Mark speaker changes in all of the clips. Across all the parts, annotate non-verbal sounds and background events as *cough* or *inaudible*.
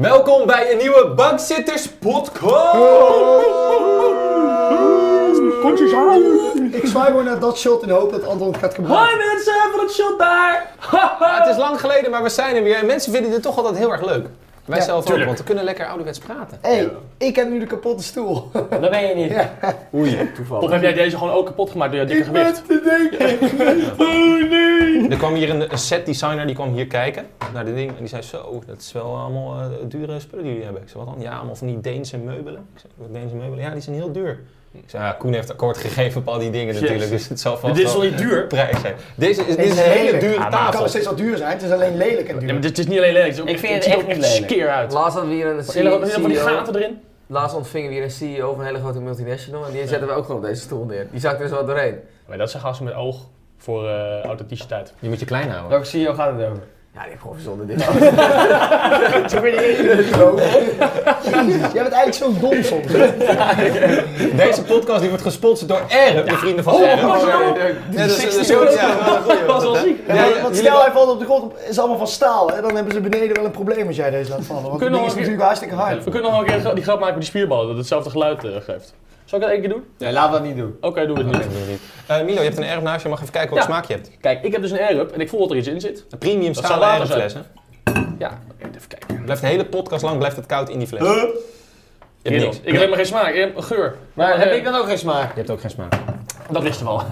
Speaker 1: Welkom bij een nieuwe Bankzitters podcast.
Speaker 2: Kontjes aan! Ik zwaai gewoon naar dat shot in de hoop dat Anton het gaat gebruiken.
Speaker 3: Hoi mensen van het shot daar!
Speaker 1: Ja, Ah, het is lang geleden, maar we zijn er weer. En mensen vinden dit toch altijd heel erg leuk. Wij
Speaker 2: Ja,
Speaker 1: zelf ook,
Speaker 3: tuurlijk.
Speaker 1: want we kunnen lekker ouderwets praten.
Speaker 2: Hé, hey, ik heb nu de kapotte stoel.
Speaker 3: Dat ben je niet.
Speaker 1: Oei,
Speaker 3: Of
Speaker 1: toeval.
Speaker 3: heb jij deze gewoon ook kapot gemaakt door je dikke gewicht? *laughs* Oh,
Speaker 1: Er kwam hier een, een set designer die kwam hier kijken naar dit ding. En die zei: Zo, dat is wel allemaal eh, dure spullen die jullie hebben. Ik zei: Wat dan? Ja, allemaal van die Deense meubelen. Ik zei: "Wat Deense meubelen? Ja, die zijn heel duur. Ik zei: ja, Koen heeft akkoord gegeven op al die dingen natuurlijk.
Speaker 3: Jezus.
Speaker 1: Dus het zal vast
Speaker 3: Dit is toch
Speaker 1: wel
Speaker 3: niet duur?
Speaker 1: prijs zijn. Deze is, dit
Speaker 2: is
Speaker 1: is een hele
Speaker 2: lelijk.
Speaker 1: dure
Speaker 3: Ah, maar
Speaker 2: Het kan nog
Speaker 1: tafel.
Speaker 2: steeds wel duur zijn, het is alleen lelijk en
Speaker 3: Ja, maar
Speaker 2: duur.
Speaker 3: dit is niet alleen lelijk, het is ook
Speaker 4: Ik vind
Speaker 3: het ziet
Speaker 4: het
Speaker 3: er
Speaker 4: echt
Speaker 3: ook
Speaker 4: niet lelijk.
Speaker 3: skeer uit.
Speaker 4: Laatst hadden we hier een E
Speaker 3: Zijn er ook- zijn er van die
Speaker 4: CEO.
Speaker 3: gaten erin?
Speaker 4: Laatst ontvingen we hier een CEO van een hele grote multinational. En die zetten we ook gewoon op deze stoel neer. Die zakte er zo doorheen.
Speaker 3: Maar dat zijn gasten met oog voor eh, authenticiteit.
Speaker 1: Je moet je klein houden.
Speaker 4: Welke CEO gaat het over? Ja, die heeft gewoon verzonnen dit.
Speaker 2: Jezus, jij bent eigenlijk zo dom soms. hè?
Speaker 1: Deze podcast die wordt gesponsord door Erp, de vrienden van
Speaker 2: Oh,
Speaker 1: Erp.
Speaker 2: oh,
Speaker 1: Ja, dat is- dat is ook- ja, wel een goeie,
Speaker 3: Dat was wel ziek.
Speaker 2: Ja, want- want stel hij valt op de grond, op, is allemaal van staal. En dan hebben ze beneden wel een probleem als jij deze laat vallen. Want het
Speaker 3: Kunnen
Speaker 2: ding is
Speaker 3: we-
Speaker 2: natuurlijk hartstikke hard.
Speaker 3: We kunnen nog wel een keer die grap maken met die spierballen, dat hetzelfde geluid eh, geeft. Zal ik dat één keer doen?
Speaker 4: Nee, laten we dat niet doen.
Speaker 3: Oké, doen we het niet.
Speaker 1: Eh, Milo, je hebt een Erp naast je. Mag even kijken wat
Speaker 3: Ja.
Speaker 1: smaak je hebt.
Speaker 3: Kijk, ik heb dus een air-up en ik voel dat er iets in zit.
Speaker 1: Een premium
Speaker 3: Dat
Speaker 1: stalen
Speaker 3: zal water
Speaker 1: Erp fles, hè?
Speaker 3: Ja, even kijken.
Speaker 1: Blijft de hele podcast lang blijft het koud in die fles. Je hebt
Speaker 3: Kerel,
Speaker 1: niks.
Speaker 3: Ik heb maar geen smaak, ik heb een geur.
Speaker 4: Maar heb
Speaker 3: eh,
Speaker 4: ik dan ook geen smaak?
Speaker 1: Je hebt ook geen smaak.
Speaker 3: Dat wisten *laughs* we al.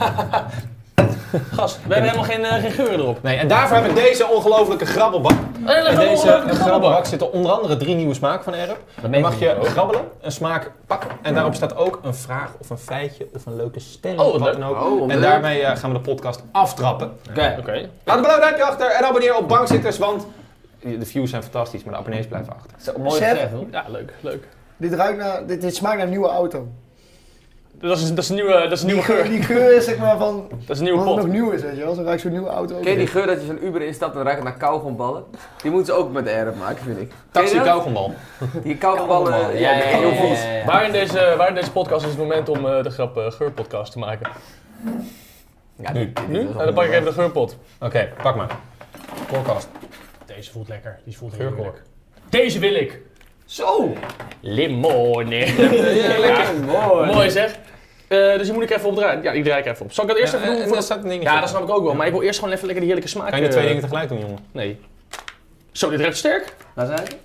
Speaker 3: Gas, we hebben helemaal geen, eh, geen geuren erop.
Speaker 1: Nee, en daarvoor heb ik deze ongelofelijke grabbelbak.
Speaker 3: Oh,
Speaker 1: In deze grabbelbak zitten onder andere drie nieuwe smaken van Erp. Dan mag je grabbelen, een smaak pakken. En daarop staat ook een vraag of een feitje of een leuke ster.
Speaker 3: Oh,
Speaker 1: of
Speaker 3: wat
Speaker 1: wat
Speaker 3: leuk.
Speaker 1: dan ook.
Speaker 4: Oh, wat
Speaker 1: en
Speaker 4: leuk.
Speaker 1: daarmee eh, gaan we de podcast aftrappen.
Speaker 4: Oké.
Speaker 3: Oké.
Speaker 1: Laat een blauw duimpje achter en abonneer op Bankzitters, want de views zijn fantastisch, maar de abonnees blijven achter.
Speaker 4: Zo, Mooi
Speaker 2: Chef.
Speaker 4: gezegd, hoor.
Speaker 3: Ja, leuk, leuk.
Speaker 2: Dit, ruikt naar, dit, dit smaakt naar een nieuwe auto.
Speaker 3: Dat is, dat is een nieuwe, dat is een nieuwe geur.
Speaker 2: Die geur is zeg maar van,
Speaker 3: Dat is een nieuwe
Speaker 2: wat
Speaker 3: pot.
Speaker 2: nog nieuw is, weet je wel. Zo ruikt zo'n nieuwe auto ook.
Speaker 4: Ken je die geur dat je zo'n Uber instapt en ruikt het naar kauwgomballen? Die moeten ze ook met de air maken, vind ik. Ken je
Speaker 1: Taxi
Speaker 4: dat?
Speaker 1: kauwgombal.
Speaker 4: Die kauwgomballen, ja, heel goed.
Speaker 3: Waar in, deze, waar in deze podcast is het moment om eh, de grap eh, geurpodcast te maken?
Speaker 4: Ja,
Speaker 1: Nu.
Speaker 3: Nu? Nou, dan pak ik even de geurpot.
Speaker 1: Oké, pak maar. Podcast.
Speaker 3: Deze voelt lekker. Die voelt
Speaker 1: Geurkork.
Speaker 3: heerlijk. Deze wil ik.
Speaker 4: Zo!
Speaker 3: Limone.
Speaker 1: Ja, lekker.
Speaker 4: Mooi.
Speaker 3: Mooi zeg. Eh, dus die moet ik even opdraaien. Ja, die draai ik even op. Zal ik dat eerst even doen?
Speaker 1: en
Speaker 3: voor-
Speaker 1: daar staat een dingetje.
Speaker 3: Ja, dat snap ik ook wel. Maar ik wil eerst gewoon even lekker die heerlijke smaak.
Speaker 1: Kan je de
Speaker 3: eh,
Speaker 1: twee dingen tegelijk doen, jongen?
Speaker 3: Nee. Zo, dit rept sterk.
Speaker 4: Laat ze uit.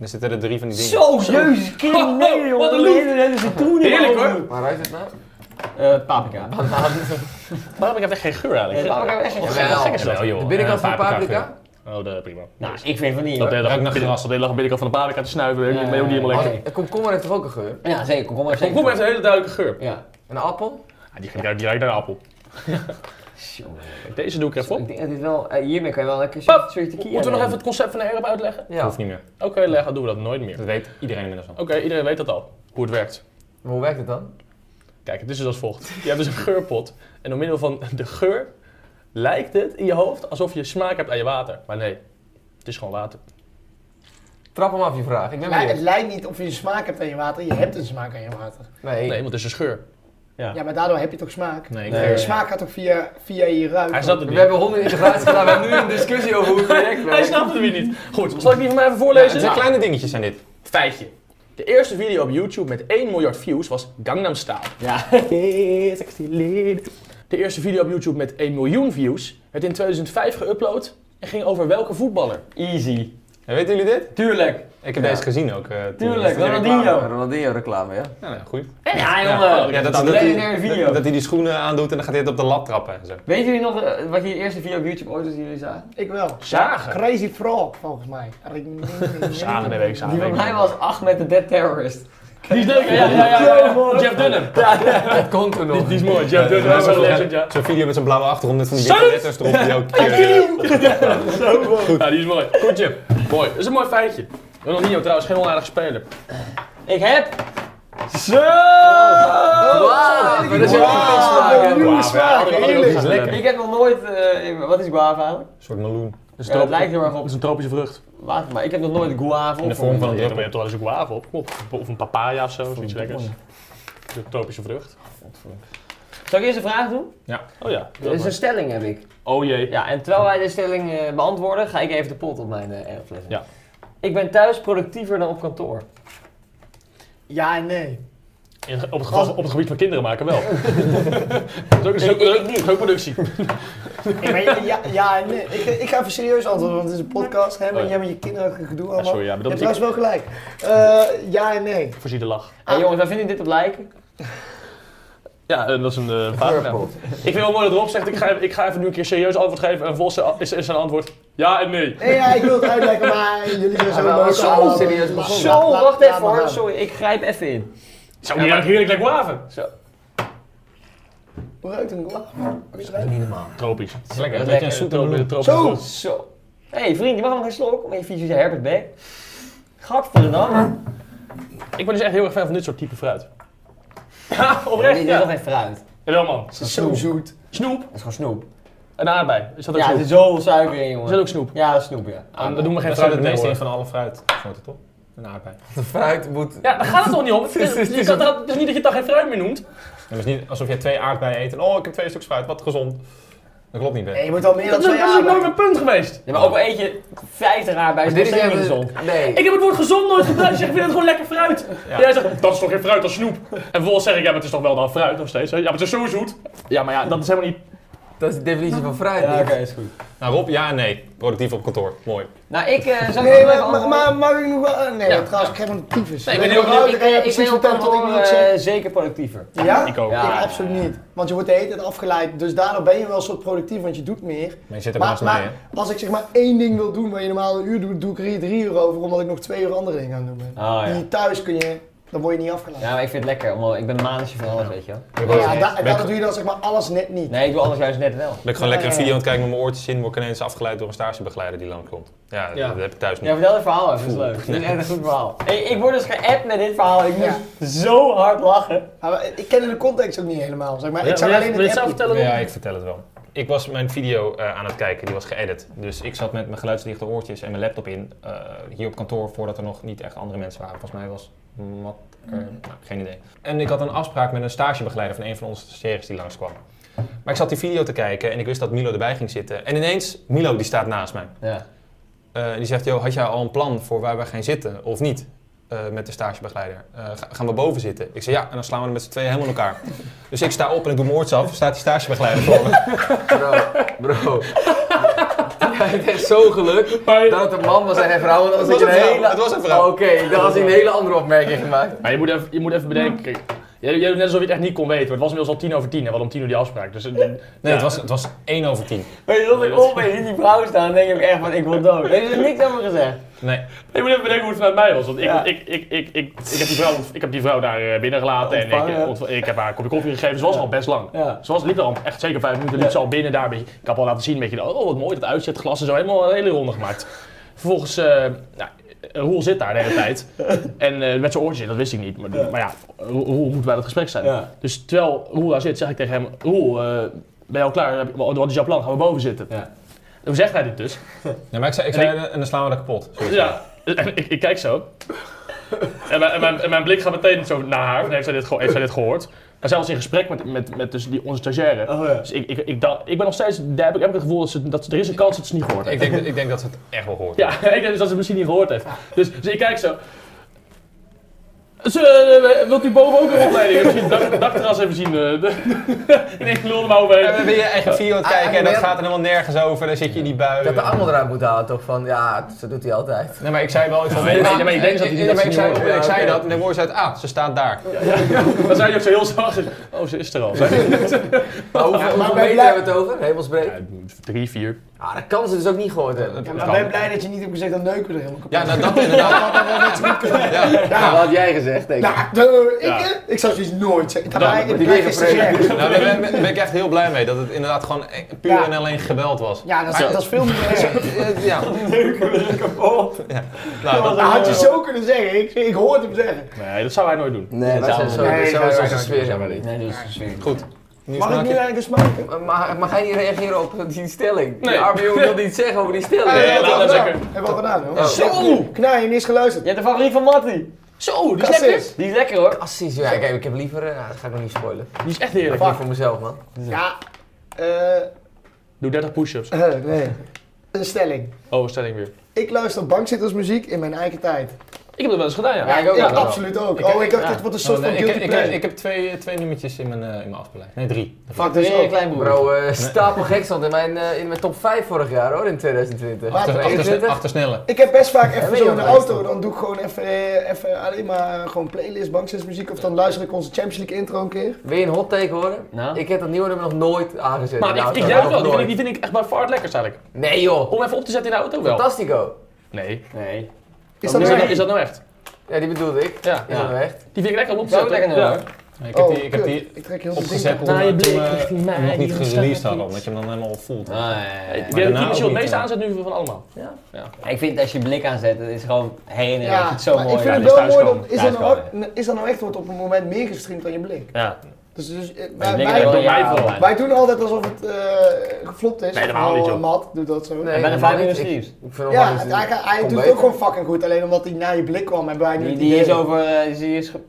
Speaker 1: Er zitten er drie van die dingen.
Speaker 4: Jezus,
Speaker 3: kind, nee, jongen.
Speaker 4: Wat een
Speaker 3: Dat
Speaker 4: lief. hele citroen
Speaker 3: in mijn ogen.
Speaker 4: Waar ruikt het nou?
Speaker 3: paprika. Waarom heb ik echt geen geur eigenlijk?
Speaker 4: Nee,
Speaker 3: Paprika heeft echt geen geur. Wat gek is dat?
Speaker 4: De binnenkant van
Speaker 1: geur.
Speaker 4: paprika?
Speaker 3: Oh, dat prima.
Speaker 5: Nou, ik vind van niet
Speaker 3: Dat
Speaker 5: hoor.
Speaker 1: ruikt
Speaker 3: deed lag
Speaker 1: naar
Speaker 3: binnen-
Speaker 1: gras.
Speaker 3: dat deed lag aan de binnenkant van de paprika te snuiven. Ik ben ook niet helemaal lekker.
Speaker 5: Oké.
Speaker 4: Een komkommer heeft toch ook een geur?
Speaker 5: Ja, zeker. Komkommer zeker.
Speaker 3: Komkommer heeft een hele duidelijke geur.
Speaker 5: Ja.
Speaker 4: Een appel?
Speaker 3: Ja, die ruikt die ruikt naar *laughs* appel.
Speaker 5: Tjonge.
Speaker 3: Deze doe ik even
Speaker 5: Ik
Speaker 3: op.
Speaker 5: denk dat dit wel, eh, hiermee kan je wel lekker
Speaker 3: Pap,
Speaker 5: soort tequila
Speaker 3: Moeten we nog
Speaker 5: nemen.
Speaker 3: even het concept van de herb uitleggen?
Speaker 4: Ja.
Speaker 1: Hoeft niet meer.
Speaker 3: Oké, leg, dan doen we dat nooit meer.
Speaker 1: Dat
Speaker 3: Oké,
Speaker 1: weet iedereen inmiddels al.
Speaker 3: iedereen weet dat al. Hoe het werkt.
Speaker 4: Maar hoe werkt het dan?
Speaker 3: Kijk, het is dus als volgt. Je hebt dus een geurpot. En door middel van de geur lijkt het in je hoofd alsof je smaak hebt aan je water. Maar nee, het is gewoon water.
Speaker 4: Trap hem af, je vraag. Ik ben
Speaker 2: Maar het
Speaker 4: benieuwd.
Speaker 2: lijkt niet of je een smaak hebt aan je water. Je hebt een smaak aan je water.
Speaker 3: Nee, want het is een scheur.
Speaker 2: Ja, maar daardoor heb je toch smaak?
Speaker 1: Nee, ik
Speaker 2: Je
Speaker 1: weet het.
Speaker 2: smaak gaat toch via, via je ruik?
Speaker 3: Hij snapt het
Speaker 4: We
Speaker 3: niet.
Speaker 4: hebben honderd integraties gedaan, we hebben nu een discussie over hoe het project werkt.
Speaker 3: Hij snapt het weer niet. Goed, zal ik die van mij even
Speaker 1: Het
Speaker 3: voorlezen?
Speaker 1: zijn kleine dingetjes zijn dit.
Speaker 3: Feitje. De eerste video op YouTube met 1 miljard views was Gangnam Style.
Speaker 5: Ja. *laughs*
Speaker 3: De eerste video op YouTube met 1 miljoen views werd in 2005 geüpload en ging over welke voetballer?
Speaker 5: Easy.
Speaker 1: En weten jullie dit?
Speaker 5: Tuurlijk.
Speaker 1: Ik heb
Speaker 4: Ja.
Speaker 1: deze gezien ook. eh, toen.
Speaker 5: Tuurlijk,
Speaker 1: Dat is een
Speaker 5: Ronaldinho.
Speaker 1: reclame.
Speaker 4: Ronaldinho reclame, ja.
Speaker 1: Ja, nou, goed.
Speaker 5: Ja,
Speaker 3: eh,
Speaker 1: Ja, Oh,
Speaker 3: Oh,
Speaker 5: jongen.
Speaker 1: ja, dat, dat,
Speaker 5: is een
Speaker 1: dat,
Speaker 5: legendaire
Speaker 1: hij,
Speaker 5: video.
Speaker 1: dat, dat hij die schoenen aandoet en dan gaat hij het op de lat trappen en zo.
Speaker 5: Weet jullie nog eh, wat je eerste video op YouTube ooit was die jullie zagen?
Speaker 2: Ik wel.
Speaker 3: Zagen.
Speaker 2: Crazy Frog, volgens mij.
Speaker 3: Zagen nee, weet ik zagen.
Speaker 5: Die van
Speaker 3: weet ik.
Speaker 5: mij was Ahmed de Dead Terrorist.
Speaker 3: Die is leuk, hè? ja, ja, ja, ja, ja. Jeff Dunham.
Speaker 4: Dat kon toen nog.
Speaker 3: Die is mooi, Jeff Dunham. Dat is wel legend, ja.
Speaker 1: Zo'n video met zijn blauwe achtergrond met van die witte letters erop die ook...
Speaker 3: Ja, die is mooi. Goed, Jeff. Mooi. Dat is een mooi feitje. Ronaldinho trouwens, geen onaardig speler.
Speaker 5: Ik heb...
Speaker 4: Oh,
Speaker 5: Oh,
Speaker 4: Wauw, maar dat is echt geen smaak, hè.
Speaker 2: Nieuwe
Speaker 3: Wauw,
Speaker 2: smaak,
Speaker 3: ja,
Speaker 2: heerlijk.
Speaker 3: dat is lekker.
Speaker 5: Ik heb nog nooit... eh, in- wat is guava eigenlijk?
Speaker 1: Een soort meloen.
Speaker 3: Dat
Speaker 5: Ja, het lijkt heel erg op
Speaker 3: is een tropische vrucht.
Speaker 5: water, maar ik heb nog nooit guava
Speaker 1: In de vorm van een
Speaker 3: Ja, maar je
Speaker 1: druppel.
Speaker 3: hebt toch wel eens een guave op. Of- Of een papaya of zo, zoiets lekkers. De tropische vrucht.
Speaker 5: Zal ik eerst een vraag doen?
Speaker 3: Oh ja.
Speaker 5: Er is een stelling heb ik.
Speaker 3: Oh jee.
Speaker 5: Ja, en terwijl wij de stelling eh, beantwoorden, ga ik even de pot op mijn eh airfles.
Speaker 3: Ja.
Speaker 5: Ik ben thuis productiever dan op kantoor.
Speaker 2: Ja en nee.
Speaker 3: In- Op het, geval- op het gebied van kinderen maken *laughs* wel. dat is ook, dat is ook, dat is ook productie.
Speaker 2: Ik ben- ja, ja en nee. Ik, ik ga even serieus antwoorden, want het is een podcast. Hè,
Speaker 3: Oh ja.
Speaker 2: Jij met je kinderen ook gedoe
Speaker 3: Ja,
Speaker 2: allemaal.
Speaker 3: *laughs* sorry, ja, maar
Speaker 2: je
Speaker 3: dat
Speaker 2: hebt
Speaker 3: is
Speaker 2: trouwens wel gelijk. Eh, ja en nee.
Speaker 3: voorzie de lach.
Speaker 5: Hé jongens, wij vinden dit op lijken.
Speaker 3: Ja, eh, dat is een eh pagina.
Speaker 4: Purple.
Speaker 3: Ik vind het wel mooi dat Rob zegt, ik ga, even- ik ga even nu een keer serieus antwoord geven. En Vos is, is zijn antwoord ja en nee.
Speaker 2: Nee, ja, ik wil het uitleggen, maar jullie zijn zo
Speaker 4: maar we zijn
Speaker 2: allemaal-
Speaker 4: serieus begonnen.
Speaker 5: Zo,
Speaker 2: Laat- laat-
Speaker 5: wacht
Speaker 2: laat
Speaker 5: even
Speaker 2: maar
Speaker 5: hoor.
Speaker 2: gaan.
Speaker 5: Sorry, ik grijp even in.
Speaker 3: Zo, die ruikt heerlijk lekker waven. Zo.
Speaker 2: Hoe ruikt een lach?
Speaker 1: Niet normaal.
Speaker 3: Tropisch.
Speaker 1: Het is lekker.
Speaker 5: Dat
Speaker 1: Een
Speaker 5: is
Speaker 1: beetje een
Speaker 5: lekker.
Speaker 1: zoete
Speaker 3: Tropisch,
Speaker 1: meloen.
Speaker 3: tropisch.
Speaker 2: Zo.
Speaker 3: goed.
Speaker 5: Zo. Hé hey, vriend, je mag nog een slok om je vies je Herbert Beck. Gadverdamme.
Speaker 3: Ik ben dus echt heel erg fan van dit soort type fruit. Ha, oprecht,
Speaker 5: Dit is
Speaker 3: ja.
Speaker 5: nog geen fruit.
Speaker 3: Helemaal. man.
Speaker 2: Het is zo zoet.
Speaker 3: Snoep.
Speaker 5: Dat is gewoon snoep.
Speaker 3: Een aardbei. Is dat ook
Speaker 5: Ja, er
Speaker 3: snoep?
Speaker 5: zit zoveel suiker in, jongen.
Speaker 3: Is dat ook snoep?
Speaker 5: Ja, dat is snoep, ja.
Speaker 3: Ah, daar doen we geen
Speaker 1: Dat staat
Speaker 3: fruit
Speaker 1: het
Speaker 3: meer
Speaker 1: meeste in
Speaker 3: voor.
Speaker 1: van alle fruitsoorten, toch? Een aardbei.
Speaker 4: De fruit moet...
Speaker 3: Ja, daar gaat het toch niet *laughs* om. Het is,
Speaker 4: Het is-
Speaker 3: je kan- het is niet dat je het geen fruit meer noemt.
Speaker 1: Het is niet alsof jij twee aardbeien eet en oh, ik heb twee stuks fruit, wat gezond. Dat klopt niet,
Speaker 2: Nee,
Speaker 1: Ben.
Speaker 2: je moet al meer
Speaker 3: Dat
Speaker 2: dan twee
Speaker 3: is, dat is
Speaker 2: jaar
Speaker 3: ook nooit
Speaker 2: bij.
Speaker 3: mijn punt geweest.
Speaker 5: Ja, maar ook eet je 50 aardbeien,
Speaker 4: Dit is
Speaker 5: dat is niet
Speaker 4: echt
Speaker 5: gezond.
Speaker 4: een... Nee.
Speaker 3: Ik heb het woord gezond nooit gebruikt. Ik zeg, ik vind het gewoon lekker fruit. En jij zegt, dat is toch geen fruit, dat is snoep. En vervolgens zeg ik, ja, maar het is toch wel dan fruit nog steeds. hè? Ja, maar het is zo zoet. Ja, maar ja, dat is helemaal niet...
Speaker 4: Dat is de definitie van fruit.
Speaker 5: Ja,
Speaker 4: niet.
Speaker 5: oké, is goed.
Speaker 1: Nou, Rob, ja en nee. Productief op kantoor. Mooi.
Speaker 5: Nou, ik eh zal
Speaker 2: Nee,
Speaker 5: ik
Speaker 2: maar,
Speaker 5: nog even
Speaker 2: maar,
Speaker 5: antwoorden?
Speaker 2: maar mag ik nog wel... Nee,
Speaker 3: Ja.
Speaker 2: trouwens, ik krijg een tyfus.
Speaker 3: Nee, ik
Speaker 2: Dat
Speaker 3: ben
Speaker 2: is wel
Speaker 3: heel
Speaker 5: ik,
Speaker 2: duidelijk, hè?
Speaker 5: ik, ik
Speaker 2: precies
Speaker 5: ben op
Speaker 2: verteld wat ik
Speaker 5: kantoor
Speaker 2: niet zeg.
Speaker 5: eh, zeker productiever.
Speaker 2: Ja?
Speaker 3: Ik ook.
Speaker 5: Ja.
Speaker 2: Ik absoluut niet. Want je wordt de hele tijd afgeleid. Dus daardoor ben je wel een soort productief, want je doet meer.
Speaker 1: Maar je zit er
Speaker 2: Maar,
Speaker 1: naast mij, hè?
Speaker 2: maar als ik zeg maar één ding wil doen waar je normaal een uur doet, doe ik er hier drie uur over, omdat ik nog twee uur andere dingen aan het doen ben.
Speaker 5: Oh ja.
Speaker 2: Die thuis kun je, dan word je niet afgeleid.
Speaker 5: Ja, maar ik vind het lekker, omdat ik ben een manetje van alles, weet je wel.
Speaker 1: Ik
Speaker 2: Ja,
Speaker 1: ben,
Speaker 2: ja, da-
Speaker 1: ben,
Speaker 2: daardoor doe je dan zeg maar alles net niet.
Speaker 5: Nee, ik doe alles juist net wel.
Speaker 1: ben ik gewoon lekker een
Speaker 2: Ja, ja, ja.
Speaker 1: video aan het kijken met mijn oortjes in, word ik ineens afgeleid door een stagebegeleider die lang komt. Ja,
Speaker 3: Ja.
Speaker 1: dat heb ik thuis niet.
Speaker 5: Ja, vertel het verhaal even, dat is leuk. Het is echt een goed verhaal. Ik, ik word dus geappt met dit verhaal, ik
Speaker 2: Ja.
Speaker 5: moest zo hard lachen.
Speaker 2: Maar we- ik ken de context ook niet helemaal, zeg maar. ik zou
Speaker 3: Ja,
Speaker 2: alleen
Speaker 3: wil je
Speaker 2: het
Speaker 3: het zelf
Speaker 2: appje.
Speaker 3: vertellen?
Speaker 1: Ja, ik vertel het wel. Ik was mijn video eh, aan het kijken, die was geëdit. Dus ik zat met mijn geluidsdichte oortjes en mijn laptop in eh, hier op kantoor voordat er nog niet echt andere mensen waren. Volgens mij was Matt er, nou, geen idee. En ik had een afspraak met een stagebegeleider van een van onze stagiaires die langskwam. Maar ik zat die video te kijken en ik wist dat Milo erbij ging zitten. En ineens, Milo die staat naast mij.
Speaker 5: Ja.
Speaker 1: Eh, die zegt, joh, had jij al een plan voor waar we gaan zitten of niet? Eh, met de stagebegeleider. Eh, ga- gaan we boven zitten? Ik zeg ja, en dan slaan we er met z'n tweeën helemaal in elkaar. dus ik sta op en ik doe mijn oortjes af. Staat die stagebegeleider voor me.
Speaker 4: Bro,
Speaker 3: *laughs*
Speaker 4: bro.
Speaker 5: *laughs*
Speaker 4: Hij heeft echt zo geluk dat het een man was en een vrouw. want
Speaker 1: Het was
Speaker 4: anders had ik
Speaker 1: een vrouw,
Speaker 4: hele...
Speaker 1: het was een vrouw.
Speaker 4: Oh, Oké, dan had hij een hele andere opmerking gemaakt.
Speaker 3: Maar je moet even, je moet even bedenken, kijk, jij, jij doet net alsof je het echt niet kon weten, maar het was inmiddels al tien over tien en we hadden om tien uur die afspraak. Dus, eh,
Speaker 1: Nee,
Speaker 3: ja.
Speaker 1: het, was, het was 1 over 10.
Speaker 5: Weet je, dat ik op en in die vrouw sta, dan denk ik echt van, ik wil dood. Er is niks over gezegd.
Speaker 1: Nee.
Speaker 3: Je moet even bedenken hoe het vanuit mij was, want ik,
Speaker 5: Ja.
Speaker 3: ik, ik, ik, ik, ik, heb, die vrouw, ik heb die vrouw daar eh, binnengelaten en ik,
Speaker 5: Ontvangen.
Speaker 3: eh, ontv- ik heb haar een kopje koffie gegeven, ze was al best lang.
Speaker 5: Ja.
Speaker 3: Ze was, liep er al echt zeker vijf minuten, liep
Speaker 5: Ja.
Speaker 3: ze al binnen daar. een beetje- ik heb al laten zien, een beetje, oh wat mooi, dat uitzetglas en zo, helemaal een hele ronde gemaakt. Vervolgens, eh nou, Roel zit daar de hele
Speaker 5: *laughs*
Speaker 3: tijd. En eh, met zijn oortjes in, dat wist ik niet. Maar, maar ja, Roel, Roel moet bij dat gesprek zijn.
Speaker 5: Ja.
Speaker 3: Dus terwijl Roel daar zit, zeg ik tegen hem, Roel, eh, ben je al klaar? Heb je- Wat is jouw plan? Gaan we boven zitten?
Speaker 5: Ja.
Speaker 3: Hoe zegt hij dit dus?
Speaker 1: Ja, maar ik zei, ik zei en dan slaan we dat kapot. Zoiets.
Speaker 3: Ja, en *laughs* ik, ik kijk zo. En mijn, en, mijn, en mijn blik gaat meteen zo naar haar. van, Heeft zij dit, geho- heeft zij dit gehoord? En zij was in gesprek met, met, met dus die, onze stagiaire.
Speaker 5: Oh ja.
Speaker 3: Dus ik, ik, ik, dacht, ik ben nog steeds, daar heb ik, heb ik het gevoel dat, ze, dat ze- er is een kans dat ze het niet gehoord
Speaker 1: Ik
Speaker 3: heeft.
Speaker 1: denk, ik denk dat ze het echt wel hoort.
Speaker 3: Ja, *laughs* ik denk dus dat ze het misschien niet gehoord heeft. Dus, dus ik kijk zo. Ze, eh, wilt u boven ook een opleiding? Misschien dak- dakterras even zien. eh, de- *laughs* ik denk, ik lul er maar
Speaker 1: En dan
Speaker 3: overheen.
Speaker 1: ben je eigen video aan het kijken en dat
Speaker 4: Ah,
Speaker 1: gaat er helemaal nergens over. Dan zit je in die bui.
Speaker 4: Ik had de angel eruit moeten halen, toch? Van ja, dat doet hij altijd.
Speaker 1: Nee, maar ik zei wel... Ik van,
Speaker 3: Nee, nee, nee, maar ik denk dat die-
Speaker 1: Nee,
Speaker 3: dat
Speaker 1: maar
Speaker 3: ze
Speaker 1: ik
Speaker 3: niet
Speaker 1: zei,
Speaker 3: hoort.
Speaker 1: ik
Speaker 4: Ja,
Speaker 1: zei
Speaker 4: oké.
Speaker 1: dat en dan hoor ze uit, ah, ze staat daar.
Speaker 3: Dan zei je ook zo heel zacht. Oh, ze is er al.
Speaker 4: Maar hoeveel,
Speaker 2: maar
Speaker 4: hoeveel
Speaker 2: ben je
Speaker 4: meter
Speaker 2: blij-
Speaker 4: hebben we het over? Hemelsbreed?
Speaker 3: Ja, drie, vier.
Speaker 4: Ah, dat kan ze dus ook niet gehoord hebben.
Speaker 2: Ja, maar ben je blij dat je niet hebt gezegd, dan neuken we er helemaal kapot.
Speaker 1: Ja, nou dat inderdaad. Ja.
Speaker 4: Ja, wat had jij gezegd, denk ik.
Speaker 2: Nou, de- ik,
Speaker 3: Ja.
Speaker 2: ik zou zoiets nooit zeggen. Dat
Speaker 1: Dan
Speaker 2: heb ik
Speaker 4: wordt die
Speaker 2: gisteren
Speaker 4: weer
Speaker 2: gezegd.
Speaker 1: Nou, daar ben, ben ik echt heel blij mee. Dat het inderdaad gewoon e- puur
Speaker 2: Ja.
Speaker 1: en alleen geweld was.
Speaker 2: Ja, dat is,
Speaker 1: Maar-
Speaker 2: dat is veel meer. erg.
Speaker 1: Eh, Ja, nou,
Speaker 2: Dat
Speaker 1: dat,
Speaker 2: had je zo kunnen zeggen. Ik, ik hoorde hem zeggen.
Speaker 3: Nee, dat zou hij nooit doen.
Speaker 4: Nee, dat
Speaker 5: zou-
Speaker 4: is zo,
Speaker 2: nee,
Speaker 4: zo
Speaker 2: dat
Speaker 4: is
Speaker 2: zou
Speaker 4: onze
Speaker 2: ik
Speaker 4: sfeer helemaal niet.
Speaker 5: Nee, dat is verschrikkelijk.
Speaker 1: goed. Nu
Speaker 2: Mag ik
Speaker 1: smaak
Speaker 2: nu
Speaker 1: je-
Speaker 2: eigenlijk een smaken?
Speaker 4: Mag, mag jij niet reageren op die stelling?
Speaker 3: Nee.
Speaker 4: Die arme jongen wil niet zeggen over die stelling.
Speaker 3: Nee,
Speaker 2: hebben
Speaker 3: laat
Speaker 2: we al
Speaker 3: hem
Speaker 2: Eh, gedaan.
Speaker 3: lekker.
Speaker 2: Hebben we al gedaan, hoor.
Speaker 4: Oh.
Speaker 2: Zo! Knij, je hebt niet eens geluisterd.
Speaker 5: Je hebt de favoriet van Matty.
Speaker 3: Zo, die
Speaker 2: Cassis.
Speaker 5: Die is lekker hoor.
Speaker 4: Assis, ja, kijk, ik heb liever... eh, nou, dat ga ik nog niet spoilen.
Speaker 3: Die is echt
Speaker 4: Ik
Speaker 3: heerlijk.
Speaker 4: heb voor mezelf, man.
Speaker 2: Ja. Eh, *laughs*
Speaker 3: Doe 30 push-ups.
Speaker 2: eh, nee. Een stelling.
Speaker 3: Oh, stelling weer.
Speaker 2: Ik luister bankzittersmuziek in mijn eigen tijd.
Speaker 3: Ik heb dat wel eens gedaan, ja.
Speaker 4: Ja, ik ook
Speaker 2: Ja,
Speaker 4: wel.
Speaker 2: absoluut ook.
Speaker 3: Ik-
Speaker 2: oh, ik dacht,
Speaker 3: ja.
Speaker 2: dit wordt een soort
Speaker 1: Oh, nee,
Speaker 2: van
Speaker 1: ik,
Speaker 2: guilty
Speaker 1: heb, ik, heb,
Speaker 2: pleasure.
Speaker 1: ik heb twee, twee nummertjes in mijn, eh, in mijn afbeleid. Nee, drie.
Speaker 2: Fuck, dus
Speaker 5: Weer een
Speaker 2: ook.
Speaker 5: klein broer.
Speaker 4: Bro, eh stapel gek stond in mijn, eh, in mijn top 5 vorig jaar hoor, in 2020.
Speaker 2: Maar-
Speaker 1: Achter, achter,
Speaker 4: 21?
Speaker 1: achtersnellen.
Speaker 2: Ik heb best vaak
Speaker 4: Ja,
Speaker 2: even zo in de
Speaker 4: ja,
Speaker 2: auto, dan doe ik gewoon even, eh, even alleen maar gewoon playlist, bankzittersmuziek. Of dan luister ik onze Champions League intro een keer.
Speaker 4: Wil je een hot take horen?
Speaker 5: Nou?
Speaker 4: Ik heb dat nieuwe nummer nog nooit aangezet. in
Speaker 3: Maar
Speaker 4: de
Speaker 3: ik,
Speaker 4: auto.
Speaker 3: ik juich wel, die
Speaker 4: Nog
Speaker 3: vind Oh. ik, die
Speaker 4: nooit.
Speaker 3: vind ik echt bij far het lekkerst eigenlijk.
Speaker 4: Nee joh,
Speaker 3: Om even op te zetten in de auto wel.
Speaker 4: Fantastico.
Speaker 3: Nee.
Speaker 5: Nee.
Speaker 2: Is
Speaker 3: Is
Speaker 2: dat
Speaker 3: dat, nou-
Speaker 2: waar?
Speaker 3: is dat nou echt?
Speaker 4: Ja, die bedoelde ik.
Speaker 3: Ja.
Speaker 4: Is dat nou echt?
Speaker 3: Die vind ik lekker om op te
Speaker 5: Dat is ook
Speaker 3: zetten.
Speaker 5: lekker
Speaker 3: Ja.
Speaker 5: nummer.
Speaker 1: Ik heb
Speaker 2: Oh,
Speaker 1: die, ik heb
Speaker 2: kut.
Speaker 1: die
Speaker 2: Ik trek heel veel dingen.
Speaker 1: opgezet toen
Speaker 5: Nou, je
Speaker 1: we- toen
Speaker 5: blik
Speaker 1: we
Speaker 5: richting mij,
Speaker 1: hem nog niet
Speaker 5: die Ah. ontstaat
Speaker 1: gereleased hadden,
Speaker 5: niet.
Speaker 1: omdat je hem dan helemaal voelt.
Speaker 5: Nee.
Speaker 3: Ik denk dat
Speaker 1: daarna
Speaker 3: die misschien
Speaker 1: ook
Speaker 3: het meest
Speaker 1: niet, ja.
Speaker 3: aanzet nu van allemaal.
Speaker 4: Ja.
Speaker 5: Ik vind als je blik aanzet, het is gewoon heen en
Speaker 2: Ja,
Speaker 5: het is zo
Speaker 2: maar
Speaker 5: mooi.
Speaker 2: ik vind
Speaker 5: Ja,
Speaker 2: het
Speaker 5: dus
Speaker 2: wel mooi,
Speaker 5: thuiskomen.
Speaker 2: dat, is, dat nou,
Speaker 5: Thuiskomen.
Speaker 2: ook- is dat nou echt wordt op een moment meer gestreamd dan je blik?
Speaker 5: Ja.
Speaker 2: Dus, dus, eh,
Speaker 5: Maar
Speaker 2: wij,
Speaker 5: je blik
Speaker 2: wij-
Speaker 5: is wel
Speaker 3: wij-
Speaker 5: ja,
Speaker 3: wij-
Speaker 5: online.
Speaker 2: wij doen altijd alsof het eh, geflopt is.
Speaker 3: Nee, helemaal niet,
Speaker 2: Oh,
Speaker 3: joh.
Speaker 2: Matt doet dat zo.
Speaker 4: Nee,
Speaker 5: Ik ben er
Speaker 4: helemaal
Speaker 5: vijf uur
Speaker 4: niet.
Speaker 5: streams.
Speaker 4: Ik vind hem
Speaker 2: Ja,
Speaker 4: wel
Speaker 2: hij,
Speaker 4: eens-
Speaker 2: hij, hij
Speaker 4: Kom
Speaker 2: doet het
Speaker 4: beter.
Speaker 2: ook gewoon fucking goed. Alleen omdat hij naar je blik kwam hebben wij nu
Speaker 5: Die,
Speaker 2: het
Speaker 5: die
Speaker 2: idee.
Speaker 5: is over, eh, die is, ge-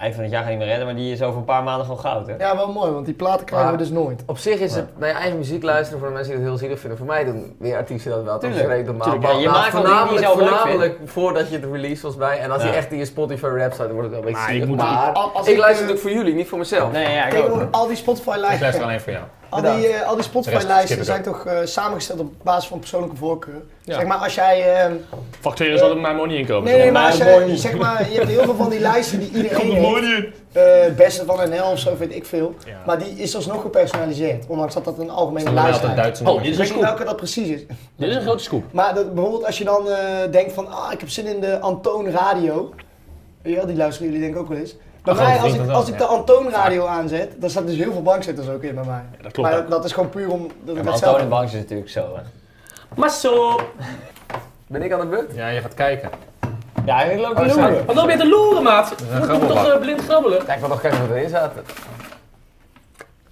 Speaker 5: eind van het jaar gaat niet meer redden, maar die is over een paar maanden gewoon goud, hè?
Speaker 2: Ja, wel mooi, want die platen krijgen
Speaker 4: Maar-
Speaker 2: we dus nooit.
Speaker 4: Op zich is het naar je eigen muziek luisteren voor de mensen die dat heel zielig vinden. Voor mij doen weer artiesten dat wel.
Speaker 5: Tuurlijk,
Speaker 4: Dat is normaal.
Speaker 5: tuurlijk. Ja, je
Speaker 4: Maar
Speaker 5: maakt wel dingen die je
Speaker 4: voornamelijk,
Speaker 5: zelf leuk
Speaker 4: voornamelijk voordat je het release volgens mij. En als
Speaker 5: Ja.
Speaker 4: die echt in je Spotify rap staat, dan wordt het wel een beetje
Speaker 3: Maar ik
Speaker 4: zielig.
Speaker 3: moet-
Speaker 4: maar
Speaker 2: Al- als
Speaker 4: ik
Speaker 2: ik,
Speaker 4: luister
Speaker 2: eh,
Speaker 4: natuurlijk voor jullie, niet voor mezelf.
Speaker 5: Nee, ja, ik
Speaker 2: Tegenwoordig
Speaker 5: ook.
Speaker 2: al die Spotify
Speaker 1: Ik luister
Speaker 2: lijsten,
Speaker 1: alleen voor jou.
Speaker 2: al die,
Speaker 4: Bedankt.
Speaker 2: eh, al die
Speaker 1: De
Speaker 2: Spotify
Speaker 1: rest skip
Speaker 2: lijsten
Speaker 1: ik
Speaker 2: zijn toch eh, samengesteld op basis van persoonlijke voorkeur.
Speaker 1: Ja.
Speaker 2: Zeg maar als jij, eh,
Speaker 3: Facturen zal er mijn money in komen.
Speaker 2: nee, nee,
Speaker 3: zo.
Speaker 2: maar als
Speaker 5: maar mooi
Speaker 2: jij,
Speaker 5: niet.
Speaker 2: zeg maar, je hebt heel veel van die lijsten die iedereen
Speaker 3: *laughs* Komt er
Speaker 2: heeft,
Speaker 3: money in.
Speaker 2: eh, beste van NL of zo vind ik veel,
Speaker 3: Ja.
Speaker 2: maar die is alsnog gepersonaliseerd, ondanks dat dat een algemene
Speaker 1: Normaal
Speaker 2: lijst
Speaker 1: altijd
Speaker 2: is.
Speaker 1: Duitse
Speaker 3: Oh,
Speaker 1: nummers.
Speaker 3: dit
Speaker 2: Ik
Speaker 3: is een
Speaker 2: weet niet
Speaker 3: scoop.
Speaker 2: welke dat precies is.
Speaker 3: Dit is een grote scoop.
Speaker 2: Maar dat, bijvoorbeeld als je dan eh, denkt van, ah, ik heb zin in de Antoon Radio. Ja, die luisteren jullie denk ik ook wel eens. Bij
Speaker 1: Een grote
Speaker 2: mij, als
Speaker 1: vriend
Speaker 2: ik,
Speaker 1: van
Speaker 2: als
Speaker 1: wel,
Speaker 2: ik de Antoon Radio aanzet, dan staat dus heel veel bankzitters ook in bij mij.
Speaker 3: Ja, dat
Speaker 2: maar
Speaker 3: klopt
Speaker 2: dat,
Speaker 3: ook.
Speaker 2: dat is gewoon puur om... Dat
Speaker 5: Ja,
Speaker 2: ik
Speaker 5: maar
Speaker 2: dat
Speaker 5: Antoon en
Speaker 2: zelf...
Speaker 5: Banks is natuurlijk zo, hè?
Speaker 3: Maar zo.
Speaker 4: Ben ik aan de beurt?
Speaker 1: Ja, je gaat kijken.
Speaker 5: Ja, ik loop
Speaker 4: Oh,
Speaker 5: te
Speaker 4: sorry.
Speaker 5: loeren.
Speaker 3: Wat loop je te loeren, maat?
Speaker 1: een
Speaker 3: Moet je toch
Speaker 1: grabbelbak.
Speaker 3: eh, blind grabbelen?
Speaker 4: Kijk, ik wil nog kijken wat erin zaten.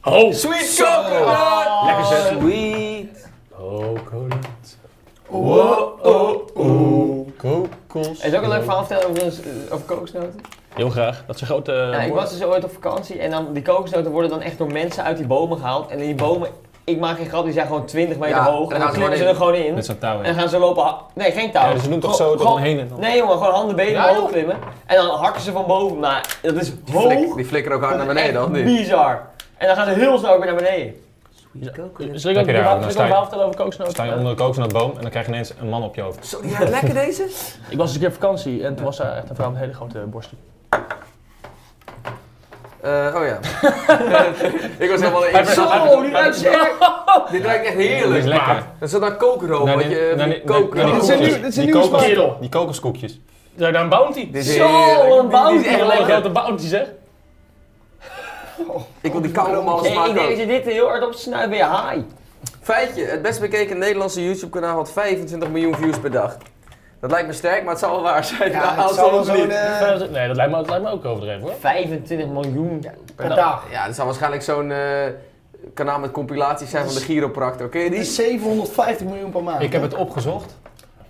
Speaker 3: Oh.
Speaker 4: Sweet coconut!
Speaker 3: Lekker zeg.
Speaker 4: Sweet.
Speaker 1: Coconut.
Speaker 3: Wow, oh,
Speaker 1: oh. Kokos.
Speaker 5: Er is ook een leuk verhaal vertellen over, ons, eh, over kokosnoten.
Speaker 3: Heel graag. Dat is een grote...
Speaker 5: Ja, ik was dus ooit op vakantie en dan, die kokosnoten worden dan echt door mensen uit die bomen gehaald. En die bomen, ik maak geen grap, die zijn gewoon 20 meter
Speaker 4: Ja,
Speaker 5: hoog. En
Speaker 4: daar
Speaker 5: dan
Speaker 4: gaan ze
Speaker 5: klimmen ze
Speaker 4: gewoon
Speaker 5: er gewoon in.
Speaker 1: Met zo'n touw.
Speaker 5: En
Speaker 1: hè.
Speaker 5: dan gaan ze lopen. ha- Nee, geen touw.
Speaker 1: Ja, dus ze doen toch
Speaker 5: Gewoon-
Speaker 1: zo er
Speaker 5: gewoon-
Speaker 1: omheen en dan-
Speaker 5: Nee, jongen, gewoon handen, benen
Speaker 3: Ja, joh.
Speaker 5: omhoog klimmen. En dan hakken ze van boven. Maar dat is hoog.
Speaker 4: Die flikker ook hard naar beneden,
Speaker 5: Echt
Speaker 4: of niet?
Speaker 5: Bizar. En dan gaan ze heel snel ook weer naar beneden.
Speaker 4: Sweet *laughs* coconut.
Speaker 3: Zal ik
Speaker 1: Heb
Speaker 3: ook
Speaker 1: je
Speaker 3: een
Speaker 1: daar-
Speaker 3: verhaal
Speaker 1: dan
Speaker 3: zal ik
Speaker 1: sta je-
Speaker 3: een verhaal vertellen over kokosnoten?
Speaker 1: Sta je onder de kokosnootboom en dan krijg je ineens een man op je hoofd.
Speaker 4: Zo, die ruikt lekker deze?
Speaker 3: Ik was eens een keer op vakantie en toen was daar echt een vrouw met een hele grote borst.
Speaker 5: *laughs*
Speaker 4: Eh, oh ja. *laughs* ik was helemaal in.
Speaker 5: Zo, die ruikt ze echt.
Speaker 4: Dit ruikt echt
Speaker 1: Dat is
Speaker 4: heerlijk.
Speaker 1: lekker.
Speaker 4: Dat is naar
Speaker 5: Nou,
Speaker 4: kokeroom,
Speaker 1: Naar
Speaker 4: wat
Speaker 1: die-
Speaker 4: je
Speaker 1: naar
Speaker 4: van
Speaker 1: die-
Speaker 4: die
Speaker 1: naar- naar die
Speaker 2: Dit is een
Speaker 1: koekjes.
Speaker 2: nieuw- dit is een
Speaker 1: Die
Speaker 2: nieuwe
Speaker 1: kokos-
Speaker 3: smaak. Kerel.
Speaker 1: Die kokoskoekjes.
Speaker 3: Daar nou een bounty.
Speaker 4: Dit is heerlijk.
Speaker 5: Zo, een
Speaker 4: Die
Speaker 5: bounty.
Speaker 4: is echt
Speaker 3: Een hele
Speaker 4: lekker.
Speaker 3: grote bounty zeg.
Speaker 4: Ik wil die kauwgom alles
Speaker 5: Hey, ik
Speaker 4: smaak
Speaker 5: denk dat
Speaker 4: ook.
Speaker 5: je dit heel hard op snuit ben je high.
Speaker 4: Feitje, het best bekeken Nederlandse YouTube kanaal had 25 miljoen views per dag. Dat lijkt me sterk, maar het zal wel waar zijn. *laughs*
Speaker 2: Ja,
Speaker 4: Nou,
Speaker 2: het zou wel
Speaker 4: als het
Speaker 2: zo'n...
Speaker 4: niet.
Speaker 2: eh,
Speaker 3: Nee, dat lijkt, me, dat lijkt me ook overdreven hoor.
Speaker 5: 25 miljoen per
Speaker 2: per
Speaker 5: dag.
Speaker 2: dag.
Speaker 4: Ja, dat zal waarschijnlijk zo'n eh, kanaal met compilaties zijn van de chiropractor. Oké,
Speaker 2: Dit
Speaker 4: die?
Speaker 2: is 750 miljoen per maand.
Speaker 1: Ik heb het opgezocht.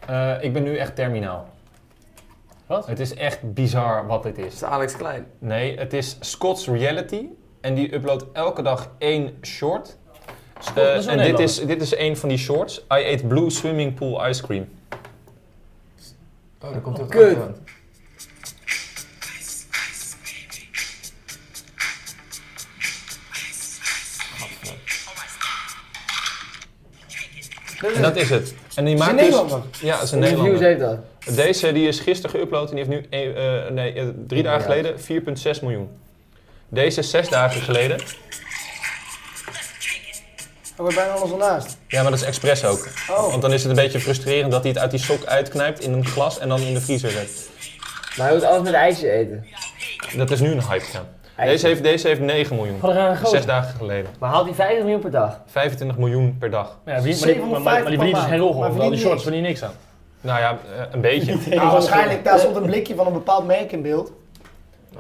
Speaker 1: Eh, ik ben nu echt terminaal.
Speaker 3: Wat?
Speaker 1: Het is echt bizar wat dit is.
Speaker 4: Dat is Alex Klein.
Speaker 1: Nee, het is Scots Reality. En die uploadt elke dag één short. Eh,
Speaker 3: dat is wel
Speaker 1: en dit
Speaker 3: Nederlander.
Speaker 1: is, dit is één van die shorts. I ate blue swimming pool ice cream.
Speaker 4: Oh, daar komt het
Speaker 2: Kut.
Speaker 1: En dat is het. En die
Speaker 2: is een
Speaker 1: maakt dus...
Speaker 2: Nederlander.
Speaker 1: Ja, het is een
Speaker 4: Hoeveel views
Speaker 1: Nederlander.
Speaker 4: heeft dat?
Speaker 1: Deze die is gisteren geüpload en die heeft nu eh, eh, nee, eh, drie dagen geleden 4,6 miljoen. Deze is zes dagen geleden.
Speaker 2: Oh, We zijn bijna alles ernaast.
Speaker 1: Ja, maar dat is expres ook.
Speaker 2: Oh.
Speaker 1: Want dan is het een beetje frustrerend dat hij het uit die sok uitknijpt in een glas en dan in de vriezer zet.
Speaker 4: Maar hij moet alles met ijsje eten.
Speaker 1: Dat is nu een hype gaan. Deze heeft, deze heeft 9 miljoen.
Speaker 3: Wat een rare gozer.
Speaker 1: Zes dagen geleden.
Speaker 5: Maar haalt die 50 miljoen per dag?
Speaker 1: 25 miljoen per dag.
Speaker 3: Ja, verdient- maar, die, maar, maar, maar die verdient dus geen
Speaker 2: Maar
Speaker 3: rol gewoon. want Al
Speaker 2: verdient
Speaker 3: die shorts
Speaker 2: niks.
Speaker 3: verdient niks aan.
Speaker 1: Nou ja, eh, een beetje.
Speaker 2: Nou, waarschijnlijk, daar stond een blikje van een bepaald merk in beeld.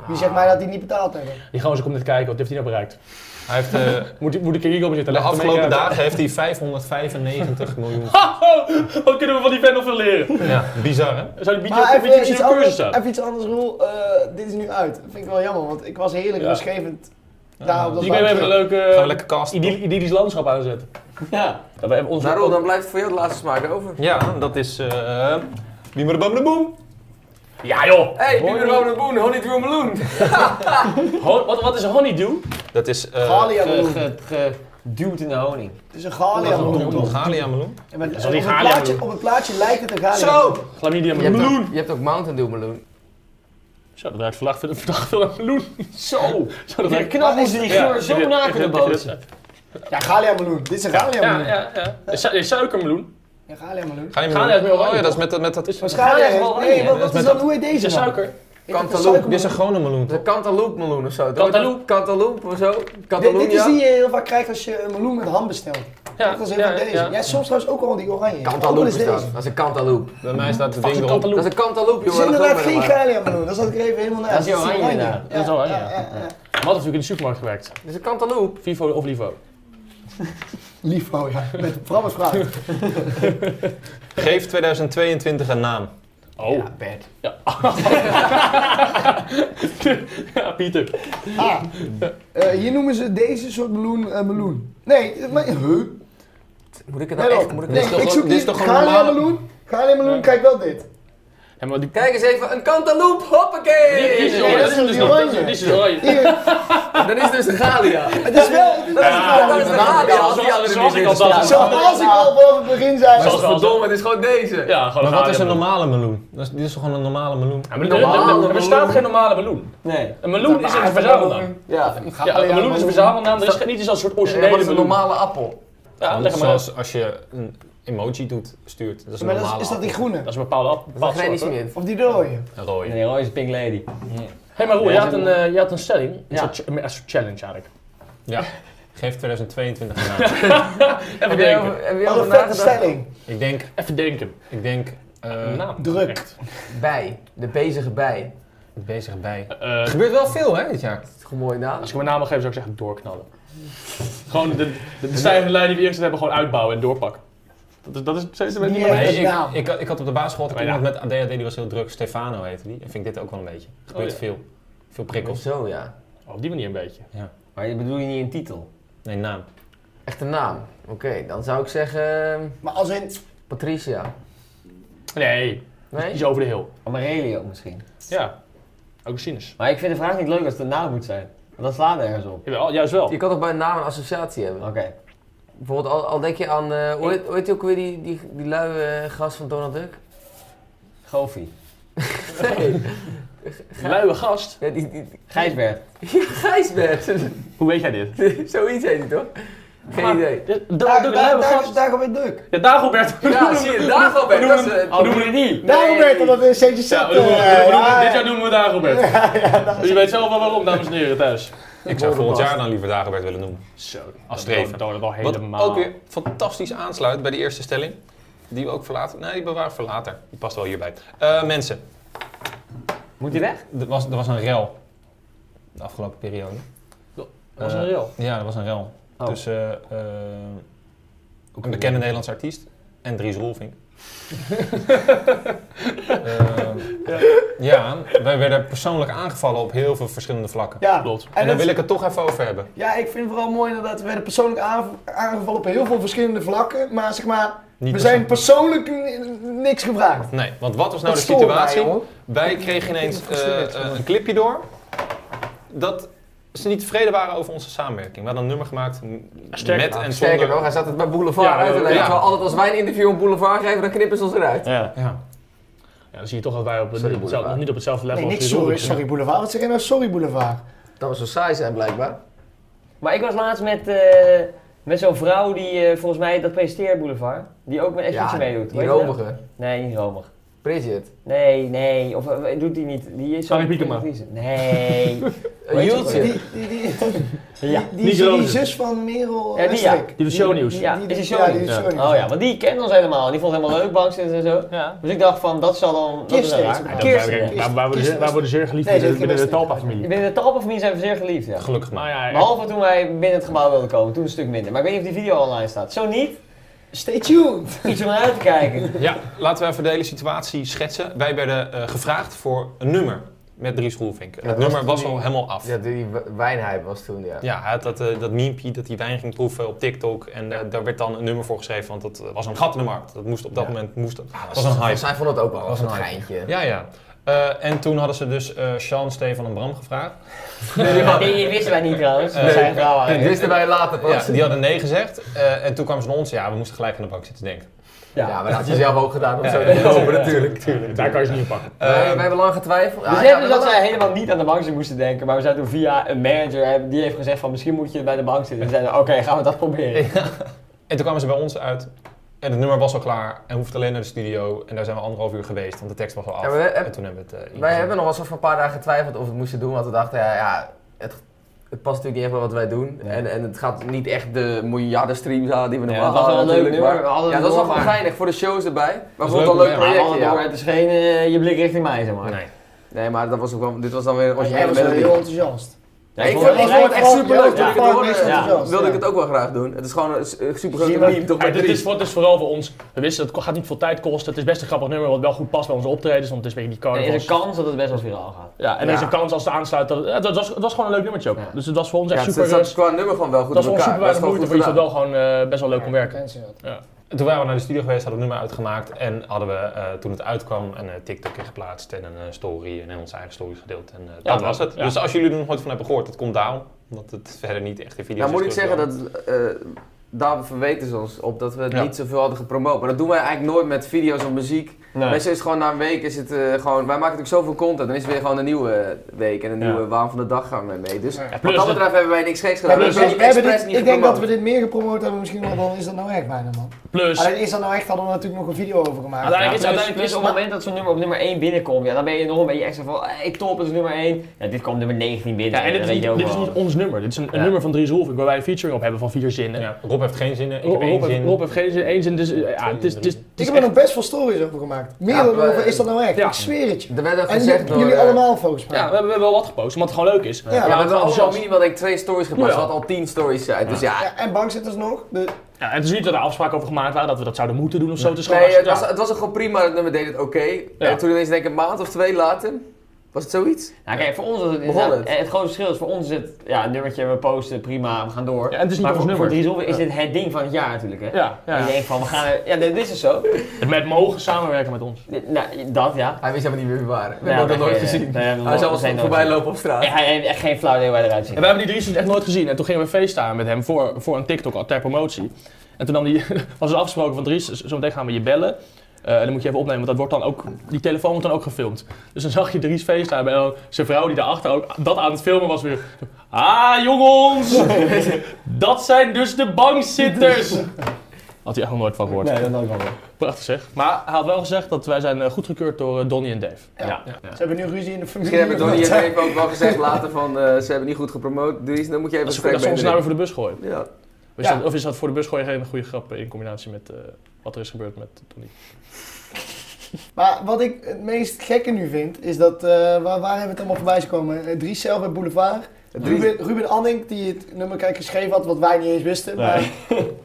Speaker 2: Wie zegt mij dat die niet betaald hebben?
Speaker 3: Die gozer komt net kijken, wat heeft hij nou bereikt?
Speaker 1: Hij heeft, eh,
Speaker 3: Moet, moet ik hier komen zitten?
Speaker 1: de
Speaker 3: Leg het hem
Speaker 1: afgelopen
Speaker 3: even *laughs* uit.
Speaker 1: dagen heeft hij 595 miljoen.
Speaker 3: Wat kunnen we van die fan nog veel leren?
Speaker 1: Ja, bizar hè?
Speaker 3: Zou die
Speaker 2: Maar
Speaker 3: bietje
Speaker 2: even,
Speaker 3: op
Speaker 2: iets
Speaker 3: een cursus
Speaker 2: anders,
Speaker 3: staan?
Speaker 2: even iets anders, Roel. Eh, dit is nu uit. Dat vind ik wel jammer, want ik was heerlijk
Speaker 3: Ja.
Speaker 2: rustgevend Nou, dat
Speaker 3: Dus ik ben even een leuke
Speaker 1: Gaan we
Speaker 3: eh,
Speaker 1: lekker casten.
Speaker 3: idyll- idyllisch landschap aanzetten.
Speaker 5: Ja.
Speaker 3: Ja, we hebben onze-
Speaker 4: Nou, Roel, dan blijft voor jou de laatste smaak over.
Speaker 1: Ja, dat is... eh Biemerbamdeboom.
Speaker 3: Ja joh!
Speaker 4: Hey,
Speaker 3: Honey-
Speaker 4: Bieber Rode Boen, Honey Drew Meloen.
Speaker 3: Hon- wat, wat is een honeydew?
Speaker 1: Dat is... eh,
Speaker 2: Galia
Speaker 5: Ge-
Speaker 2: meloen.
Speaker 5: ge- Geduwd in de honing.
Speaker 2: Het is een Galia meloen.
Speaker 1: een Galia meloen.
Speaker 2: En met-
Speaker 3: is al die
Speaker 2: op, het
Speaker 3: Galia
Speaker 2: plaatje,
Speaker 3: meloen.
Speaker 2: op het plaatje lijkt het een Galia meloen.
Speaker 3: Chlamydia
Speaker 4: Je hebt, ook,
Speaker 3: meloen.
Speaker 4: je hebt ook Mountain Dew Meloen.
Speaker 3: Zo, dat ruikt vandaag veel- vandaag veel naar meloen. Zo,
Speaker 5: Zo!
Speaker 3: dat
Speaker 5: Die
Speaker 3: ruikt...
Speaker 5: knap moesten die geur
Speaker 3: ik
Speaker 5: zo
Speaker 3: weet-
Speaker 5: na
Speaker 3: ik
Speaker 5: kunnen
Speaker 3: weet- ik weet-
Speaker 5: bootsen.
Speaker 2: Ja, Galia meloen. Dit is een Galia
Speaker 3: Ja,
Speaker 2: meloen.
Speaker 3: ja, ja. Eh, su- eh, Suikermeloen.
Speaker 2: Ja, Galia meloen.
Speaker 1: Galia
Speaker 3: Galia
Speaker 1: meloen.
Speaker 3: is meer oranje,
Speaker 1: Oh ja, dat is
Speaker 3: toch?
Speaker 1: met, dat- met dat...
Speaker 3: Dus
Speaker 2: Galia
Speaker 5: Galia is wel
Speaker 2: Nee,
Speaker 5: oranje,
Speaker 2: wat, wat
Speaker 5: hè?
Speaker 1: Dat
Speaker 2: is
Speaker 1: is
Speaker 2: dan? Hoe heet deze
Speaker 3: is er
Speaker 2: dan?
Speaker 3: suiker.
Speaker 2: Ik dacht een
Speaker 4: Cantaloupe.
Speaker 2: suikermeloen.
Speaker 1: Dit is een gewone meloen,
Speaker 4: De
Speaker 1: toch?
Speaker 4: Cantaloupe Meloen of zo. toch?
Speaker 3: Cantaloupe.
Speaker 4: Cantaloupe of zo.
Speaker 2: Dit, dit is
Speaker 4: Cantaloupe.
Speaker 2: die je heel vaak krijgt als je een meloen met ham bestelt.
Speaker 3: Ja,
Speaker 2: Dat is heel
Speaker 3: ja,
Speaker 2: vaak deze.
Speaker 3: ja.
Speaker 2: Ja, soms trouwens ook al die oranje.
Speaker 4: Cantaloupe is dat.
Speaker 2: deze.
Speaker 4: Dat is een Cantaloupe.
Speaker 1: Bij mij staat het
Speaker 3: Fuck,
Speaker 1: ding erop.
Speaker 3: een
Speaker 4: Dat is
Speaker 3: cantaloupe.
Speaker 4: een Cantaloupe,
Speaker 2: Er
Speaker 4: jongen.
Speaker 2: zit
Speaker 4: dat geloof
Speaker 2: inderdaad
Speaker 4: ik
Speaker 2: geen
Speaker 4: maar.
Speaker 2: Galia meloen. Dat zat ik er even helemaal naast.
Speaker 5: Dat is die oranje daar.
Speaker 2: Ja,
Speaker 3: Dat is oranje,
Speaker 2: ja,
Speaker 3: ja.
Speaker 2: ja, ja.
Speaker 3: Wat had natuurlijk in de supermarkt gewerkt.
Speaker 4: Dit is een Cantaloupe.
Speaker 3: Vivo of Livo.
Speaker 2: Liefo, ja. Met, vooral met vrouwen.
Speaker 1: Geef 2022 een naam.
Speaker 3: Oh. Ja,
Speaker 5: Bert.
Speaker 3: Pieter.
Speaker 2: Ah, eh, hier noemen ze deze soort meloen eh, meloen. Nee, maar, huh?
Speaker 1: Nou,
Speaker 4: Moet ik het
Speaker 2: Nee,
Speaker 4: nou echt?
Speaker 2: hoor.
Speaker 4: Moet ik het
Speaker 2: nee
Speaker 1: dit is
Speaker 2: ik
Speaker 1: toch
Speaker 2: zoek
Speaker 1: ook- dit
Speaker 2: hier
Speaker 1: is toch een
Speaker 2: Galia
Speaker 1: normale-
Speaker 2: meloen. Galia meloen, kijk wel dit.
Speaker 3: Ja, maar die...
Speaker 4: Kijk eens even, een Cantaloupe. Hoppakee!
Speaker 3: Dit is oranje.
Speaker 2: dat is
Speaker 3: Dit is
Speaker 2: die oranje.
Speaker 3: oranje. Dit is oranje.
Speaker 2: Hier,
Speaker 4: Dat is dus een Galia.
Speaker 2: *laughs* het is wel... Het is een
Speaker 4: dat is
Speaker 2: Galia
Speaker 4: een
Speaker 2: meloen.
Speaker 4: Galia. Als die
Speaker 3: Zoals-
Speaker 4: andere
Speaker 3: zoals
Speaker 4: niet
Speaker 3: ik al
Speaker 4: is.
Speaker 3: dacht.
Speaker 4: Ja.
Speaker 2: Zoals ik al vanaf het begin
Speaker 3: Zoals-
Speaker 2: zei.
Speaker 4: Godverdomme, het is gewoon deze.
Speaker 3: Ja, gewoon
Speaker 1: Maar wat is een
Speaker 3: normale...
Speaker 1: normale meloen? Dat is, dit is toch gewoon een normale meloen?
Speaker 3: Ja, maar er- er- er- er bestaat geen normale meloen.
Speaker 5: Nee.
Speaker 3: Een meloen is een verzamelnaam.
Speaker 4: Ja,
Speaker 3: Ja, een meloen is een verzamelnaam. Er is geen- niet eens een soort
Speaker 4: wat
Speaker 3: originele
Speaker 4: is een
Speaker 3: meloen.
Speaker 4: normale appel?
Speaker 3: Ja,
Speaker 1: Dat
Speaker 3: leg
Speaker 1: is
Speaker 3: maar uit.
Speaker 1: zoals als je een emoji doet, stuurt. Dat is een
Speaker 2: Maar
Speaker 1: normale
Speaker 2: dat is, is dat die groene?
Speaker 3: Dat is een bepaalde app.
Speaker 4: Dat
Speaker 3: bepaalde
Speaker 4: geen iets
Speaker 3: soort, hoor.
Speaker 4: meer.
Speaker 2: Of die rode?
Speaker 1: appel. Een rode.
Speaker 5: Nee, Roy is Pink Lady.
Speaker 3: Hé, maar Roel,
Speaker 5: Ja,
Speaker 3: je
Speaker 5: dat
Speaker 3: had
Speaker 5: is
Speaker 3: een,
Speaker 5: een-
Speaker 3: eh, je had een stelling. Een
Speaker 5: Ja.
Speaker 3: soort ch- een soort challenge eigenlijk.
Speaker 1: Ja. Geef 2022 een *laughs* naam.
Speaker 3: Even
Speaker 4: Heb je
Speaker 3: denken.
Speaker 4: over- heb je
Speaker 2: Wat
Speaker 4: over
Speaker 2: een vette
Speaker 4: nagedacht?
Speaker 2: stelling.
Speaker 1: ik denk...
Speaker 3: Even denken.
Speaker 1: Ik denk... eh,
Speaker 3: Naam.
Speaker 2: druk.
Speaker 3: Echt.
Speaker 4: Bij. De bezige bij.
Speaker 1: bezig bij.
Speaker 3: Eh,
Speaker 1: Er gebeurt wel veel, hè, dit jaar.
Speaker 4: Dat is gewoon mooi naam.
Speaker 3: Als ik mijn naam mag geven, zou ik zeggen doorknallen. gewoon de, de, de stijgende lijn die we eerst hebben, gewoon uitbouwen en doorpakken. Dat is, dat is steeds een beetje
Speaker 2: Nee.
Speaker 3: mijn-
Speaker 1: Nee, ik,
Speaker 2: naam.
Speaker 1: ik, ik had op de basisschool had ik
Speaker 3: Oh, ja.
Speaker 1: iemand met ADHD, die was heel druk. Stefano heette die. En vind ik dit ook wel een beetje. Er gebeurt
Speaker 3: ja.
Speaker 1: veel. Veel
Speaker 4: Of
Speaker 1: prikkels.
Speaker 4: zo, ja.
Speaker 3: Oh, Op die manier een beetje.
Speaker 5: Maar je bedoel je niet een titel?
Speaker 1: Nee, naam.
Speaker 4: Echt een naam. Oké, dan zou ik zeggen... ehm,
Speaker 2: Maar als in...
Speaker 4: Patricia.
Speaker 3: Nee,
Speaker 4: Nee?
Speaker 3: iets over de heel.
Speaker 5: Aurelio misschien.
Speaker 3: Ja. Ook sinus.
Speaker 5: Maar ik vind de vraag niet leuk als het een naam moet zijn. Want dat slaat ergens op.
Speaker 3: Jawel, juist wel.
Speaker 4: Je kan toch bij een naam een associatie hebben?
Speaker 5: Oké.
Speaker 4: Bijvoorbeeld, al, al denk je aan... eh hoe heet- hoe heet die ook weer die, die, die luie gast van Donald Duck?
Speaker 5: Goofy.
Speaker 4: Nee.
Speaker 3: Luie gast.
Speaker 4: Ja, die, die, *laughs*
Speaker 5: Gijsbert.
Speaker 4: Gijsbert.
Speaker 3: Hoe weet jij dit?
Speaker 4: Zoiets heet hij toch? Geen
Speaker 3: Maar-
Speaker 4: idee.
Speaker 3: Dit- dat-
Speaker 2: Daar,
Speaker 3: dat-
Speaker 2: daar, daar,
Speaker 3: Luie
Speaker 2: daar,
Speaker 3: gast.
Speaker 2: daarom ben druk.
Speaker 3: Ja, Dagobert.
Speaker 4: Ja, zie je, daar al bij.
Speaker 3: We
Speaker 4: Dat is,
Speaker 3: noemen
Speaker 4: eh,
Speaker 3: hem- we noemen hem niet.
Speaker 2: Daarom
Speaker 4: Nee.
Speaker 2: werd dat een centje
Speaker 3: Ja,
Speaker 2: zat.
Speaker 3: we noemen- we
Speaker 2: eh,
Speaker 3: noemen-
Speaker 2: ja,
Speaker 3: Dit
Speaker 2: ja.
Speaker 3: jaar noemen we Dagobert. Dus je weet zelf wel waarom, dames en heren, thuis.
Speaker 1: Ik zou volgend
Speaker 4: Bovenpas.
Speaker 1: jaar dan liever Dagobert willen noemen.
Speaker 3: Zo,
Speaker 1: Als
Speaker 3: dat-
Speaker 1: streven.
Speaker 3: Dat dat- dat
Speaker 1: Wat
Speaker 3: helemaal.
Speaker 1: ook weer fantastisch aansluit bij de eerste stelling. Die we ook verlaten. Nee, die bewaren we voor later. Die past wel hierbij. Eh, mensen,
Speaker 5: Moet die weg?
Speaker 1: er was, er was een rel. De afgelopen periode.
Speaker 3: Dat
Speaker 5: Eh,
Speaker 3: was een reel.
Speaker 1: Ja, er was een rel.
Speaker 5: Oh.
Speaker 1: Tussen eh, een bekende Nederlands artiest en Dries Roelvink. Eh, ja, wij werden persoonlijk aangevallen op heel veel verschillende vlakken.
Speaker 2: Ja.
Speaker 3: Klopt.
Speaker 1: En
Speaker 2: En
Speaker 1: daar
Speaker 2: dat
Speaker 1: wil ik het toch even over hebben.
Speaker 2: Ja, ik vind het vooral mooi inderdaad. We werden persoonlijk aanv- aangevallen op heel veel verschillende vlakken. Maar zeg maar,
Speaker 1: Niet
Speaker 2: we zijn
Speaker 1: persoonlijk.
Speaker 2: persoonlijk n- niks gevraagd.
Speaker 1: Nee, want wat was nou
Speaker 2: Dat
Speaker 1: de
Speaker 2: stoort mij,
Speaker 1: situatie?
Speaker 2: jongen.
Speaker 1: Wij kregen ineens
Speaker 2: ben gefrustreerd
Speaker 1: eh, eh, een clipje door dat ze niet tevreden waren over onze samenwerking. We hadden een nummer gemaakt m-
Speaker 3: Sterker
Speaker 1: met en
Speaker 4: Sterker
Speaker 1: zonder.
Speaker 4: nog, hij zat het bij Boulevard
Speaker 3: Ja,
Speaker 4: uit te leggen.
Speaker 1: ja.
Speaker 4: Terwijl Altijd als wij een interview op Boulevard geven, dan knippen ze ons eruit.
Speaker 3: Ja.
Speaker 1: Ja.
Speaker 3: ja, dan zie je toch dat wij op, op
Speaker 4: Sorry,
Speaker 3: hetzelfde-
Speaker 4: Boulevard.
Speaker 3: nog niet op hetzelfde level
Speaker 2: Nee, niks
Speaker 3: Dries
Speaker 2: sorry,
Speaker 3: Roelvink zijn.
Speaker 2: sorry boulevard. Wat zeg jij nou sorry boulevard?
Speaker 4: Dat we zo saai zijn blijkbaar.
Speaker 5: Maar ik was laatst met, eh, met zo'n vrouw die eh, volgens mij dat presenteert Boulevard. Die ook met echt iets meedoet.
Speaker 4: die
Speaker 5: Weet je dat?
Speaker 4: romige.
Speaker 5: Nee, niet romig.
Speaker 4: Bridget.
Speaker 5: Nee, nee. Of eh, doet die niet. Die is zo.
Speaker 3: Annie Piekema.
Speaker 5: Nee.
Speaker 4: Een Jultje.
Speaker 2: Die, die, die, die,
Speaker 5: ja.
Speaker 2: die,
Speaker 3: niet rozen.
Speaker 2: zus van Merel
Speaker 5: Ja, die, ja.
Speaker 2: Westrik.
Speaker 3: Die doet shownieuws.
Speaker 5: Ja,
Speaker 2: die doet-
Speaker 5: is die shownieuws?
Speaker 2: Ja, die doet
Speaker 3: Ja.
Speaker 2: shownieuws.
Speaker 5: Oh ja, want die kent ons helemaal. Die vond het helemaal leuk, bankstens en zo.
Speaker 3: Ja.
Speaker 5: Dus ik dacht van, dat zal dan... Dat is
Speaker 2: Kirsten
Speaker 5: wel
Speaker 2: heet
Speaker 5: raar.
Speaker 2: ze
Speaker 5: Ja,
Speaker 2: maar.
Speaker 5: Kirsten.
Speaker 3: Wij,
Speaker 5: ja.
Speaker 3: wij, wij worden, zeer- wij worden zeer geliefd
Speaker 2: Nee,
Speaker 3: binnen,
Speaker 2: zeker
Speaker 3: binnen de
Speaker 2: best niet.
Speaker 3: Talpa-familie.
Speaker 5: Binnen de Talpa-familie zijn we zeer geliefd, ja.
Speaker 1: Gelukkig
Speaker 3: Maar
Speaker 1: maar.
Speaker 3: ja, ja.
Speaker 5: Behalve toen wij binnen het gebouw wilden komen, toen een stuk minder. Maar ik weet niet of die video online staat. Zo niet,
Speaker 2: Stay tuned.
Speaker 5: iets om naar uit te kijken.
Speaker 1: Ja, laten we even de hele situatie schetsen. Wij werden eh, gevraagd voor een nummer. met Dries Roelvink.
Speaker 4: Ja,
Speaker 1: het
Speaker 4: dat
Speaker 1: nummer
Speaker 4: was
Speaker 1: was
Speaker 4: toen
Speaker 1: al
Speaker 4: die-
Speaker 1: helemaal af.
Speaker 4: Ja, die w- wijnhype was toen, ja.
Speaker 1: Ja, hij had dat, eh dat meme dat hij wijn ging proeven op TikTok. En eh, daar werd dan een nummer voor geschreven, want dat eh, was een gat in de markt. Dat moest op dat
Speaker 4: Ja.
Speaker 1: moment, moest, dat was een hype.
Speaker 4: Zij vonden het ook wel
Speaker 1: Was
Speaker 4: was
Speaker 1: een
Speaker 4: een
Speaker 1: hype.
Speaker 4: geintje.
Speaker 1: Ja, ja. Eh, en toen hadden ze dus eh Sean, Stefan en Bram gevraagd.
Speaker 5: *laughs* Die, die wisten wij niet trouwens.
Speaker 1: Nee.
Speaker 5: Dat zijn vrouwen.
Speaker 4: Dit wisten wij later pas.
Speaker 1: Ja,
Speaker 4: Ja,
Speaker 1: die hadden nee gezegd. Eh, en toen kwamen ze naar ons. Ja, we moesten gelijk aan de bak zitten denken.
Speaker 4: maar dat had je zelf ook gedaan om
Speaker 1: Ja,
Speaker 4: zo
Speaker 1: ja,
Speaker 4: te lopen, natuurlijk.
Speaker 3: Daar kan je ze niet op pakken.
Speaker 4: Wij
Speaker 1: Ehm,
Speaker 4: wij hebben lang getwijfeld.
Speaker 5: Dus
Speaker 4: Ja,
Speaker 5: hebben
Speaker 4: ja,
Speaker 5: dat
Speaker 4: we-
Speaker 5: zij helemaal niet aan de bank moesten denken, maar we zijn toen via een manager, hebben- die heeft gezegd van misschien moet je bij de bank zitten. En zeiden oké, gaan we dat proberen.
Speaker 1: En toen kwamen ze bij ons uit. En het nummer was al klaar. En hoefde alleen naar de studio. En daar zijn we anderhalf uur geweest, want de tekst was al af.
Speaker 4: Ja, maar we-
Speaker 1: en toen hebben we het. eh, ingezongen.
Speaker 4: Wij hebben nog wel eens voor een paar dagen getwijfeld of we het moesten doen, want we dachten, ja, ja het, het past natuurlijk niet echt bij wat wij doen. En, en het gaat niet echt de miljarden streams halen die we
Speaker 5: Ja,
Speaker 4: normaal
Speaker 5: het was wel een
Speaker 4: halen
Speaker 5: leuk
Speaker 4: natuurlijk,
Speaker 5: nummer, we
Speaker 4: Maar,
Speaker 5: hadden
Speaker 4: ja,
Speaker 5: het
Speaker 4: dat was
Speaker 5: door,
Speaker 4: wel
Speaker 5: maar-
Speaker 4: geinig voor de shows erbij. Maar
Speaker 1: Dat
Speaker 4: we
Speaker 1: is
Speaker 4: vonden
Speaker 1: leuk,
Speaker 4: het wel een leuk
Speaker 1: maar ja,
Speaker 5: Maar
Speaker 4: project.
Speaker 5: door,
Speaker 4: Ja.
Speaker 5: het is geen eh, je blik richting mij, zeg maar.
Speaker 1: Nee.
Speaker 4: Nee, maar dat was ook wel, dit was dan weer
Speaker 2: Jij
Speaker 4: originele
Speaker 2: was wel
Speaker 4: melodie.
Speaker 2: heel enthousiast.
Speaker 5: Ja,
Speaker 4: ik
Speaker 5: vond-
Speaker 4: vond, ik vond het echt
Speaker 2: Ja,
Speaker 4: super leuk
Speaker 2: ja,
Speaker 4: toen ik
Speaker 2: ja.
Speaker 4: het hoorde.
Speaker 2: Ja.
Speaker 4: Ja, wilde ik
Speaker 2: Ja.
Speaker 4: het ook wel graag doen. Het is gewoon een super
Speaker 2: Zie je
Speaker 4: grote
Speaker 2: maar-
Speaker 4: meme, toch bij
Speaker 3: Maar dit
Speaker 4: drie.
Speaker 3: is, voor- het is vooral voor ons. We wisten, het gaat niet veel tijd kosten. Het is best een grappig nummer, wat wel goed past bij onze optredens. Want het is een beetje die
Speaker 5: Er
Speaker 3: carnaval.
Speaker 5: is een kans dat het best wel viraal gaat.
Speaker 3: Ja, en er is
Speaker 4: Ja.
Speaker 3: een kans als ze aansluit. Dat, ja, het, was, het was gewoon een leuk nummertje ook.
Speaker 5: Ja.
Speaker 3: Dus het was voor ons
Speaker 4: Ja,
Speaker 3: echt
Speaker 4: het
Speaker 3: super.
Speaker 4: zat
Speaker 3: eh,
Speaker 4: qua nummer gewoon wel goed
Speaker 3: dat
Speaker 4: op
Speaker 3: was gewoon
Speaker 4: elkaar.
Speaker 3: super weinig
Speaker 4: gewoon
Speaker 3: moeite
Speaker 4: goed
Speaker 3: voor iets wat
Speaker 4: gedaan.
Speaker 3: wel gewoon eh, best wel leuk kon werken.
Speaker 1: En toen waren we naar de studio geweest, hadden we het nummer uitgemaakt. En hadden we, eh, toen het uitkwam, een eh, TikTok in geplaatst. En een eh, story. En in onze eigen stories gedeeld. En eh, dat was het.
Speaker 3: ja.
Speaker 1: Dus als jullie er nog nooit van hebben gehoord, dat komt daarom. Omdat het verder niet echt in video's
Speaker 4: Nou moet ik
Speaker 1: is
Speaker 4: zeggen,
Speaker 1: teruggekomen.
Speaker 4: dat, eh daar verweten ze ons op dat we het
Speaker 1: Ja.
Speaker 4: niet zoveel hadden gepromoot. Maar dat doen wij eigenlijk nooit met video's of muziek. Wij
Speaker 5: Nee.
Speaker 4: zijn gewoon na een week is het eh, gewoon. Wij maken natuurlijk zoveel content. Dan is het weer gewoon een nieuwe week en een
Speaker 3: Ja.
Speaker 4: nieuwe waan van de dag gaan we mee. Dus wat
Speaker 3: plus
Speaker 4: dat
Speaker 3: het-
Speaker 4: betreft hebben wij niks geks
Speaker 2: We
Speaker 4: gedaan.
Speaker 2: hebben-
Speaker 4: We hebben
Speaker 2: we
Speaker 4: niet
Speaker 2: hebben
Speaker 4: expres
Speaker 2: dit-
Speaker 4: niet
Speaker 2: Ik denk dat we
Speaker 4: gepromoot.
Speaker 2: dit meer gepromoot hebben misschien wel dan is dat nou echt bijna man.
Speaker 3: Plus,
Speaker 2: Alleen is dat nou echt, hadden we natuurlijk nog een video over gemaakt.
Speaker 3: uiteindelijk is,
Speaker 5: Uiteindelijk
Speaker 3: uiteindelijk
Speaker 5: plus
Speaker 3: is
Speaker 5: dus- op het moment dat zo'n nummer op nummer 1 binnenkomt, ja, dan ben je nog een beetje extra van, hey, top, het is nummer 1. Ja, dit kwam nummer 19 binnen.
Speaker 3: Ja, en dit is,
Speaker 5: dan
Speaker 3: niet,
Speaker 5: weet je
Speaker 3: dit
Speaker 5: ook
Speaker 3: is
Speaker 5: wel.
Speaker 3: niet ons nummer. Dit is een, een
Speaker 5: Ja.
Speaker 3: nummer van Dries Roelvink waar wij een featuring op hebben van vier zinnen.
Speaker 1: Ja, Rob heeft geen zin. Ik
Speaker 3: Rob,
Speaker 1: heb één
Speaker 3: Rob,
Speaker 1: zin.
Speaker 3: Rob heeft geen zin. één zin. Dus, eh, ja,
Speaker 1: Twee,
Speaker 3: het is, het is, het
Speaker 2: Ik
Speaker 3: is
Speaker 2: heb er
Speaker 3: echt-
Speaker 2: nog best veel stories over gemaakt. Meer
Speaker 4: Ja,
Speaker 2: dan
Speaker 4: we-
Speaker 2: over is dat nou echt.
Speaker 3: Ja.
Speaker 2: Ik zweer het je.
Speaker 4: Er werd ook
Speaker 2: En
Speaker 4: gezegd door.
Speaker 2: jullie
Speaker 4: eh,
Speaker 2: allemaal volgens mij.
Speaker 3: ja, we hebben we hebben wel wat gepost, omdat het gewoon leuk is.
Speaker 2: Ja,
Speaker 4: Ja, we hebben
Speaker 3: gewoon
Speaker 4: allemaal
Speaker 3: enthousiast.
Speaker 4: minimaal denk ik twee stories geplaatst,
Speaker 3: Ja.
Speaker 4: wat al tien stories zijn. Dus ja,
Speaker 2: Ja, en bankzitters nog. De,
Speaker 3: Ja, het is niet dat er afspraken over gemaakt waren dat we dat zouden moeten doen of zo. Het is gewoon
Speaker 4: Nee, het
Speaker 3: hartstikke-
Speaker 4: was, het was ook gewoon prima, het nummer deed het oké. En toen ineens denk ik een maand of twee later, was het zoiets?
Speaker 5: Nou, kijk, voor ons was het
Speaker 4: Begon
Speaker 5: inderdaad-
Speaker 4: het.
Speaker 5: eh, Het grote verschil is, voor ons is het, ja, een nummertje, we posten, prima, we gaan door.
Speaker 3: Ja, en het is niet
Speaker 5: maar
Speaker 3: ons
Speaker 5: voor,
Speaker 3: nummer.
Speaker 5: voor Dries Roelvink is dit het ding van het jaar natuurlijk, hè.
Speaker 3: ja, ja,
Speaker 5: Je
Speaker 3: ja.
Speaker 5: denkt van, we gaan er- ja, dit is dus zo.
Speaker 3: Het Met mogen samenwerken met ons.
Speaker 5: Dit- Nou, dat ja.
Speaker 4: Hij wist helemaal niet meer wie we waren. We
Speaker 5: Ja,
Speaker 4: hebben dat nooit
Speaker 5: nee,
Speaker 4: gezien.
Speaker 5: nee, we hebben
Speaker 4: Hij zal
Speaker 5: nog-
Speaker 4: ons
Speaker 5: we zijn
Speaker 4: voorbij
Speaker 5: nooit-
Speaker 4: lopen op straat.
Speaker 5: Hij heeft echt geen flauw idee waar hij eruit ziet.
Speaker 3: En we hebben die Dries dus echt nooit gezien. En toen gingen we feesten met hem voor, voor een TikTok al ter promotie. En toen nam die, *laughs* was het afgesproken van Dries, zometeen gaan we je bellen. Eh, en dan moet je even opnemen, want dat wordt dan ook, die telefoon wordt dan ook gefilmd. Dus dan zag je Dries FaceTime en dan zijn vrouw die daarachter ook dat aan het filmen was weer. Ah jongens, dat zijn dus de bankzitters. Had hij echt nog nooit van gehoord.
Speaker 5: Nee, dat nooit wel.
Speaker 3: Prachtig zeg. Maar hij had wel gezegd dat wij zijn eh, goedgekeurd door eh, Donnie en Dave.
Speaker 5: Ja.
Speaker 2: Ze hebben nu ruzie in de familie.
Speaker 4: Misschien hebben
Speaker 2: *laughs*
Speaker 4: *laughs* Donnie en
Speaker 2: Ja.
Speaker 4: Dave ook wel gezegd later van eh, ze hebben niet goed gepromoot, Dries, dan moet je even
Speaker 3: Dat is,
Speaker 4: een
Speaker 3: dat is
Speaker 4: gesprek
Speaker 3: ons nou weer voor de bus gooien.
Speaker 4: mee doen. Ja.
Speaker 3: Of is,
Speaker 2: Ja.
Speaker 3: dat, of is dat voor de bus gooien geen goede grap eh, in combinatie met eh, wat er is gebeurd met Donnie?
Speaker 2: Maar wat ik het meest gekke nu vind, is dat, eh, waar, waar hebben we het allemaal voorbij zien komen? Eh, Dries zelf bij Boulevard.
Speaker 4: Dries,
Speaker 2: Ruben, Ruben Anning, die het nummer kijk geschreven had, wat wij niet eens wisten. Maar,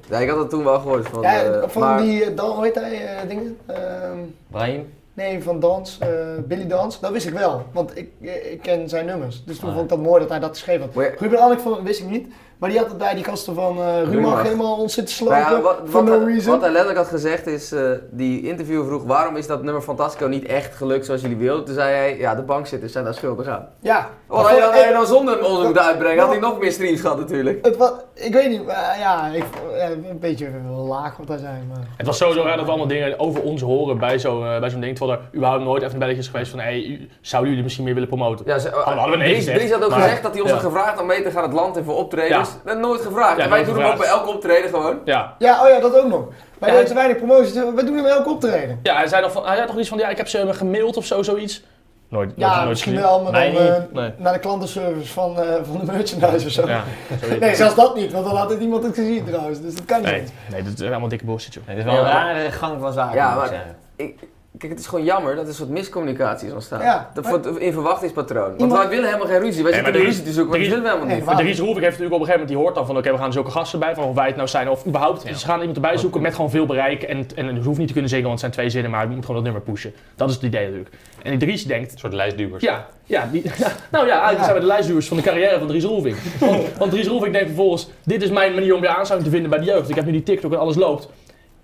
Speaker 4: ja, ik had dat toen wel gehoord van,
Speaker 2: ja,
Speaker 4: eh,
Speaker 2: van
Speaker 4: maar
Speaker 2: die, eh, Dan, hoe heet hij, eh, dingen? Ehm,
Speaker 5: Brian?
Speaker 2: nee, van Dans, eh, Billy Dans. Dat wist ik wel, want ik, eh, ik ken zijn nummers. Dus toen
Speaker 5: Ah.
Speaker 2: vond ik dat mooi dat hij dat geschreven had.
Speaker 4: Maar ja-
Speaker 2: Ruben Anning vond, wist ik niet, maar die had het bij die gasten van eh Rumach
Speaker 4: Rumach.
Speaker 2: helemaal ons zitten
Speaker 4: nou
Speaker 2: slopen,
Speaker 4: ja, wat,
Speaker 2: for
Speaker 4: wat,
Speaker 2: no
Speaker 4: hij,
Speaker 2: reason.
Speaker 4: wat hij letterlijk had gezegd is, eh, die interviewer vroeg waarom is dat nummer Fantastico niet echt gelukt zoals jullie wilden. Toen zei hij, ja de bankzitters zijn daar schuldig aan.
Speaker 2: ja,
Speaker 4: Oh,
Speaker 2: Dat
Speaker 4: hij
Speaker 2: vond-
Speaker 4: dan, hij dan zonder ons moeten uitbrengen, had hij nog meer streams gehad natuurlijk.
Speaker 2: Het was, ik weet niet, maar ja, ik, ja, een beetje laag wat daar zijn. Maar.
Speaker 3: Het was sowieso raar dat we allemaal dingen over ons horen bij zo'n eh, bij zo'n ding. Terwijl er überhaupt nooit echt een belletje is geweest van, hey, u- zouden jullie misschien meer willen promoten?
Speaker 4: Ja, ze,
Speaker 3: hadden Oh, we nee
Speaker 4: Dries,
Speaker 3: gezegd,
Speaker 4: Dries had ook
Speaker 3: maar-
Speaker 4: gezegd dat hij ons
Speaker 3: Ja.
Speaker 4: had gevraagd om mee te gaan het land in voor optredens.
Speaker 3: Ja.
Speaker 4: Dat nooit gevraagd.
Speaker 3: Ja,
Speaker 4: en wij
Speaker 3: nooit
Speaker 4: doen hem ook bij
Speaker 3: gevraagd.
Speaker 4: elke optreden gewoon.
Speaker 3: Ja.
Speaker 2: Ja, oh ja, dat ook nog. Wij
Speaker 3: Ja,
Speaker 2: doen te weinig promoties, eh, we doen hem elke optreden.
Speaker 3: Ja, hij zei, nog van, hij zei toch iets van, ja, ik heb ze eh, gemaild of zo, zoiets. Nooit, nooit,
Speaker 2: Ja,
Speaker 3: nooit
Speaker 2: misschien
Speaker 3: gezien.
Speaker 2: wel, maar dan
Speaker 3: Mij
Speaker 2: eh, *laughs*
Speaker 3: niet. Nee.
Speaker 2: naar de klantenservice van, eh, van de merchandise of zo.
Speaker 3: Ja, zoiets.
Speaker 2: Nee, zelfs dat niet, want dan had het iemand het gezien trouwens, dus dat kan niet.
Speaker 3: Nee, nee, dat is allemaal dikke bullshit, joh.
Speaker 5: Nee, dat is wel een rare gang van zaken.
Speaker 4: Ja,
Speaker 5: moet ik
Speaker 4: maar-
Speaker 5: zeggen.
Speaker 4: Ik, Kijk, het is gewoon jammer dat er een soort miscommunicatie is ontstaan.
Speaker 2: Ja,
Speaker 4: dat
Speaker 2: maar-
Speaker 4: voor, in verwachtingspatroon. Want
Speaker 2: Iemand-
Speaker 4: wij willen helemaal geen ruzie. Wij
Speaker 3: Nee,
Speaker 4: zitten
Speaker 3: maar
Speaker 4: de
Speaker 3: er
Speaker 4: ruzie
Speaker 3: is-
Speaker 4: te zoeken, want
Speaker 3: er
Speaker 4: die
Speaker 3: is-
Speaker 4: willen we helemaal
Speaker 2: Nee,
Speaker 4: niet.
Speaker 2: waar-
Speaker 3: Maar Dries Roelvink heeft natuurlijk op een gegeven moment, die hoort dan van oké, we gaan zulke gasten bij, van of wij het nou zijn of überhaupt. Ze gaan iemand erbij zoeken met gewoon veel bereik en, en het hoeft niet te kunnen zingen, want het zijn twee zinnen, maar je moet gewoon dat nummer pushen. Dat is het idee natuurlijk. En die Dries denkt,
Speaker 1: Een soort lijstduwers.
Speaker 3: ja, ja, die, *laughs* nou ja, eigenlijk
Speaker 2: Ja.
Speaker 3: zijn we de lijstduwers van de carrière van Dries Roelvink. Want, want Dries Roelvink denkt vervolgens, dit is mijn manier om weer aansluiting te vinden bij de jeugd. Ik heb nu die TikTok en alles loopt.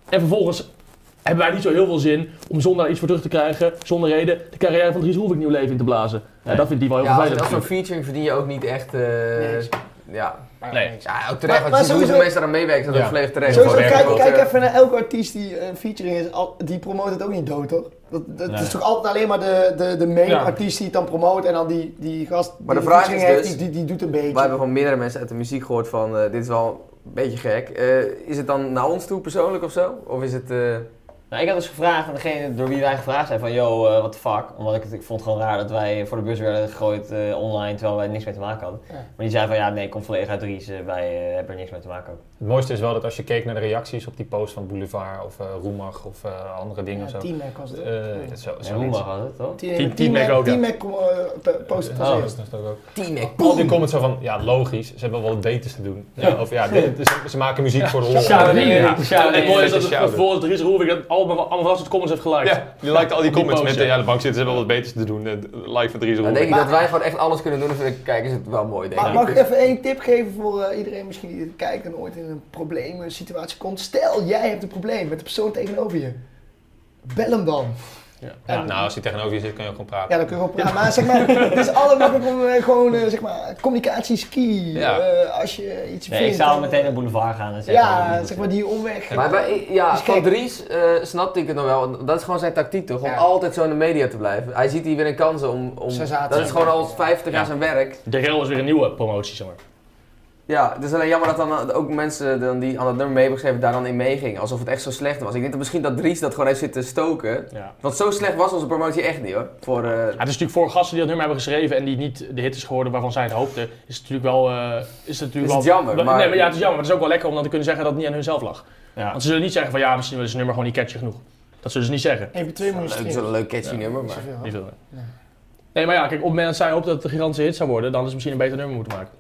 Speaker 3: En vervolgens hebben wij niet zo heel veel zin om zonder daar iets voor terug te krijgen, zonder reden, de carrière van Dries Roelvink nieuw leven in te blazen. Ja, dat vindt hij wel heel
Speaker 4: Ja, als,
Speaker 3: vervelend.
Speaker 4: als zo'n
Speaker 3: natuurlijk.
Speaker 4: featuring verdien je ook niet echt... eh,
Speaker 2: Niks.
Speaker 4: ja.
Speaker 3: Nee.
Speaker 4: ja, ook
Speaker 2: Maar-
Speaker 4: terecht.
Speaker 2: maar
Speaker 4: Want je ziet
Speaker 2: sowieso-
Speaker 4: hoeveel mensen daaraan meewerken, dat
Speaker 1: Ja.
Speaker 4: is volledig terecht.
Speaker 2: Sowieso,
Speaker 1: gewoon
Speaker 2: kijk,
Speaker 1: werken,
Speaker 2: kijk even naar elke artiest die een featuring is, al- die promoot het ook niet dood, toch? Dat, dat
Speaker 1: Nee.
Speaker 2: is toch altijd alleen maar de, de, de main
Speaker 3: Ja.
Speaker 2: artiest die het dan promoot en dan die, die gast die
Speaker 4: Maar de
Speaker 2: een
Speaker 4: vraag
Speaker 2: featuring
Speaker 4: is
Speaker 2: heeft,
Speaker 4: dus-
Speaker 2: die, die, die doet een beetje.
Speaker 4: We hebben van meerdere mensen uit de muziek gehoord van, eh, dit is wel een beetje gek. Eh, is het dan naar ons toe persoonlijk of zo? Of is het... eh,
Speaker 5: Nou, ik had dus gevraagd aan degene door wie wij gevraagd zijn van, yo, eh what the fuck? Omdat ik, het, ik vond het gewoon raar dat wij voor de bus werden gegooid eh, online, terwijl wij niks mee te maken hadden.
Speaker 2: Ja.
Speaker 5: Maar die zei van, ja, nee, kom volledig uit Dries, eh, wij eh, hebben er niks mee te maken ook.
Speaker 1: Het mooiste is wel dat als je keek naar de reacties op die post van Boulevard of eh Roemag of eh, andere dingen
Speaker 2: ja,
Speaker 1: of zo.
Speaker 2: Team Mac was het.
Speaker 1: Eh,
Speaker 2: Nee.
Speaker 1: zo,
Speaker 5: Ja,
Speaker 1: zo
Speaker 5: hoe mag dat, toch?
Speaker 2: Team- Team
Speaker 3: Team- Team Mac ook, ja.
Speaker 2: Team Mac kom- eh, p- post het als
Speaker 5: Oh.
Speaker 2: eerst.
Speaker 1: dat is toch ook.
Speaker 4: Team
Speaker 1: Al die comments zo van, ja logisch, ze hebben wel wat beters te doen. Ja, of ja, dit- ze, ze maken muziek voor de lol.
Speaker 5: Shout-out
Speaker 1: Ja,
Speaker 5: in.
Speaker 3: Ja.
Speaker 5: Shout-out
Speaker 3: En het
Speaker 5: in.
Speaker 3: mooie is dat
Speaker 1: Shout-out.
Speaker 3: het vervolgens Dries Roelvink dat allemaal, allemaal vast het comments heeft geliked.
Speaker 1: Ja, die liked al die
Speaker 3: Op die
Speaker 1: comments
Speaker 3: post,
Speaker 1: met, eh,
Speaker 3: ja.
Speaker 1: ja, de bank zitten, ze hebben wel wat beters te doen. eh, Like van Dries
Speaker 4: Dan denk ik
Speaker 1: Roelvink.
Speaker 4: dat wij gewoon echt alles kunnen doen. Dan vind ik, kijk, is het wel mooi, denk
Speaker 1: Oh.
Speaker 2: Maar
Speaker 4: ik.
Speaker 2: mag ik even één tip geven voor eh, iedereen misschien die dit kijkt en ooit in een probleem, een situatie komt? Stel, jij hebt een probleem met de persoon tegenover je. Bel hem dan.
Speaker 1: Ja, nou, als hij tegenover je zit, kan je ook gewoon praten.
Speaker 2: Ja, dan kun je gewoon praten. Maar zeg maar, het is allemaal om eh, gewoon, eh, zeg maar, communicatie is key.
Speaker 1: Ja.
Speaker 2: Eh, als je iets
Speaker 5: Nee, ik
Speaker 2: vindt.
Speaker 5: zou
Speaker 2: dan-
Speaker 5: meteen naar Boulevard gaan en zeggen... oh, dat het
Speaker 2: Ja,
Speaker 5: niet
Speaker 2: zeg
Speaker 5: goed
Speaker 2: maar
Speaker 5: is.
Speaker 2: die omweg.
Speaker 4: Maar bij, ja,
Speaker 2: Dus
Speaker 4: van
Speaker 2: kijk-
Speaker 4: Dries eh, snapte ik het nog wel. want Dat is gewoon zijn tactiek toch? Om
Speaker 2: Ja.
Speaker 4: altijd zo in de media te blijven. Hij ziet hier weer een kans om. om
Speaker 2: Sensatie.
Speaker 4: dat is gewoon al 50
Speaker 3: Ja.
Speaker 4: jaar zijn werk.
Speaker 3: De Rel is weer een nieuwe promotie, zeg maar.
Speaker 4: Ja, het is alleen jammer dat dan eh, ook mensen dan die aan dat nummer mee hebben geschreven daar dan in meegingen. Alsof het echt zo slecht was. Ik denk dat misschien dat Dries dat gewoon heeft zitten stoken.
Speaker 3: Ja.
Speaker 4: Want zo slecht was onze promotie echt niet hoor. Voor, eh,
Speaker 3: het is natuurlijk voor gasten die dat nummer hebben geschreven en die niet de hit is geworden waarvan zij het hoopten, is het natuurlijk wel... eh, is het natuurlijk
Speaker 4: Is het
Speaker 3: wel,
Speaker 4: jammer,
Speaker 3: wel-
Speaker 4: maar-
Speaker 3: Nee, maar ja, het is jammer, maar het is ook wel lekker om dan te kunnen zeggen dat het niet aan hunzelf lag.
Speaker 5: Ja.
Speaker 3: Want ze zullen niet zeggen van ja, misschien is het nummer gewoon niet catchy genoeg. Dat zullen ze niet zeggen.
Speaker 2: Even twee
Speaker 4: leuk,
Speaker 2: minuten
Speaker 4: het is wel een leuk catchy nummer. Maar.
Speaker 3: Niet
Speaker 2: streamen.
Speaker 3: veel, nee. Nee, maar ja, kijk, op het moment dat zij hoopt dat het een gigantische hit zou worden, dan is het misschien een beter nummer moeten maken.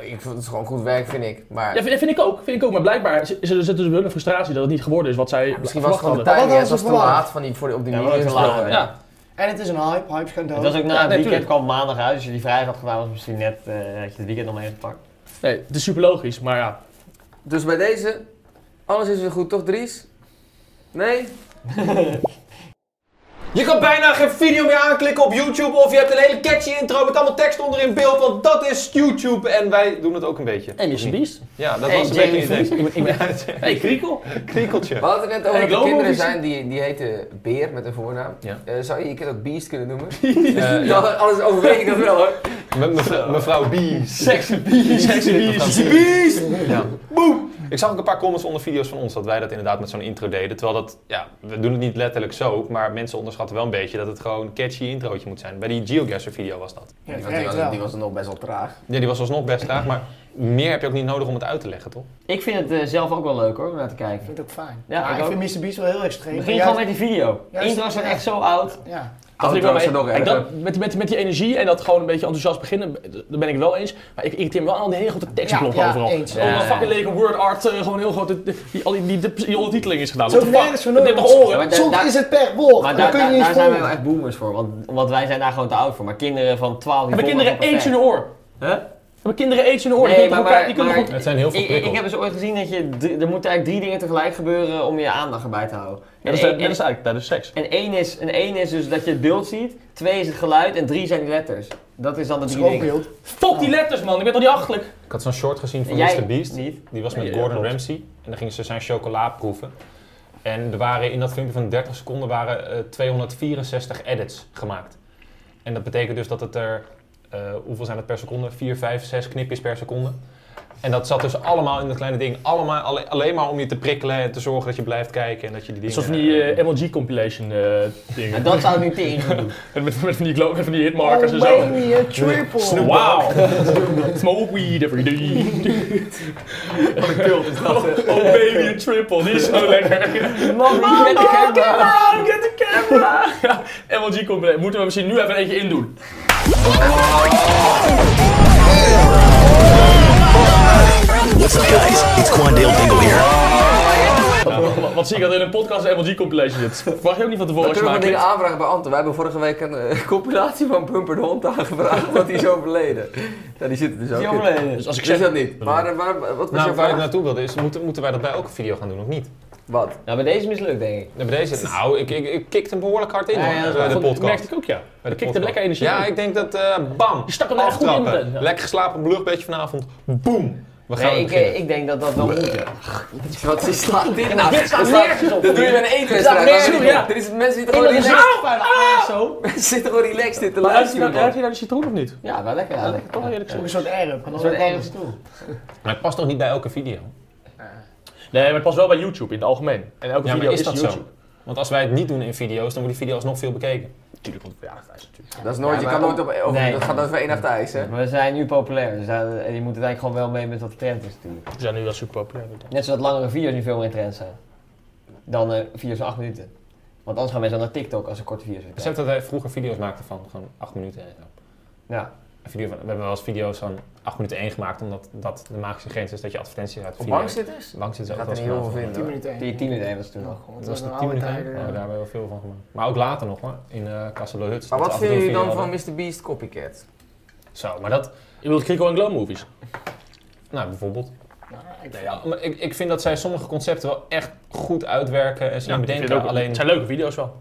Speaker 4: Ik vond het gewoon goed werk, vind ik. Maar
Speaker 3: Ja, vind, vind ik ook, vind ik ook. Maar blijkbaar zit er zit dus bij hun een frustratie dat het niet geworden is wat zij
Speaker 4: misschien was het gewoon de
Speaker 3: verwacht
Speaker 2: hadden.
Speaker 4: timing. hè. Het
Speaker 2: Wat
Speaker 4: was te
Speaker 2: hadden ze verwacht?
Speaker 4: laat van die, voor, die- op die
Speaker 5: Ja,
Speaker 4: ja,
Speaker 5: maar ook te laat,
Speaker 3: hadden.
Speaker 5: timing.
Speaker 3: Ja,
Speaker 2: En het is een hype, hype gaat
Speaker 5: Het
Speaker 2: dood.
Speaker 5: was ook na
Speaker 3: Ja,
Speaker 5: het
Speaker 3: nee,
Speaker 5: weekend
Speaker 3: tuurlijk.
Speaker 5: kwam maandag uit, dus als je die vrijdag had gedaan, was het misschien net, eh had je het weekend nog mee gepakt.
Speaker 3: nee, het is super logisch, maar ja.
Speaker 4: Dus bij deze, alles is weer goed, toch Dries? Nee?
Speaker 1: Je kan bijna geen video meer aanklikken op YouTube of je hebt een hele catchy intro met allemaal tekst onder in beeld, want dat is YouTube en wij doen het ook een beetje.
Speaker 3: En Mr. Beast.
Speaker 1: Ja, dat
Speaker 5: Hey,
Speaker 1: was een beetje
Speaker 5: Jamie
Speaker 1: het idee.
Speaker 3: Ik ben- ik ben-
Speaker 1: *laughs* Ja, het is
Speaker 3: Hey,
Speaker 5: *laughs*
Speaker 3: Kriekel.
Speaker 1: een Kriekeltje.
Speaker 4: We hadden het net
Speaker 3: Hey,
Speaker 4: over dat er
Speaker 3: Globo
Speaker 4: kinderen
Speaker 3: Visie.
Speaker 4: zijn die, die heten Beer met een voornaam.
Speaker 1: Ja.
Speaker 4: Eh, zou je je kind ook Beast kunnen noemen?
Speaker 1: Eh, ja.
Speaker 4: *laughs* ja, anders overweeg ik dat wel hoor.
Speaker 1: Me- mevrouw- Mevrouw B.
Speaker 3: Sexy Beast. Sexy Beast.
Speaker 1: Beast! Ja. Boom! Ik zag ook een paar comments onder video's van ons dat wij dat inderdaad met zo'n intro deden. Terwijl dat, ja, we doen het niet letterlijk zo, maar mensen onderschatten wel een beetje dat het gewoon een catchy introotje moet zijn. Bij die Geogasser video was dat.
Speaker 2: Ja,
Speaker 4: die, was, die,
Speaker 2: terecht
Speaker 4: was,
Speaker 2: wel.
Speaker 4: die was nog best wel traag.
Speaker 1: Ja, die was alsnog best traag, maar meer heb je ook niet nodig om het uit te leggen, toch?
Speaker 5: Ik vind het eh, zelf ook wel leuk hoor, om naar te
Speaker 2: Ik
Speaker 5: kijken.
Speaker 2: vind het ook fijn.
Speaker 5: Ja,
Speaker 2: Maar
Speaker 5: ik
Speaker 2: ik
Speaker 5: ook.
Speaker 2: vind Mr. Beast wel heel extreem.
Speaker 5: Begin
Speaker 2: Maar
Speaker 5: gewoon
Speaker 2: juist-
Speaker 5: met die video.
Speaker 2: juist-
Speaker 5: Intro's zijn
Speaker 2: ja.
Speaker 5: echt zo oud.
Speaker 2: Ja.
Speaker 3: Dat vind ik
Speaker 4: Outro's
Speaker 3: wel
Speaker 4: zijn nog
Speaker 3: mee. Kijk, dat,
Speaker 4: erger.
Speaker 3: met, met, met die energie en dat gewoon een beetje enthousiast beginnen, daar ben ik wel eens. Maar ik irriteer me wel aan de hele grote tekstblokken
Speaker 2: Ja, ja,
Speaker 3: overal.
Speaker 2: eens.
Speaker 3: Overal
Speaker 5: Ja.
Speaker 3: fucking lege word art, eh, gewoon heel groot. Die, die, al die, die, die, die ondertiteling is gedaan.
Speaker 2: Zo
Speaker 3: What the fuck?
Speaker 2: nergens voor
Speaker 3: Dat heeft nog
Speaker 2: nodig.
Speaker 5: Ja,
Speaker 3: oren.
Speaker 5: maar da-
Speaker 2: Soms
Speaker 5: daar-
Speaker 2: is het per woord.
Speaker 5: Maar
Speaker 2: Dan
Speaker 5: daar,
Speaker 2: kun je
Speaker 5: daar,
Speaker 2: niet
Speaker 5: daar zijn we
Speaker 2: volgen.
Speaker 5: wel echt boomers voor, want, want wij zijn daar gewoon te oud voor. Maar kinderen van 12 die
Speaker 3: Hebben
Speaker 5: volgen
Speaker 3: kinderen
Speaker 5: het
Speaker 3: aids in hun
Speaker 5: perfect.
Speaker 3: oor?
Speaker 5: Huh?
Speaker 3: Hebben kinderen aids in hun oor?
Speaker 5: Nee,
Speaker 3: Die kunnen
Speaker 5: maar-
Speaker 3: toch ook- die
Speaker 5: maar-
Speaker 3: kunnen toch ook-
Speaker 1: Het zijn heel veel
Speaker 5: Ik, ik,
Speaker 1: prikkels.
Speaker 5: ik heb eens ooit gezien dat je, drie- er moeten eigenlijk drie dingen tegelijk gebeuren om je aandacht erbij te houden.
Speaker 3: Ja,
Speaker 2: dus
Speaker 3: dat is
Speaker 5: En-
Speaker 3: dat
Speaker 5: en-
Speaker 3: is eigenlijk tijdens seks.
Speaker 5: En één is, en één is dus dat je het beeld ziet, twee is het geluid en drie zijn die letters. Dat is dan de drie dingen.
Speaker 2: Schoolbeeld.
Speaker 3: Fuck die letters, man. Ik ben toch niet achterlijk?
Speaker 1: Ik had zo'n short gezien
Speaker 5: En
Speaker 1: van
Speaker 5: jij
Speaker 1: Mr. Beast.
Speaker 5: niet.
Speaker 1: Die was met
Speaker 3: Ja, ja,
Speaker 1: Gordon
Speaker 3: klopt.
Speaker 1: Ramsay. En dan gingen ze zijn chocola proeven. En er waren in dat filmpje van 30 seconden waren eh, 264 edits gemaakt. En dat betekent dus dat het er, eh, hoeveel zijn het per seconde? 4, 5, 6 knipjes per seconde. En dat zat dus allemaal in dat kleine ding. Allemaal, alle- alleen maar om je te prikkelen en te zorgen dat je blijft kijken en dat je die
Speaker 3: Een
Speaker 1: dingen... Nou,
Speaker 3: soort van die eh, MLG compilation eh,
Speaker 5: En
Speaker 3: dingen.
Speaker 5: Nou, dat zou ik nu tegen doen.
Speaker 3: met, met, met van die, glo- met van die
Speaker 2: Oh
Speaker 3: hitmarkers en zo.
Speaker 2: Mania triple.
Speaker 3: Wauw! *laughs* Smoke weed every day.
Speaker 4: Wat een cult is dat. hè?
Speaker 3: Oh baby, een triple, die is zo lekker.
Speaker 5: Mama, get the camera!
Speaker 3: Mom, get the camera! ja, MLG compilation. Moeten we misschien nu even eentje indoen?
Speaker 6: What's up, guys? It's Quandale Dingle here.
Speaker 3: Wat- Wat, wat zie ik dat in een podcast een MLG compilation zit? Vraag je ook niet van tevoren
Speaker 4: Dan
Speaker 3: als je
Speaker 4: kunnen we
Speaker 3: maakt.
Speaker 4: dingen aanvragen bij Anton. Wij hebben vorige week een eh, *laughs* compilatie van Bumper de Hond aangevraagd, want die is overleden. Ja, die zit er dus ook
Speaker 5: Die
Speaker 4: in.
Speaker 5: overleden.
Speaker 3: Dus als ik
Speaker 4: Dus
Speaker 3: zeg...
Speaker 4: dat niet. Maar eh, waar, wat
Speaker 1: Nou,
Speaker 4: was jouw
Speaker 1: waar ik
Speaker 4: vraag?
Speaker 1: naartoe wilde is, moeten, moeten wij dat bij elke video gaan doen of niet?
Speaker 4: Wat?
Speaker 5: Nou, bij deze mislukt, denk ik.
Speaker 1: Ja, Bij deze, nou, ik, ik, ik kikte hem behoorlijk hard in
Speaker 5: Ja,
Speaker 1: hoor,
Speaker 5: ja, dat is
Speaker 1: bij
Speaker 5: waar.
Speaker 1: de
Speaker 3: Dat
Speaker 1: podcast.
Speaker 3: merkte ik ook, ja.
Speaker 1: Bij de
Speaker 3: Ik kikte
Speaker 1: podcast.
Speaker 3: lekker energie
Speaker 1: Ja,
Speaker 3: in.
Speaker 1: ik denk dat, eh, bam,
Speaker 3: Je stak hem er echt goed in,
Speaker 1: aftrappen.
Speaker 3: Ben, ja.
Speaker 1: Lekker geslapen, luchtbeetje vanavond, boem. We gaan
Speaker 5: Nee, ik,
Speaker 4: eh,
Speaker 5: eh,
Speaker 1: beginnen.
Speaker 5: ik denk dat dat wel moet. ja.
Speaker 4: Wat *laughs* is dat? Dit nou?
Speaker 5: dit staat
Speaker 4: Dit staat-
Speaker 5: nergens op.
Speaker 4: Dit doe je bij een eetwedstrijd.
Speaker 5: nergens op,
Speaker 4: maar-
Speaker 5: ja.
Speaker 4: Er is mensen
Speaker 5: Ik
Speaker 4: zitten gewoon
Speaker 5: denk dat
Speaker 4: relaxed.
Speaker 5: het ah, zo.
Speaker 4: *laughs* Mensen zitten gewoon relaxed dit te
Speaker 3: Maar ruikt hij
Speaker 4: luisteren.
Speaker 3: nou- ruikt
Speaker 4: man.
Speaker 3: hij nou de citroen of niet?
Speaker 5: Ja, wel lekker. Ja, lekker.
Speaker 3: Toch eerlijk zo.
Speaker 2: Een soort Arab.
Speaker 5: Dat wordt ergens toe.
Speaker 1: Maar het past toch niet bij elke video?
Speaker 3: Nee, maar het past wel bij YouTube in het algemeen. En
Speaker 1: Ja,
Speaker 3: elke
Speaker 1: maar
Speaker 3: video
Speaker 1: is
Speaker 3: is
Speaker 1: dat
Speaker 3: YouTube.
Speaker 1: zo? Want als wij het niet doen in video's, dan wordt die video alsnog veel bekeken.
Speaker 3: Tuurlijk, want ja, dat is natuurlijk.
Speaker 4: Dat is nooit,
Speaker 5: Ja,
Speaker 4: je
Speaker 5: maar-
Speaker 4: kan nooit op, of,
Speaker 5: Nee.
Speaker 4: dat gaat over één nacht ijs, hè?
Speaker 5: We zijn nu populair, dus daar- en je moet het eigenlijk gewoon wel mee met wat de trend is natuurlijk.
Speaker 3: We zijn nu wel super populair. denk ik.
Speaker 5: Net zoals langere video's nu veel meer in trend zijn. Dan eh video's van 8 minuten. Want anders gaan mensen naar TikTok als ze korte video's willen
Speaker 1: Besef dat wij vroeger video's maakten van gewoon 8 minuten en zo.
Speaker 5: kijken. Ja.
Speaker 1: Een video van, we hebben wel eens video's van 8 minuten 1 gemaakt, omdat dat de magische grens is dat je advertenties uit de
Speaker 4: Op
Speaker 1: video
Speaker 4: bankzitters?
Speaker 1: Langs zit
Speaker 4: Je
Speaker 1: ze ook
Speaker 4: gaat er
Speaker 1: wel
Speaker 4: niet
Speaker 1: eens
Speaker 4: heel
Speaker 1: gedaan.
Speaker 4: veel
Speaker 1: van.
Speaker 4: vinden.
Speaker 2: 10 minuten
Speaker 4: hoor.
Speaker 2: één. Oh,
Speaker 5: Die 10 minuten was toen nog.
Speaker 1: Dat
Speaker 2: Dat
Speaker 1: was
Speaker 2: was
Speaker 1: de
Speaker 2: een
Speaker 1: 10
Speaker 2: oude
Speaker 1: minuten. heen?
Speaker 2: tijd.
Speaker 1: Ja,
Speaker 4: eh,
Speaker 1: daar
Speaker 5: Oh,
Speaker 1: hebben we wel veel van gemaakt. Maar ook later nog hoor, in uh, Castle Huts.
Speaker 4: Maar
Speaker 1: dat
Speaker 4: wat
Speaker 1: ze af en toe
Speaker 4: vind je
Speaker 1: een video
Speaker 4: dan van
Speaker 1: hadden.
Speaker 4: Mr. Beast Copycat?
Speaker 1: Zo, maar dat,
Speaker 3: Je bedoelt Krico en Glow Movies?
Speaker 1: nou bijvoorbeeld.
Speaker 2: Nou, ik-
Speaker 1: Nee, ja, maar ik, ik vind dat zij sommige concepten wel echt goed uitwerken en ze
Speaker 3: ik vind
Speaker 1: bedenken.
Speaker 3: het ook-
Speaker 1: alleen,
Speaker 3: Het zijn leuke video's wel.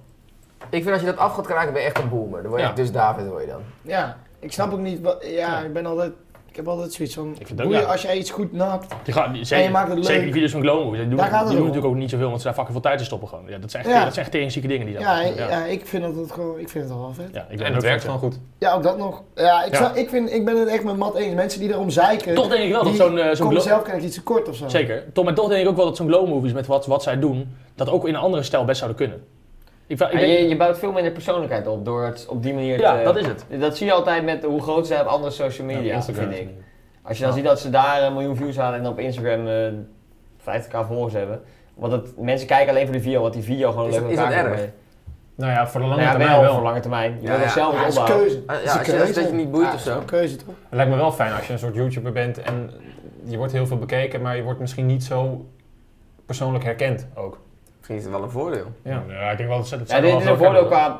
Speaker 4: Ik vind als je dat af gaat kraken, ben je echt een boomer. Dan word je
Speaker 1: Ja.
Speaker 4: echt dus David, word je dan.
Speaker 2: Ja, ik snap ook niet wat... Ja, ik ben altijd... Ik heb altijd zoiets van...
Speaker 3: vind het ook,
Speaker 2: boeien
Speaker 3: ja.
Speaker 2: Als jij iets goed naapt,
Speaker 3: Die gaan, die,
Speaker 2: En je maakt het
Speaker 3: zeker
Speaker 2: leuk.
Speaker 3: die video's van Glow Movies. Die doen,
Speaker 2: Daar gaat het
Speaker 3: die doen
Speaker 2: om.
Speaker 3: natuurlijk ook niet zoveel, want ze daar fucking veel tijd in stoppen gewoon. Ja, dat zijn echt,
Speaker 2: Ja.
Speaker 3: dat zijn echt tegenzieke dingen die daar
Speaker 2: ja,
Speaker 3: maken.
Speaker 2: ja. ik vind dat het gewoon... Ik vind het wel wel vet.
Speaker 3: Ja, ik ben
Speaker 1: en
Speaker 3: ook
Speaker 1: het werkt
Speaker 3: fan.
Speaker 1: gewoon goed.
Speaker 2: Ja, ook dat nog. Ja, ik,
Speaker 3: Ja.
Speaker 2: snap- ik, vind, ik ben het echt met Matt eens. Mensen die erom zeiken...
Speaker 3: Toch denk ik wel dat
Speaker 2: die
Speaker 3: zo'n eh, zo'n
Speaker 2: komen
Speaker 3: Glow...
Speaker 2: zelf kennelijk iets te kort of zo.
Speaker 3: Zeker. Toch, maar toch denk ik ook wel dat zo'n Glow Movies met wat, wat zij doen, dat ook in een andere stijl best zouden kunnen. Ik, ik
Speaker 5: En
Speaker 3: denk-
Speaker 5: je, je bouwt veel minder persoonlijkheid op door het op die manier
Speaker 3: ja,
Speaker 5: te...
Speaker 3: dat is het.
Speaker 5: Dat zie je altijd met hoe groot ze hebben andere social
Speaker 1: Ja,
Speaker 5: media,
Speaker 1: Instagram
Speaker 5: vind ik.
Speaker 1: is niet.
Speaker 5: Als je dan ziet dat ze daar een miljoen views halen en op Instagram eh, 50k volgers hebben. Want het, mensen kijken alleen voor de video, want die video gewoon
Speaker 4: Is
Speaker 5: leuk
Speaker 4: dat-
Speaker 5: in
Speaker 4: is dat
Speaker 5: elkaar kan
Speaker 4: erg?
Speaker 5: brengen.
Speaker 1: Nou ja, voor de lange
Speaker 5: Nou ja,
Speaker 1: termijn
Speaker 5: wel,
Speaker 1: wel.
Speaker 5: voor lange termijn. Je
Speaker 4: Ja,
Speaker 5: wil
Speaker 4: ja.
Speaker 5: dat zelf
Speaker 2: Ja,
Speaker 5: wat
Speaker 2: dat is een
Speaker 5: opbouwen.
Speaker 2: keuze.
Speaker 4: Ja,
Speaker 2: Dat is een
Speaker 4: als je- als dat je niet boeit
Speaker 2: Ja,
Speaker 4: of
Speaker 2: dat is
Speaker 4: zo.
Speaker 2: een keuze, toch?
Speaker 1: Het lijkt me wel fijn als je een soort YouTuber bent en je wordt heel veel bekeken, maar je wordt misschien niet zo persoonlijk herkend ook.
Speaker 4: Misschien is het wel een voordeel.
Speaker 1: Ja.
Speaker 3: Ja, ik denk wel dat ze dat
Speaker 5: Ja, dit is een voordeel qua,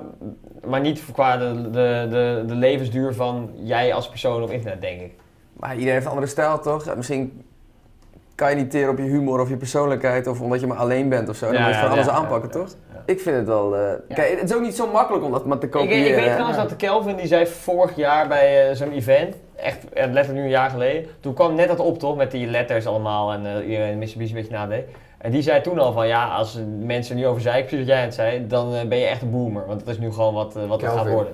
Speaker 5: maar niet qua de, de, de, de levensduur van jij als persoon op internet, denk ik.
Speaker 4: Maar iedereen heeft een andere stijl, toch? Ja, Misschien kan je niet teren op je humor of je persoonlijkheid of omdat je maar alleen bent of zo. Dan
Speaker 5: Ja,
Speaker 4: moet je
Speaker 5: ja,
Speaker 4: van alles
Speaker 5: ja,
Speaker 4: aanpakken,
Speaker 5: ja,
Speaker 4: toch? Ik vind het wel... eh, Kijk, het is ook niet zo makkelijk om dat maar te
Speaker 5: Ik, ik
Speaker 4: kopiëren.
Speaker 5: weet
Speaker 4: hè?
Speaker 5: trouwens dat de Kelvin, die zei vorig jaar bij eh, zo'n event, echt eh, letterlijk nu een jaar geleden, toen kwam net dat op toch, met die letters allemaal en eh iedereen Mitsubishi een beetje nadeed. En die zei toen al van ja, als mensen nu over zeiken, precies wat jij het zei, dan eh, ben je echt een boomer. Want dat is nu gewoon wat, eh, wat het gaat
Speaker 4: Kelvin.
Speaker 5: worden.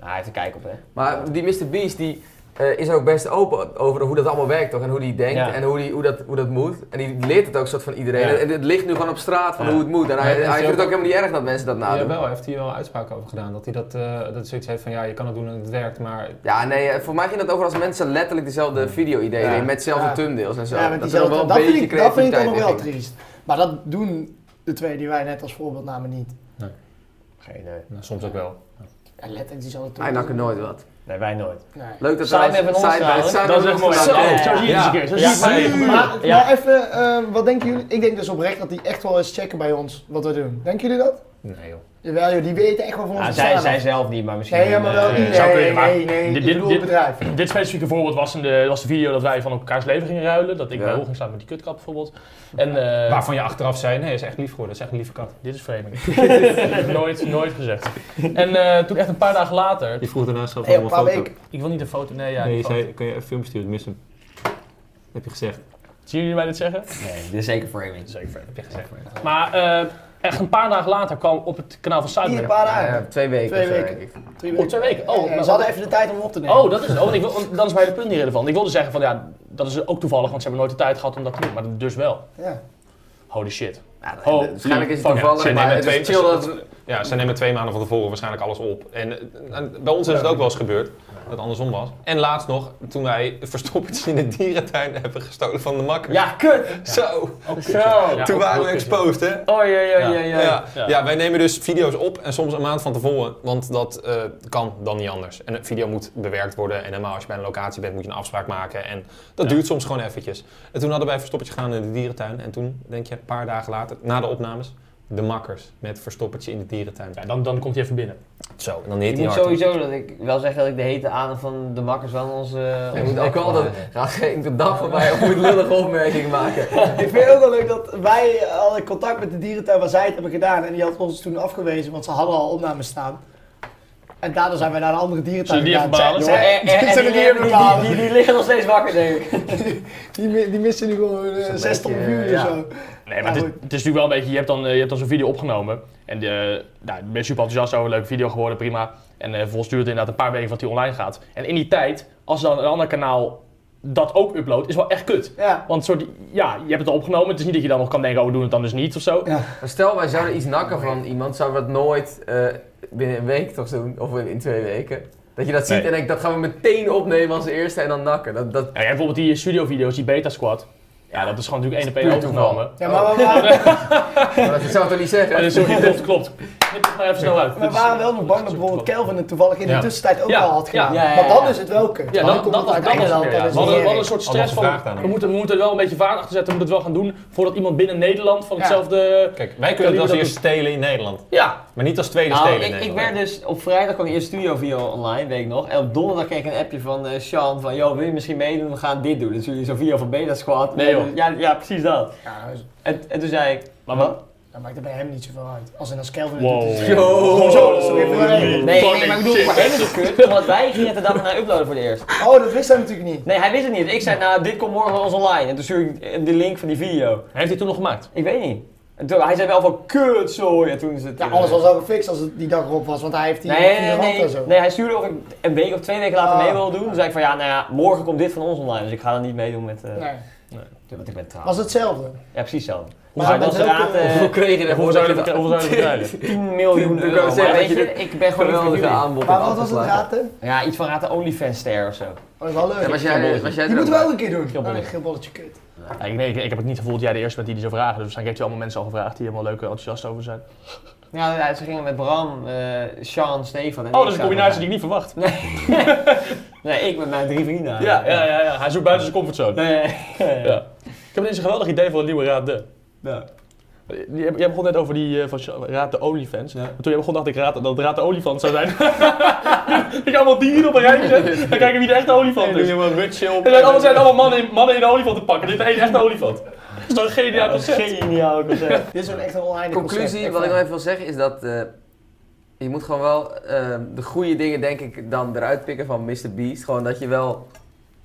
Speaker 5: Ah, hij heeft een kijk op hè.
Speaker 4: Maar die Mr. Beast die eh, is ook best open over hoe dat allemaal werkt toch? En hoe die denkt
Speaker 5: Ja.
Speaker 4: en hoe, die, hoe, dat, hoe dat moet. En die leert het ook soort van iedereen.
Speaker 1: Ja.
Speaker 4: En het ligt nu gewoon op straat van
Speaker 3: Ja.
Speaker 4: hoe het moet. En
Speaker 1: Maar
Speaker 4: hij,
Speaker 1: het is
Speaker 4: hij vindt het
Speaker 1: ook-
Speaker 4: ook helemaal niet erg dat mensen dat
Speaker 1: Nou,
Speaker 4: nadoen.
Speaker 1: Jawel, heeft hij wel uitspraken over gedaan. Dat hij dat, eh, dat hij zoiets heeft van ja, je kan het doen en het werkt, maar
Speaker 4: Ja, nee, eh, voor mij ging dat over als mensen letterlijk dezelfde video-ideeën
Speaker 1: Ja.
Speaker 4: deden met dezelfde
Speaker 2: Ja.
Speaker 4: thumbnails en zo.
Speaker 2: Ja, met
Speaker 4: dat
Speaker 2: diezelfde-
Speaker 4: er nog
Speaker 2: dat,
Speaker 4: wel een
Speaker 2: vind
Speaker 4: beetje
Speaker 2: ik, dat vind ik dan
Speaker 4: creativiteit
Speaker 2: nog
Speaker 4: in
Speaker 2: wel
Speaker 4: ging.
Speaker 2: triest. Maar dat doen de twee die wij net als voorbeeld namen niet.
Speaker 5: Geen idee.
Speaker 1: nou, soms ook wel.
Speaker 2: Ja, letterlijk diezelfde
Speaker 4: Hij nakken nooit wat.
Speaker 5: Nee, wij nooit.
Speaker 2: Nee.
Speaker 4: Leuk dat
Speaker 5: Simon
Speaker 4: trouwens-
Speaker 5: van ons
Speaker 4: Simon-
Speaker 5: trouwens.
Speaker 4: Simon
Speaker 3: Dat is
Speaker 4: van
Speaker 3: echt mooi.
Speaker 4: ons
Speaker 3: Zo,
Speaker 5: Ja, ja,
Speaker 3: zo zie je het eens een
Speaker 4: ja.
Speaker 3: keer. Zo
Speaker 5: Ja,
Speaker 3: zie je het
Speaker 5: maar-
Speaker 2: Maar,
Speaker 5: Ja.
Speaker 2: maar even, eh, wat denken jullie? Ik denk dus oprecht dat die echt wel eens checken bij ons wat we doen. Denken jullie dat?
Speaker 1: Nee joh.
Speaker 2: Jawel joh, die weten echt wel van ons
Speaker 5: Ah,
Speaker 2: bestaan.
Speaker 5: zij, zij zelf niet, maar misschien...
Speaker 2: Nee, ja, maar wel
Speaker 5: eh,
Speaker 2: iedereen.
Speaker 3: zou
Speaker 2: Nee,
Speaker 3: kunnen, maar
Speaker 2: nee, nee,
Speaker 3: dit-
Speaker 2: ik
Speaker 3: dit-
Speaker 2: bedoel
Speaker 3: dit-
Speaker 2: het bedrijf.
Speaker 3: Dit specifieke voorbeeld was, in de, was de video dat wij van elkaars leven gingen ruilen. Dat ik
Speaker 4: Ja.
Speaker 3: bij Roel ging staan met die kutkap bijvoorbeeld. En, eh,
Speaker 1: Waarvan je achteraf zei, nee, is echt lief geworden, is echt een lieve kat.
Speaker 3: Dit is framing. *laughs* Dit heb ik nooit, nooit gezegd. En eh, toen echt een paar dagen later...
Speaker 1: Die vroeg daarna zelf
Speaker 2: Hey, een paar weken.
Speaker 3: Ik wil niet een foto... Nee, ja, die foto.
Speaker 1: kun je even film sturen, mis hem. Heb je gezegd.
Speaker 3: Zien jullie mij dit zeggen?
Speaker 5: *laughs* Nee, dit is zeker framing.
Speaker 3: Zeker framing.
Speaker 1: Heb je gezegd.
Speaker 3: Maar eh, echt een paar dagen later kwam op het kanaal van
Speaker 2: Hier een
Speaker 3: Zuidberg.
Speaker 2: paar
Speaker 5: Ah,
Speaker 4: Ja,
Speaker 2: dagen.
Speaker 4: twee weken.
Speaker 2: Twee
Speaker 4: of zo,
Speaker 2: weken.
Speaker 4: denk ik.
Speaker 2: Drie
Speaker 3: Oh, twee weken. Oh,
Speaker 2: Eh,
Speaker 3: maar-
Speaker 2: ze hadden even de tijd om op te nemen.
Speaker 3: Oh, dat is het. Oh, want ik wil, want dan is mijn hele punt niet relevant. Ik wilde zeggen van ja, dat is ook toevallig, want ze hebben nooit de tijd gehad om dat te doen. Maar dus wel.
Speaker 2: Ja.
Speaker 3: Holy shit.
Speaker 4: Ja,
Speaker 3: Oh,
Speaker 4: waarschijnlijk is het
Speaker 3: fuck,
Speaker 4: toevallig,
Speaker 1: ze
Speaker 4: maar
Speaker 1: nemen
Speaker 4: het is
Speaker 1: twee-
Speaker 4: chill dat...
Speaker 1: Ja, ze nemen twee maanden van tevoren waarschijnlijk alles op. En eh, en bij ons is het ook wel eens gebeurd, dat het andersom was. En laatst nog, toen wij verstoppertjes in de dierentuin hebben gestolen van de makker.
Speaker 5: Ja, kut!
Speaker 1: Zo,
Speaker 3: Ook kut,
Speaker 5: Zo.
Speaker 3: ja. Ja,
Speaker 1: toen
Speaker 3: ook
Speaker 1: waren
Speaker 3: heel
Speaker 1: we
Speaker 3: kut, ja.
Speaker 1: exposed, hè?
Speaker 5: Oh, ja, ja, ja,
Speaker 1: Ja,
Speaker 5: ja.
Speaker 1: ja.
Speaker 3: Ja.
Speaker 1: wij nemen dus video's op en soms een maand van tevoren, want dat eh, kan dan niet anders. En een video moet bewerkt worden en helemaal als je bij een locatie bent moet je een afspraak maken en dat duurt soms gewoon eventjes. En toen hadden wij verstoppertje gedaan in de dierentuin en toen, denk je, een paar dagen later, na de opnames, de makkers met verstoppertje in de dierentuin.
Speaker 3: Ja, dan, dan komt hij even binnen.
Speaker 1: Zo, en dan heet
Speaker 5: Ik
Speaker 1: hij
Speaker 5: moet
Speaker 1: hard.
Speaker 5: sowieso dat ik wel zeggen dat ik de hete adem van de makkers wel aan onze.
Speaker 4: Je
Speaker 5: onze
Speaker 4: moet ook
Speaker 5: nek
Speaker 4: wel dat...
Speaker 5: gooien.
Speaker 4: Ga geen dag voorbij of moet lullige opmerkingen maken.
Speaker 2: Ik vind het ook wel leuk dat wij al in contact met de dierentuin waar zij het hebben gedaan. En die had ons toen afgewezen, want ze hadden al opnames staan. En daardoor zijn wij naar een andere dierentuin
Speaker 3: Zullen we die
Speaker 2: gegaan.
Speaker 3: even
Speaker 2: Zij-
Speaker 5: Ja,
Speaker 2: zij-
Speaker 5: en- en- en
Speaker 2: Zullen we
Speaker 5: die-
Speaker 2: die even
Speaker 5: die-
Speaker 2: bepalen?
Speaker 5: die- Die liggen nog steeds wakker, denk ik.
Speaker 2: Die, mi- die missen nu gewoon eh,
Speaker 4: een
Speaker 2: 60
Speaker 4: beetje,
Speaker 2: uur
Speaker 4: ja.
Speaker 2: of zo.
Speaker 3: Nee, maar
Speaker 2: Ja,
Speaker 3: het, is,
Speaker 2: goed.
Speaker 3: het is natuurlijk wel een beetje, je hebt dan, eh, je hebt dan zo'n video opgenomen. En eh nou, ik ben super enthousiast over, leuke video geworden, prima. En eh vervolgens duurt het inderdaad een paar weken voordat die online gaat. En in die tijd, als dan een ander kanaal dat ook uploadt, is wel echt kut.
Speaker 2: Ja.
Speaker 3: Want soort, ja, je hebt het al opgenomen, het is niet dat je dan nog kan denken, oh we doen het dan dus niet of zo.
Speaker 2: Ja.
Speaker 4: Maar stel, wij zouden iets nakken van iemand, zouden we dat nooit eh, binnen een week toch doen? Of in twee weken? Dat je dat ziet
Speaker 3: Nee.
Speaker 4: en denkt, dat gaan we meteen opnemen als eerste en dan nakken. Dat, dat
Speaker 3: Ja, je hebt bijvoorbeeld die studiovideo's, die Beta Squad. Ja, dat is gewoon natuurlijk één op één
Speaker 4: puur toeval.
Speaker 3: opgenomen.
Speaker 2: Ja, maar we
Speaker 3: *laughs*
Speaker 2: waren,
Speaker 4: Maar dat zou ik toch niet zeggen?
Speaker 3: Eh, sorry, klopt, klopt. Knip het maar even snel uit.
Speaker 2: we waren wel nog bang dat bijvoorbeeld Kelvin het toevallig in de
Speaker 1: Ja.
Speaker 2: tussentijd ook
Speaker 3: Ja.
Speaker 2: al had gedaan.
Speaker 5: Ja, ja, ja,
Speaker 2: Maar dan
Speaker 5: ja.
Speaker 2: is het wel kut.
Speaker 3: Ja,
Speaker 2: Dan
Speaker 3: dat,
Speaker 2: komt
Speaker 3: dat,
Speaker 2: het uit
Speaker 3: dat, dat,
Speaker 2: Engeland,
Speaker 3: ja.
Speaker 2: dan is
Speaker 3: We
Speaker 2: het
Speaker 3: hadden we hadden een
Speaker 2: heerlijk.
Speaker 3: soort stress
Speaker 1: Allemaal
Speaker 3: van,
Speaker 1: gevraagd aan
Speaker 3: we
Speaker 1: hem.
Speaker 3: moeten, we moeten er wel een beetje vaart achter zetten, we moeten het wel gaan doen, voordat iemand binnen Nederland van
Speaker 2: Ja.
Speaker 3: hetzelfde...
Speaker 1: Kijk, wij kunnen het
Speaker 3: Kan
Speaker 1: als
Speaker 3: die
Speaker 1: eerste stelen in Nederland,
Speaker 3: Ja,
Speaker 1: maar niet als tweede
Speaker 5: Nou,
Speaker 1: stelen in
Speaker 5: ik, ik
Speaker 1: Nederland.
Speaker 5: werd dus op vrijdag kwam de eerste studio video online, weet ik nog. En op donderdag kreeg ik een appje van eh Sean van, yo, wil je misschien meedoen? We gaan dit doen. Dus jullie zo'n video van Beta Squad.
Speaker 3: Nee, joh.
Speaker 5: Ja, ja, precies dat.
Speaker 2: Ja, dus-
Speaker 5: En, en toen zei ik,
Speaker 3: maar wat?
Speaker 2: Dat maakt er bij hem niet zoveel uit. Als en als Kelvin het doet.
Speaker 3: Wow.
Speaker 2: is-
Speaker 4: Yo.
Speaker 2: Zo, dat is er weer voorheen.
Speaker 5: nee, nee,
Speaker 3: Fucking
Speaker 5: maar ik bedoel,
Speaker 3: shit.
Speaker 5: voor hem is het kut, want wij gingen het er dan naar uploaden voor het eerst.
Speaker 2: Oh, dat wist hij natuurlijk niet.
Speaker 5: Nee, hij wist het niet. Ik zei, nou, dit komt morgen wel eens online. En toen stuurde ik eh, de link van die video.
Speaker 3: Heeft hij toen nog gemaakt?
Speaker 5: Ik weet niet. En toen, hij zei wel van, kut, sorry. En toen is het...
Speaker 2: Ja,
Speaker 5: eh,
Speaker 2: alles was al gefixt als het die dag erop was, want hij heeft die
Speaker 5: Nee, nee,
Speaker 2: vier
Speaker 5: nee,
Speaker 2: handen
Speaker 5: nee,
Speaker 2: en zo.
Speaker 5: nee, hij stuurde of ik een week of twee weken later
Speaker 2: Ah.
Speaker 5: mee wilde doen. Toen zei ik van ja, nou ja, morgen komt dit van ons online, dus ik ga er niet meedoen met. eh
Speaker 2: Nee.
Speaker 5: Want ik ben trouw.
Speaker 2: Was hetzelfde.
Speaker 5: Ja, precies zo.
Speaker 2: Maar
Speaker 5: Maar,
Speaker 2: dat
Speaker 5: dan
Speaker 2: is
Speaker 5: ze
Speaker 2: ook,
Speaker 5: raad
Speaker 2: eh,
Speaker 5: eh,
Speaker 4: Hoeveel kreeg je
Speaker 3: Hoeveel
Speaker 4: ervoor?
Speaker 3: zou je
Speaker 4: dat
Speaker 3: het
Speaker 4: je
Speaker 3: hoeveel zou je betalen?
Speaker 5: *laughs* 10 miljoen
Speaker 4: Ik wou
Speaker 5: euro.
Speaker 4: zeggen,
Speaker 5: Maar
Speaker 4: dat
Speaker 5: weet
Speaker 4: je
Speaker 5: je, ik ben
Speaker 4: dat
Speaker 5: gewoon wel
Speaker 4: geweldige aanbod hebt
Speaker 2: Maar wat was het
Speaker 4: afgeslagen?
Speaker 2: raten?
Speaker 5: Ja, iets van raad de OnlyFans-ster of zo.
Speaker 2: Oh, dat is wel
Speaker 4: Ja,
Speaker 2: leuk.
Speaker 4: was jij, was
Speaker 2: die
Speaker 4: jij er ook
Speaker 2: moeten we ook een keer doen. Oh,
Speaker 3: Geelbolletje.
Speaker 2: Nee, geelbolletje kut.
Speaker 3: Ja, ik, nee, ik, ik heb het niet gevoeld dat jij de eerste bent die die zou vragen. Dus waarschijnlijk heeft hij allemaal mensen al gevraagd die helemaal leuk en enthousiast over zijn.
Speaker 5: Ja, ja, ze gingen met Bram, eh Sean, Stefan en
Speaker 3: Oh,
Speaker 5: ik
Speaker 3: dat is een
Speaker 5: zouden
Speaker 3: combinatie die
Speaker 5: gaan.
Speaker 3: ik niet verwacht.
Speaker 5: Nee, ik met mijn drie vrienden.
Speaker 3: Ja, ja, ja. ja. Hij zoekt buiten zijn comfortzone.
Speaker 5: Nee,
Speaker 3: Ja. Ik heb ineens een geweldig idee voor een nieuwe Raad de.
Speaker 5: Ja.
Speaker 3: Je- Jij begon net over die eh, van Sja- Raad de Olifants. Maar Toen jij begon dacht ik raad, dat het Raad de Olifant zou zijn. *laughs* ik heb allemaal dieren op een rijtje zet, dan kijken wie de echte olifant is.
Speaker 1: helemaal rutje op.
Speaker 3: En dan allemaal zijn allemaal mannen in, mannen in een olifant te pakken. Dit is één echte olifant. Dat is toch een geniaal concept?
Speaker 5: Geniaal
Speaker 2: *laughs*
Speaker 5: concept.
Speaker 2: Dit is een echt een online
Speaker 4: Conclusie, wat ik nog even wil zeggen, is dat eh, je moet gewoon wel eh, de goede dingen, denk ik, dan eruit pikken van Mr. Beast. Gewoon dat je wel...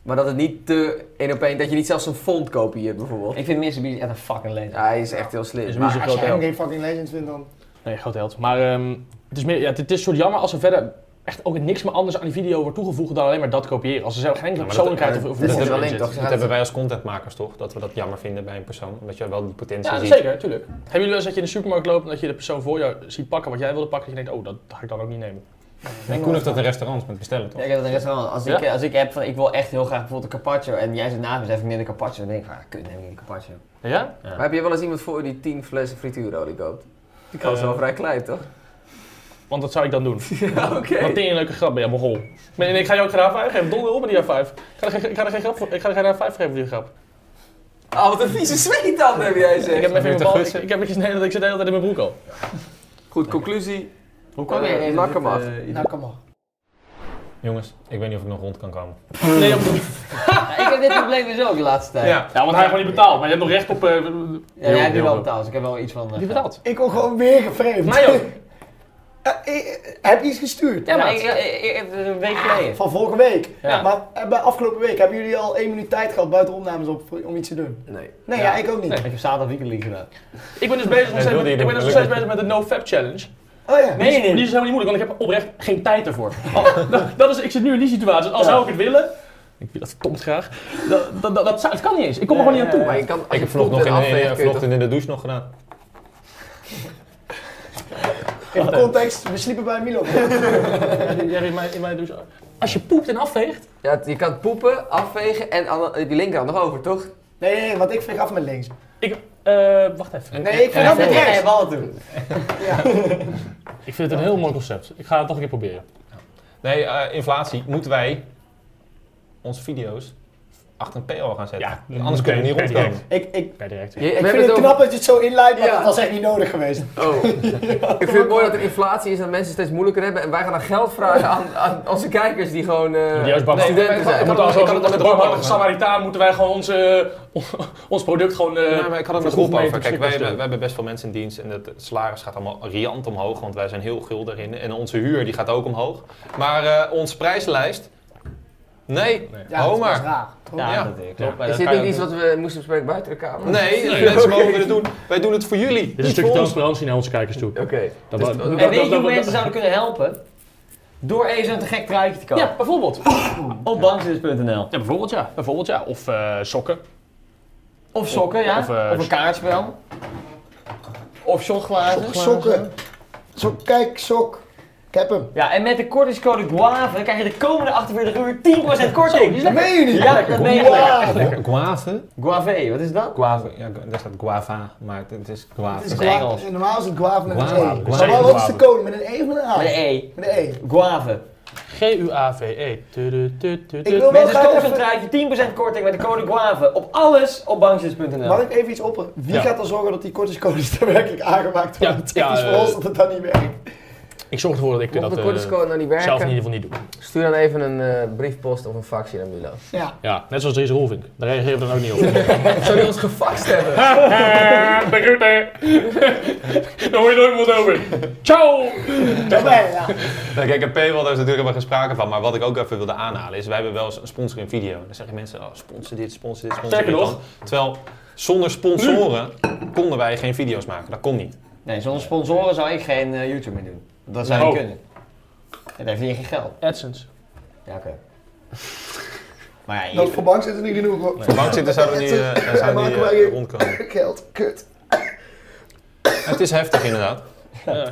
Speaker 4: Maar dat het niet te één op één, dat je niet zelfs een font kopieert bijvoorbeeld.
Speaker 5: Ik vind Mr. Beast echt een fucking legend.
Speaker 4: Ja, hij is echt heel slim.
Speaker 3: Is
Speaker 4: Maar-
Speaker 3: een
Speaker 2: Als
Speaker 3: groot
Speaker 2: jij hem
Speaker 3: held.
Speaker 2: geen fucking legend vindt, dan...
Speaker 3: Nee, groot held. Maar ehm, het, is meer, ja, het, het is soort jammer als er verder echt ook niks meer anders aan die video wordt toegevoegd dan alleen maar dat kopiëren. Als er zelf geen enkele
Speaker 1: Ja, maar dat-
Speaker 3: persoonlijkheid
Speaker 4: ja,
Speaker 3: of, of
Speaker 4: dat
Speaker 1: is
Speaker 3: of-
Speaker 4: wel
Speaker 3: in
Speaker 4: in,
Speaker 3: zit.
Speaker 4: toch?
Speaker 1: Dat hebben wij als contentmakers toch, dat we dat jammer vinden bij een persoon, omdat je wel die potentie
Speaker 3: Ja,
Speaker 1: ziet.
Speaker 3: zeker, tuurlijk. Hebben jullie wel eens dat je in de supermarkt loopt en dat je de persoon voor jou ziet pakken wat jij wilde pakken en je denkt, oh, dat ga ik dan ook niet nemen.
Speaker 1: En Koen heeft dat in restaurants met bestellen toch?
Speaker 5: Ja, ik heb het in restaurant. Als, ik, eh,
Speaker 3: Ja?
Speaker 5: als ik heb van, ik wil echt heel graag bijvoorbeeld een carpaccio en jij zit naast me, zeg ik meer de carpaccio, dan denk ik van, ah, kut, neem ik niet de carpaccio.
Speaker 3: Ja?
Speaker 4: Maar heb je wel eens iemand voor die 10 flessen frituurolie koopt? Die kan
Speaker 3: Eh,
Speaker 4: wel vrij klein, toch?
Speaker 3: Want dat zou ik dan doen.
Speaker 4: Ja, oké.
Speaker 3: Wat een leuke grap ben je, mogol. Maar- En ik ga jou ook geen raar 5 geven. Donder op met die raar 5. Ik ga er geen- ik ga er geen grap voor- ik ga er geen raar 5 geven voor die grap.
Speaker 4: Ah, wat een vieze zweet dan, heb jij
Speaker 3: Ik heb
Speaker 4: zeg.
Speaker 3: hem even in
Speaker 1: Heeft
Speaker 3: mijn bal.
Speaker 1: een
Speaker 3: Ik,
Speaker 1: guts, hè?
Speaker 3: ik, heb, ik, nee, dat- ik zit de hele tijd in mijn broek al.
Speaker 4: Goed, conclusie.
Speaker 5: Hoe
Speaker 4: kwam je ineens op
Speaker 5: Lak
Speaker 4: dit,
Speaker 5: hem af.
Speaker 4: eh,
Speaker 2: Nou, kom maar.
Speaker 1: Jongens, ik weet niet of ik nog rond kan komen.
Speaker 3: Nee, op,
Speaker 5: Ja, ik heb dit probleem dus ook de laatste tijd.
Speaker 1: Ja.
Speaker 3: ja, want hij heeft gewoon niet betaald. Maar je hebt nog recht op... eh
Speaker 5: Ja, jij hebt nu wel
Speaker 3: veel.
Speaker 5: betaald, dus ik heb wel iets van... eh,
Speaker 3: Wie betaalt?
Speaker 2: Ik word gewoon weer gevreemd.
Speaker 3: Mij
Speaker 2: *laughs*
Speaker 3: ook.
Speaker 2: Ja, ik- heb je iets gestuurd?
Speaker 5: Ja, maar Ah. ik, ik, ik- ik- een week geleden.
Speaker 2: Van vorige week.
Speaker 5: Ja.
Speaker 2: Maar eh, bij afgelopen week hebben jullie al één minuut tijd gehad buiten opnames op voor- om iets te doen?
Speaker 4: Nee.
Speaker 2: Nee, ja,
Speaker 5: Ja.
Speaker 2: ik ook niet.
Speaker 5: Ik heb zaterdag weekend league gedaan.
Speaker 3: Ik ben dus bezig nog
Speaker 1: wilde
Speaker 3: steeds,
Speaker 1: je
Speaker 3: met- ik
Speaker 1: doen,
Speaker 3: ben dus nog
Speaker 1: dat
Speaker 3: steeds
Speaker 1: lukt
Speaker 3: bezig met de NoFap Challenge.
Speaker 2: Oh ja.
Speaker 5: Nee,
Speaker 3: Die is-
Speaker 5: nee.
Speaker 3: Die is helemaal niet moeilijk, want ik heb oprecht geen tijd ervoor. Oh, dat, dat is, ik zit nu in die situatie. Als zou ik het willen, Ik wil dat verdomd graag. Dat, dat, dat, dat, zou- het kan niet eens. Ik kom er gewoon niet aan toe.
Speaker 4: Maar je kan, als
Speaker 1: Ik
Speaker 4: je
Speaker 1: heb vanochtend
Speaker 4: poept en
Speaker 1: nog in,
Speaker 4: afveegt,
Speaker 1: eh,
Speaker 4: kun je toch-
Speaker 1: vanochtend in de douche nog gedaan.
Speaker 2: In context, we sliepen bij Milo.
Speaker 3: Jij in mijn, in mijn douche. Als je poept en afveegt,
Speaker 4: Ja, het- je kan poepen, afvegen en aan de- die linkerhand nog over, toch?
Speaker 2: Nee, nee, nee, want ik veeg af met links.
Speaker 3: ik... eh, wacht even.
Speaker 2: Nee, ik veeg
Speaker 5: Ja,
Speaker 2: af
Speaker 5: dat
Speaker 2: met
Speaker 5: moet jij
Speaker 2: rechts.
Speaker 5: je ballen doen.
Speaker 3: Ik vind het een heel mooi concept. Ik ga het nog een keer proberen.
Speaker 1: Nee, eh, inflatie. Moeten wij onze video's achter een PL gaan zetten?
Speaker 3: Ja,
Speaker 1: Anders kunnen we niet
Speaker 3: per
Speaker 1: rondkomen.
Speaker 3: direct.
Speaker 2: Ik, ik,
Speaker 3: Per direct.
Speaker 4: Je- ik
Speaker 2: ik
Speaker 4: heb
Speaker 2: vind het
Speaker 4: over-
Speaker 2: knap dat je het zo inleidt, maar
Speaker 4: Ja.
Speaker 2: dat was echt niet nodig geweest.
Speaker 4: Oh. Ik vind het mooi dat er inflatie is en dat mensen het steeds moeilijker hebben. En wij gaan dan geld vragen aan, aan onze kijkers die gewoon eh,
Speaker 3: Juist bang zijn.
Speaker 4: studenten
Speaker 1: Ik
Speaker 4: zijn.
Speaker 1: had-
Speaker 3: moeten als
Speaker 1: ik had het
Speaker 3: als
Speaker 1: met
Speaker 3: de
Speaker 1: de
Speaker 3: barmhartige
Speaker 1: Roma-
Speaker 3: Samaritaan moeten wij gewoon onze, eh, ons product gewoon... eh,
Speaker 1: Ja, maar ik had het met
Speaker 3: verkopen
Speaker 1: Rob
Speaker 3: mee
Speaker 1: over. Kijk,
Speaker 3: tot
Speaker 1: wij,
Speaker 3: snippers
Speaker 1: wij,
Speaker 3: toe.
Speaker 1: wij hebben best veel mensen in dienst en het salaris gaat allemaal riant omhoog, want wij zijn heel gul daarin. En onze huur die gaat ook omhoog. Maar eh onze prijslijst, nee,
Speaker 2: Ja,
Speaker 1: hou
Speaker 2: dat is
Speaker 1: maar.
Speaker 2: raar. toch?
Speaker 5: Ja,
Speaker 1: Ja.
Speaker 5: dat klopt. maar dat
Speaker 4: Is dit
Speaker 5: kan je
Speaker 4: niet
Speaker 5: ook
Speaker 4: iets wat we moesten bespreken buiten de kamer?
Speaker 1: Nee, mensen mogen het doen. Wij doen het voor jullie.
Speaker 3: Dit is een
Speaker 1: niet
Speaker 3: stukje
Speaker 1: voor ons.
Speaker 3: transparantie naar onze kijkers toe.
Speaker 4: Oké.
Speaker 3: Dat
Speaker 4: Dus
Speaker 3: wa-
Speaker 4: dat-
Speaker 3: dat-
Speaker 5: doen.
Speaker 3: dat-
Speaker 5: En weet je
Speaker 3: dat-
Speaker 5: hoe
Speaker 3: dat-
Speaker 5: mensen zouden kunnen helpen? Door even een te gek truitje te kopen.
Speaker 3: Ja, bijvoorbeeld.
Speaker 5: Op bankzitters.nl.
Speaker 3: Ja, bijvoorbeeld ja. Bijvoorbeeld ja. Of eh, sokken.
Speaker 5: Of sokken, ja.
Speaker 3: Of,
Speaker 5: Of,
Speaker 3: eh,
Speaker 5: een kaartspel. Of shotglazen.
Speaker 2: Sokken. Sok, kijk, sok. Ik heb hem.
Speaker 5: Ja, en met de kortingscode GUAVE krijg je de komende 48 uur 10% korting.
Speaker 2: Dat meen je niet?
Speaker 5: Ja, dat meen je
Speaker 2: Wauw.
Speaker 5: niet.
Speaker 1: Guave?
Speaker 5: Guave, wat is dat?
Speaker 1: Guave, ja, daar staat guava, maar het is guave.
Speaker 2: Het is
Speaker 5: Dat is Engels.
Speaker 2: gua- Normaal is het guave met een
Speaker 1: Guave.
Speaker 2: E.
Speaker 1: Guave.
Speaker 2: Maar wat- wat is de
Speaker 3: Guave.
Speaker 2: code? Met een E of met een A?
Speaker 5: Met een E.
Speaker 2: Met een E.
Speaker 5: Guave.
Speaker 3: G-U-A-V-E. E. Tu- tu- tu-
Speaker 2: Ik
Speaker 3: tu-
Speaker 2: wil wel
Speaker 5: Mensen, koop
Speaker 2: graag
Speaker 5: zo'n
Speaker 2: even...
Speaker 5: truitje, 10% korting met de code GUAVE. Op alles op
Speaker 2: Mag
Speaker 5: bankzitters.nl.
Speaker 2: ik even iets opperen? Wie
Speaker 3: Ja.
Speaker 2: gaat er zorgen dat die *laughs* kortingscodes daadwerkelijk aangemaakt
Speaker 3: Ja,
Speaker 2: worden? Het is
Speaker 3: ja,
Speaker 2: voor
Speaker 3: eh,
Speaker 2: ons dat het dan niet werkt.
Speaker 3: Ik zorg ervoor dat ik eh,
Speaker 4: Mocht
Speaker 3: dat
Speaker 4: de
Speaker 3: eh,
Speaker 4: kortingscode nou niet
Speaker 3: zelf in
Speaker 4: werken,
Speaker 3: ieder geval niet doe.
Speaker 4: stuur dan even een eh, briefpost of een faxje naar Milo.
Speaker 2: Ja.
Speaker 3: Ja, net zoals Dries Roelvink. Daar reageren we dan ook
Speaker 2: *laughs*
Speaker 3: niet op.
Speaker 4: *laughs* Zou die ons gefaxt hebben?
Speaker 3: Begroeten! Eh,
Speaker 2: *laughs*
Speaker 3: Daar hoor je nooit meer over. Ciao!
Speaker 2: Daarbij, ja.
Speaker 1: Nou, kijk, en paywall, daar is natuurlijk helemaal geen sprake van. Maar wat ik ook even wilde aanhalen is, wij hebben wel eens een sponsor in video. En dan zeggen mensen, oh, sponsor dit, sponsor dit, sponsor
Speaker 3: Sterker
Speaker 1: dit
Speaker 3: nog.
Speaker 1: dan. Terwijl, zonder sponsoren konden wij geen video's maken. Dat kon niet.
Speaker 5: Nee, zonder sponsoren zou ik geen eh, YouTube meer doen. Dat zou
Speaker 3: Oh.
Speaker 5: niet kunnen. En dan verdien je geen geld.
Speaker 3: AdSense.
Speaker 5: Ja, *laughs* oké. maar ja,
Speaker 2: Dat
Speaker 5: hier-
Speaker 2: voor bank zitten niet genoeg hoor.
Speaker 1: Voor bankzitters
Speaker 2: *laughs*
Speaker 1: zouden die, eh,
Speaker 2: Ja,
Speaker 1: zouden
Speaker 2: maken
Speaker 1: die eh,
Speaker 2: wij hier-
Speaker 1: rondkomen.
Speaker 2: Geld, kut.
Speaker 1: Het is heftig inderdaad.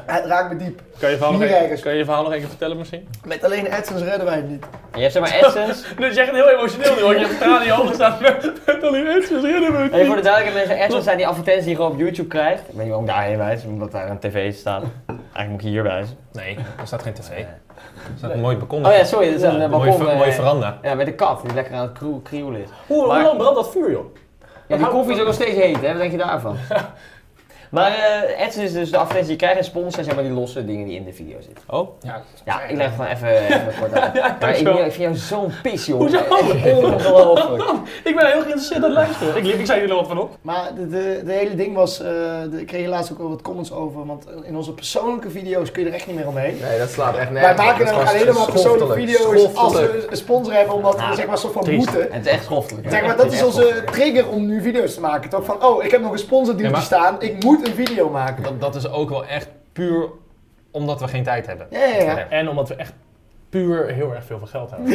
Speaker 2: Het raakt me diep.
Speaker 3: Kan je verhaal nog
Speaker 2: Vier
Speaker 3: even-
Speaker 2: kijkers.
Speaker 3: kan je je verhaal nog even vertellen misschien?
Speaker 2: Met alleen AdSense redden wij het niet.
Speaker 5: je hebt zeg maar *laughs* Essence.
Speaker 3: Nu is echt Dus heel emotioneel nu, want je hebt tranen in je ogen staan met al die mensen.
Speaker 5: En voor de duidelijkheid, mensen, Essence zijn die advertenties die je gewoon op YouTube krijgt. Ik weet niet waarom ik daarheen wijs, omdat daar een tv staat. Eigenlijk moet ik hier wijzen.
Speaker 1: Nee, er staat geen tv. Er staat een mooi balkon.
Speaker 5: Oh ja, sorry, dat is een
Speaker 1: mooie,
Speaker 5: eh, balkon.
Speaker 1: ver-
Speaker 5: eh,
Speaker 1: mooie veranda.
Speaker 5: Ja, met een kat die lekker aan het kroe- krioelen is.
Speaker 3: Hoe, hoe
Speaker 5: Maar-
Speaker 3: lang brandt dat vuur, joh?
Speaker 5: Ja, die koffie is ook nog steeds heet, hè? Wat denk je *laughs* daarvan? Maar eh AdSense is dus de advertentie die je krijgt en sponsors zijn zeg maar die losse dingen die in de video zitten. Dus
Speaker 3: Oh.
Speaker 5: Ja, ik leg gewoon even, even kort *laughs* uit. maar ik,
Speaker 3: dankjewel.
Speaker 5: ik vind jou zo'n pis, joh.
Speaker 3: Hoezo?
Speaker 5: Echt *laughs* Ongelooflijk.
Speaker 3: Ik ben heel geïnteresseerd in dat lijstje. Ik, ik zei jullie wat van op.
Speaker 2: Maar de, de, de hele ding was, eh, de, ik kreeg hier laatst ook wel wat comments over, want in onze persoonlijke video's kun je er echt niet meer omheen.
Speaker 4: Nee, dat slaat echt
Speaker 2: Wij
Speaker 4: nergens.
Speaker 2: maken dan ook alleen maar persoonlijke video's als we een sponsor hebben, omdat we
Speaker 1: Nou,
Speaker 5: Ja,
Speaker 2: zeg maar soort van
Speaker 3: triest.
Speaker 2: moeten.
Speaker 5: Het is echt schoffelijk.
Speaker 2: Zeg maar, dat is onze trigger om nu video's te maken, toch? Van, oh, ik heb nog een sponsordeal
Speaker 1: Ja, maar-
Speaker 2: staan, ik moet een video maken.
Speaker 1: Dat, dat is ook wel echt puur omdat we geen tijd hebben.
Speaker 2: Ja, ja, ja.
Speaker 3: En omdat we echt puur heel erg veel van geld houden.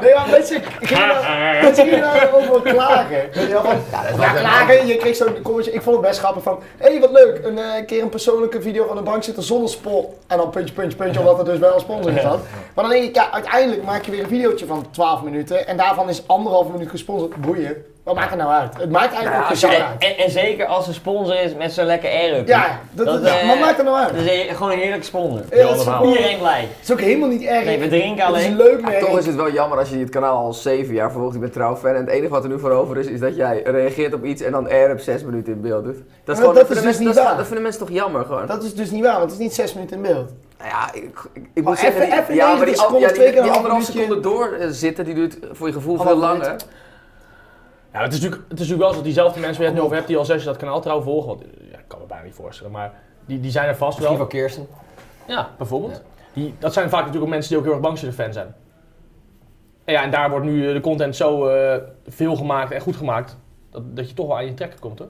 Speaker 2: Nee, maar mensen gingen daar- mensen gingen daarover klagen. Weet je wel, van, ja, klagen, je kreeg zo'n commentje. Ik vond het best grappig van, hé, hey, wat leuk, een eh, keer een persoonlijke video van een bank zitten zonder spot. En dan puntje, puntje, puntje, omdat er dus wel een sponsor in zat. Maar dan denk ik, ja, uiteindelijk maak je weer een videootje van 12 minuten. En daarvan is anderhalf minuut gesponsord. Boeien, wat maakt het nou uit? Het maakt eigenlijk geen zak
Speaker 5: En,
Speaker 2: uit.
Speaker 5: en, en zeker als een sponsor is met zo'n lekker air-up.
Speaker 2: Ja, dat,
Speaker 5: Dat,
Speaker 2: dat-
Speaker 5: eh,
Speaker 2: wat maakt het nou
Speaker 5: Dat
Speaker 2: uit?
Speaker 5: is een- gewoon een heerlijk sponsor.
Speaker 2: Ja, dat is ook-
Speaker 5: Iedereen blij.
Speaker 2: Het is ook helemaal niet erg.
Speaker 5: Nee, we drinken
Speaker 2: het is
Speaker 5: alleen.
Speaker 2: leuk merk.
Speaker 4: Toch is het wel jammer als je het kanaal al zeven jaar volgt. Ik ben trouw fan. En het enige wat er nu voor over is, is dat jij reageert op iets en dan air op zes minuten in beeld doet. Dat,
Speaker 2: dat
Speaker 4: is gewoon,
Speaker 2: is
Speaker 4: vinden
Speaker 2: dus
Speaker 4: mensen,
Speaker 2: niet
Speaker 4: dat, is-
Speaker 2: waar.
Speaker 4: dat vinden mensen toch jammer gewoon.
Speaker 2: Dat is dus niet waar, want het is niet 6 minuten in beeld.
Speaker 4: Nou ja, ik, ik, ik
Speaker 2: Maar
Speaker 4: moet zeggen,
Speaker 2: Oh, even-
Speaker 4: die-
Speaker 2: even
Speaker 4: ja,
Speaker 2: 90
Speaker 4: maar die, al-
Speaker 2: seconden,
Speaker 4: ja,
Speaker 2: twee
Speaker 4: die,
Speaker 2: keer
Speaker 4: die
Speaker 2: een
Speaker 4: anderhalf
Speaker 2: minuutje.
Speaker 4: seconde doorzitten, die duurt voor je gevoel veel
Speaker 2: Anderhalf
Speaker 4: langer.
Speaker 3: Ja, het is natuurlijk, het is natuurlijk wel zo dat diezelfde mensen waar je het nu over hebt, die al zes jaar dat kanaal trouw volgen. Want, eh, ja, ik kan me bijna niet voorstellen, maar die, die zijn er vast wel.
Speaker 5: Ivo Kirsten.
Speaker 3: Ja, bijvoorbeeld. Die, dat zijn vaak natuurlijk ook mensen die ook heel erg Bankzitter fan zijn. En ja, en daar wordt nu eh, de content zo eh, veel gemaakt en goed gemaakt, dat, dat je toch wel aan je trekken komt hoor.